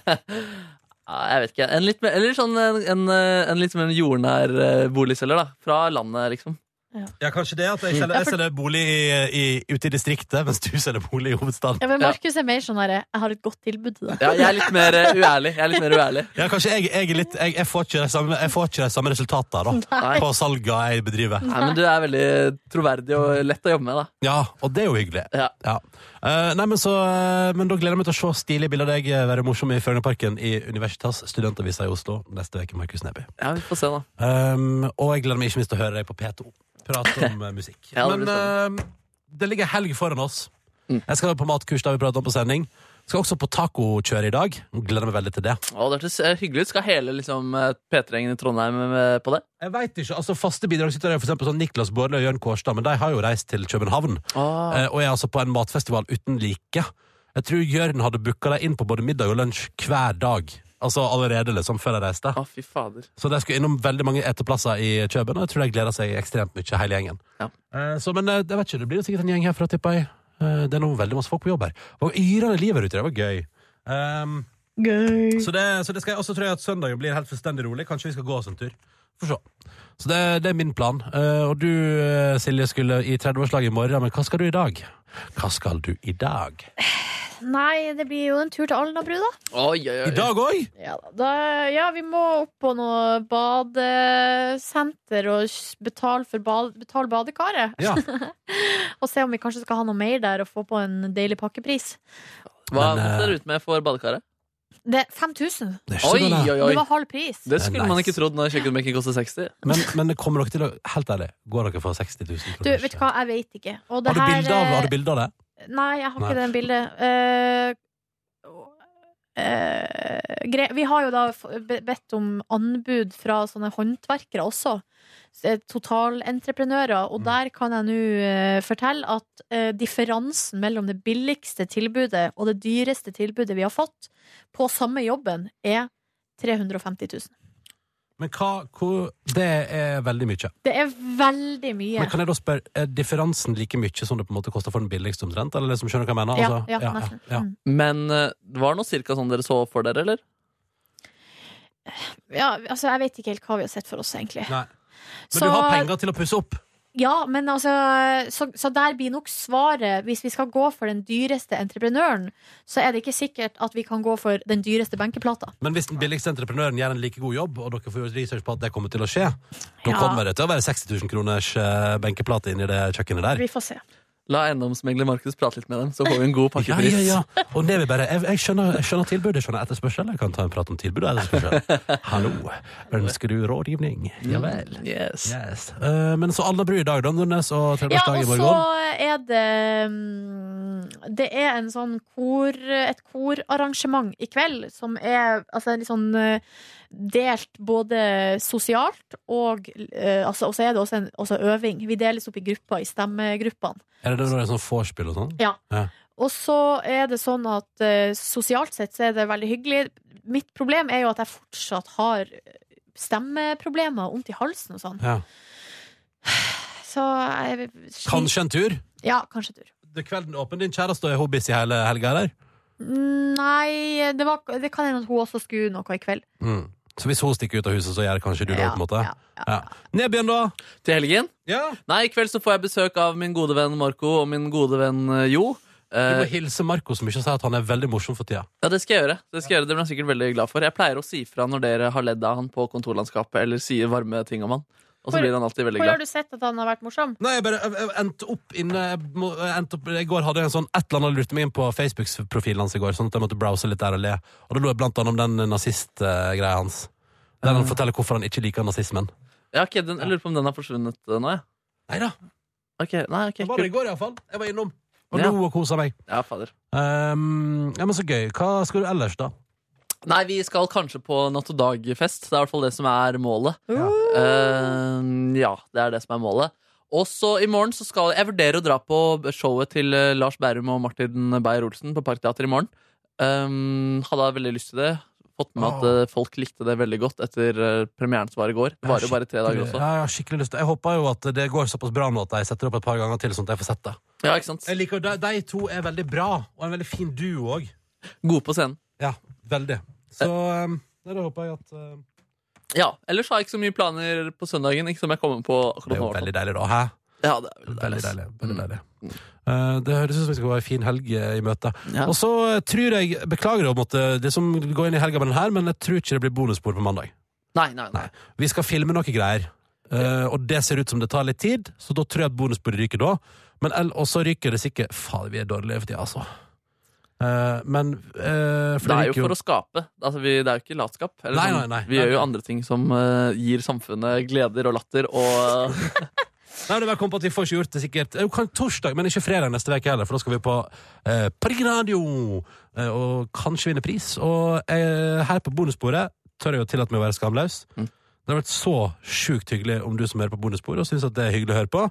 ja, jeg vet ikke. En litt mer, eller sånn en, en, eh, en litt mer jordnær eh, boligselger, da. Fra landet, liksom.
Ja, kanskje det. At jeg selger, jeg selger bolig i, i, ute i distriktet, mens du selger bolig i hovedstaden.
Ja, men Markus er mer sånn herre Jeg har et godt tilbud til deg.
Ja, jeg er litt mer eh, uærlig. Jeg er litt mer uærlig.
Ja, kanskje jeg, jeg, er litt, jeg, jeg får ikke de samme, jeg får ikke de samme resultatene da,
Nei.
på salga jeg bedriver.
Nei, men du er veldig troverdig og lett å jobbe med, da.
Ja, og det er jo hyggelig.
Ja.
Eh, nei, men, så, eh, men da gleder jeg meg til å se stilige bilder av deg eh, være morsom i Frognerparken i Universitas, studentavisa i Oslo, neste uke, Markus Neby.
Ja, vi får se, da.
Um, og jeg gleder meg ikke minst til å høre deg på P2 prate om eh, musikk.
Ja, det blir Mm.
Men eh, det ligger helg foran oss. Jeg skal på matkurs, da vi pratet om på sending. Skal også på tacokjør i dag. Gleder meg veldig til det.
Å, det hørtes eh, hyggelig ut. Skal hele liksom, eh, P3-gjengen i Trondheim eh, på det?
Jeg vet ikke, altså Faste bidragsytere er for eksempel sånn Niklas Baarli og Jørn Kårstad, men de har jo reist til København. eh, Og er altså på en matfestival uten like. Jeg tror Jørn hadde booka dem inn på både middag og lunsj hver dag. Altså allerede, liksom, før de reiste.
Å, fy fader.
Så de skulle innom veldig mange eteplasser i Køben, og jeg tror de gleder seg ekstremt mye, hele gjengen.
Ja.
Eh, Så, men eh, jeg vet ikke, det blir jo sikkert en gjeng herfra, tipper jeg. Eh, Det er noe veldig masse folk på jobb her. Det var yrende liv her ute, det var gøy. Ehm, Så, det, så det skal jeg også tror jeg at søndagen blir helt fullstendig rolig. Kanskje vi skal gå oss en tur. Får se. Så det, det er min plan. Eh, Og du, eh, Silje, skulle i 30-årslaget i morgen, men hva skal du i dag? Hva skal du i dag?
Nei, det blir jo en tur til Alnabru, da.
Oi, oi,
I dag òg?
Ja, da, da- ja, vi må opp på noe badesenter og s- betale for bad, betale badekaret.
Ja.
Og se om vi kanskje skal ha noe mer der og få på en deilig pakkepris.
Hva
Men, eh,
måtte dere ut med for badekaret?
Det er 5000!
Det er ikke så
Oi,
galt, det.
oi,
Det
oi.
var halv pris.
Det
Det
skulle
er
man
nice.
ikke trodd når kjøkkenbenken koster 60.
Men, men det kommer dere til å Helt ærlig, går dere for 60 000
Du,
kroner?
vet du hva, jeg vet ikke. Og det
Har du
her,
bilde av, har
eh,
du bilde av det?
Nei, jeg har
Nei.
ikke det bildet. Eh, eh, gre- vi har jo da f- be- bedt om anbud fra sånne håndverkere også. S- eh, Totalentreprenører. Og
Mm.
der kan jeg nå eh, fortelle at eh, differansen mellom det billigste tilbudet og det dyreste tilbudet vi har fått på samme jobben, er 350 000.
Men hva, hvor, det er veldig mye.
Det er veldig mye.
Men kan jeg da spørre, er differansen like mye som det på en måte koster for den billigste omtrent? Eller liksom, skjønner du hva jeg mener?
Ja,
Altså,
ja, nesten.
ja.
Mm.
Men eh, var det noe cirka sånn dere så for dere, eller?
ja, altså, jeg vet ikke helt hva vi har sett for oss, egentlig.
Nei. Men
Så-
du har penger til å pusse opp?
Ja, men altså så, så der blir nok svaret Hvis vi skal gå for den dyreste entreprenøren Så er det ikke sikkert at vi kan gå for den dyreste benkeplata
Men hvis den billigste entreprenøren gjør en like god jobb, og dere får gjort research på at det kommer til å skje, da
Ja.
kommer det til å være 60 000 kroners eh, benkeplate inni det kjøkkenet der.
Vi får se
La eiendomsmegler Markus prate litt med dem, så får vi en god
Ja,
pakkepris.
ja, ja. Og det vil bare, jeg, jeg, skjønner, jeg skjønner tilbudet, jeg skjønner etterspørsel. Jeg kan ta en prat om tilbud og etterspørsel. Hallo, ønsker du rådgivning? Ja vel.
Yes.
Yes. Eh, men så alle bru i dag, da, Nordnes og
Ja,
Trøndelagsdag
og
i
så
morgen.
er det mm, Det er en sånn kor Et korarrangement i kveld Som er altså, litt sånn eh, Delt både sosialt Og eh, altså, og så er det også en også øving Vi deles opp i grupper, i stemmegruppene
Er det noe sånn vorspiel og sånn?
Ja.
Ja.
Og så er det sånn at eh, sosialt sett så er det veldig hyggelig. Mitt problem er jo at jeg fortsatt har eh, stemmeproblemer, vondt i halsen og sånn.
Ja.
Så jeg sli-
Kanskje en tur?
Ja, kanskje tur.
Det er kvelden åpen. Din kjæreste er hun busy hele helga, eller?
Nei, det, var, det kan hende at hun også skulle noe i kveld.
Mm. Så hvis hun stikker ut av huset, så gjør kanskje du det òg, på en måte?
Ja, ja.
Ja. Nebjørn, da?
Til helgen?
Ja.
Nei, i kveld så får jeg besøk av min gode venn Marco og min gode venn eh, Jo.
Du må
Eh,
hilse Marco så mye og si at han er veldig morsom for tida.
ja, det skal jeg gjøre. Det skal jeg gjøre, det blir han sikkert veldig glad for. Jeg pleier å si fra når dere har ledd av han på kontorlandskapet, eller sier varme ting om han. Og så
Hvor-
blir han alltid veldig
Hvor har
glad.
du sett at han har vært morsom?
Nei, jeg bare jeg, jeg endte opp inne jeg, må- jeg endte opp, I går hadde jeg en sånn et eller annet lurte meg inn på Facebook-profilen hans i går, sånn at jeg måtte browse litt der og le. Og da lo jeg blant annet om den nazistgreia hans. Der han forteller hvorfor han ikke liker nazismen.
Ja, ok, den, jeg lurer på om den har forsvunnet eh, nå, jeg.
Nei da.
Ok, nei, ok,
Det var det i
kult.
går, iallfall. Jeg var innom. Og
Ja.
lo og kosa meg.
Ja, fader.
Ehm, ja, men så gøy. Hva skal du ellers, da?
Nei, vi skal kanskje på natt og dag-fest. Det er i hvert fall det som er målet.
Ja.
Eh, ja, det er det som er målet. Og så i morgen så skal jeg vurderer å dra på showet til eh, Lars Bærum og Martin Beyer-Olsen på Parkteatret i morgen. Um, hadde jeg veldig lyst til det. Fått med meg at
Åh.
eh, folk likte det veldig godt etter eh, premieren som var i går. Det varer jo bare tre dager også.
Ja, jeg har skikkelig lyst til Jeg håper jo at det går såpass bra nå at jeg setter opp et par ganger til, sånn at jeg får sett det.
Ja, ikke sant?
Jeg liker, de, de to er veldig bra, og en veldig fin duo òg.
Gode på scenen.
Ja, veldig. Så
Eh.
um, nei, da håper jeg at eh,
Ja, Ellers har jeg ikke så mye planer på søndagen. Ikke som jeg kommer på
Det
akkurat
er
nå.
jo veldig deilig, da. Hæ?
Ja, det er veldig
Veldig
deilig. Mm. ass.
deilig. Veldig deilig. Eh, det høres ut som det skal være en fin helg eh, i møte.
Ja.
Og så eh, tror jeg Beklager å måtte det som går inn i helga med den her, men jeg tror ikke det blir bonusbord på mandag.
Nei, nei, nei.
Nei. Vi skal filme noe greier. Eh, og det ser ut som det tar litt tid, så da tror jeg at bonusbordet ryker da. Men el- Og så ryker det sikkert Faen, vi er dårlige for tida, altså. Eh, men eh, for
Det er jo
ryker
for å skape. Altså, vi, det er jo ikke latskap. Eller
Nei,
sånn.
nei, nei.
vi gjør jo andre ting som eh, gir samfunnet gleder og latter og
Nei, det var kommet på at Vi får ikke gjort det sikkert Jo, kan torsdag, men ikke fredag neste uke heller, for da skal vi på eh, Parken Radio eh, og kanskje vinne pris. Og eh, her på bonussporet tør jeg jo tillate meg å være skamløs.
Mm.
Det hadde vært så sjukt hyggelig om du som hører på bonussporet og syns at det er hyggelig å høre på,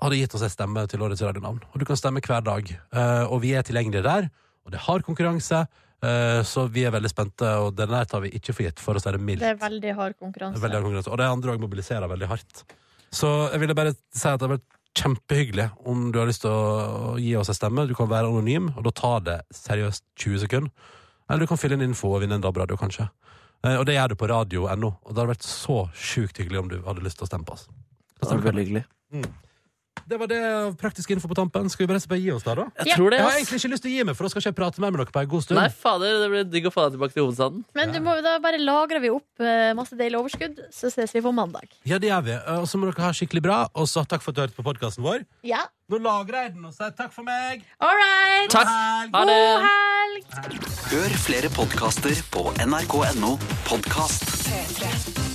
hadde gitt oss en stemme til årets radionavn. Og du kan stemme hver dag. Eh, og vi er tilgjengelige der, og det har konkurranse, eh, så vi er veldig spente, og den der tar vi ikke for gitt, for å si det mildt.
Det er veldig hard
Det er Veldig
konkurranse.
hard konkurranse. Og de andre òg mobiliserer veldig hardt. Så jeg ville bare si at det har vært kjempehyggelig om du har lyst til å gi oss en stemme. Du kan være anonym, og da tar det seriøst 20 sekunder. Eller du kan fylle inn info og vinne en DAB-radio, kanskje. Eh, Og det gjør du på radio.no. Og det hadde vært så sjukt hyggelig om du hadde lyst til å stemme på oss.
Det er veldig hyggelig.
det var det av praktisk info på tampen. Skal vi bare, bare gi oss der, da?
Jeg tror det,
Jeg har
ass.
egentlig ikke lyst til å gi meg, for da skal ikke jeg prate mer med dere på en god stund.
Nei, fader, det blir digg å få deg tilbake til hovedstaden.
Men du må, da bare lagrer vi opp eh, masse deilig overskudd, så ses vi på mandag.
Ja, det gjør vi. Eh, Og så må dere ha skikkelig bra. Og så takk for at du hørte på podkasten vår.
Ja.
Nå lagrer jeg den og sier takk for meg.
All right!
Takk! Ha det!
God helg!
Hør flere podkaster på nrk.no podkast.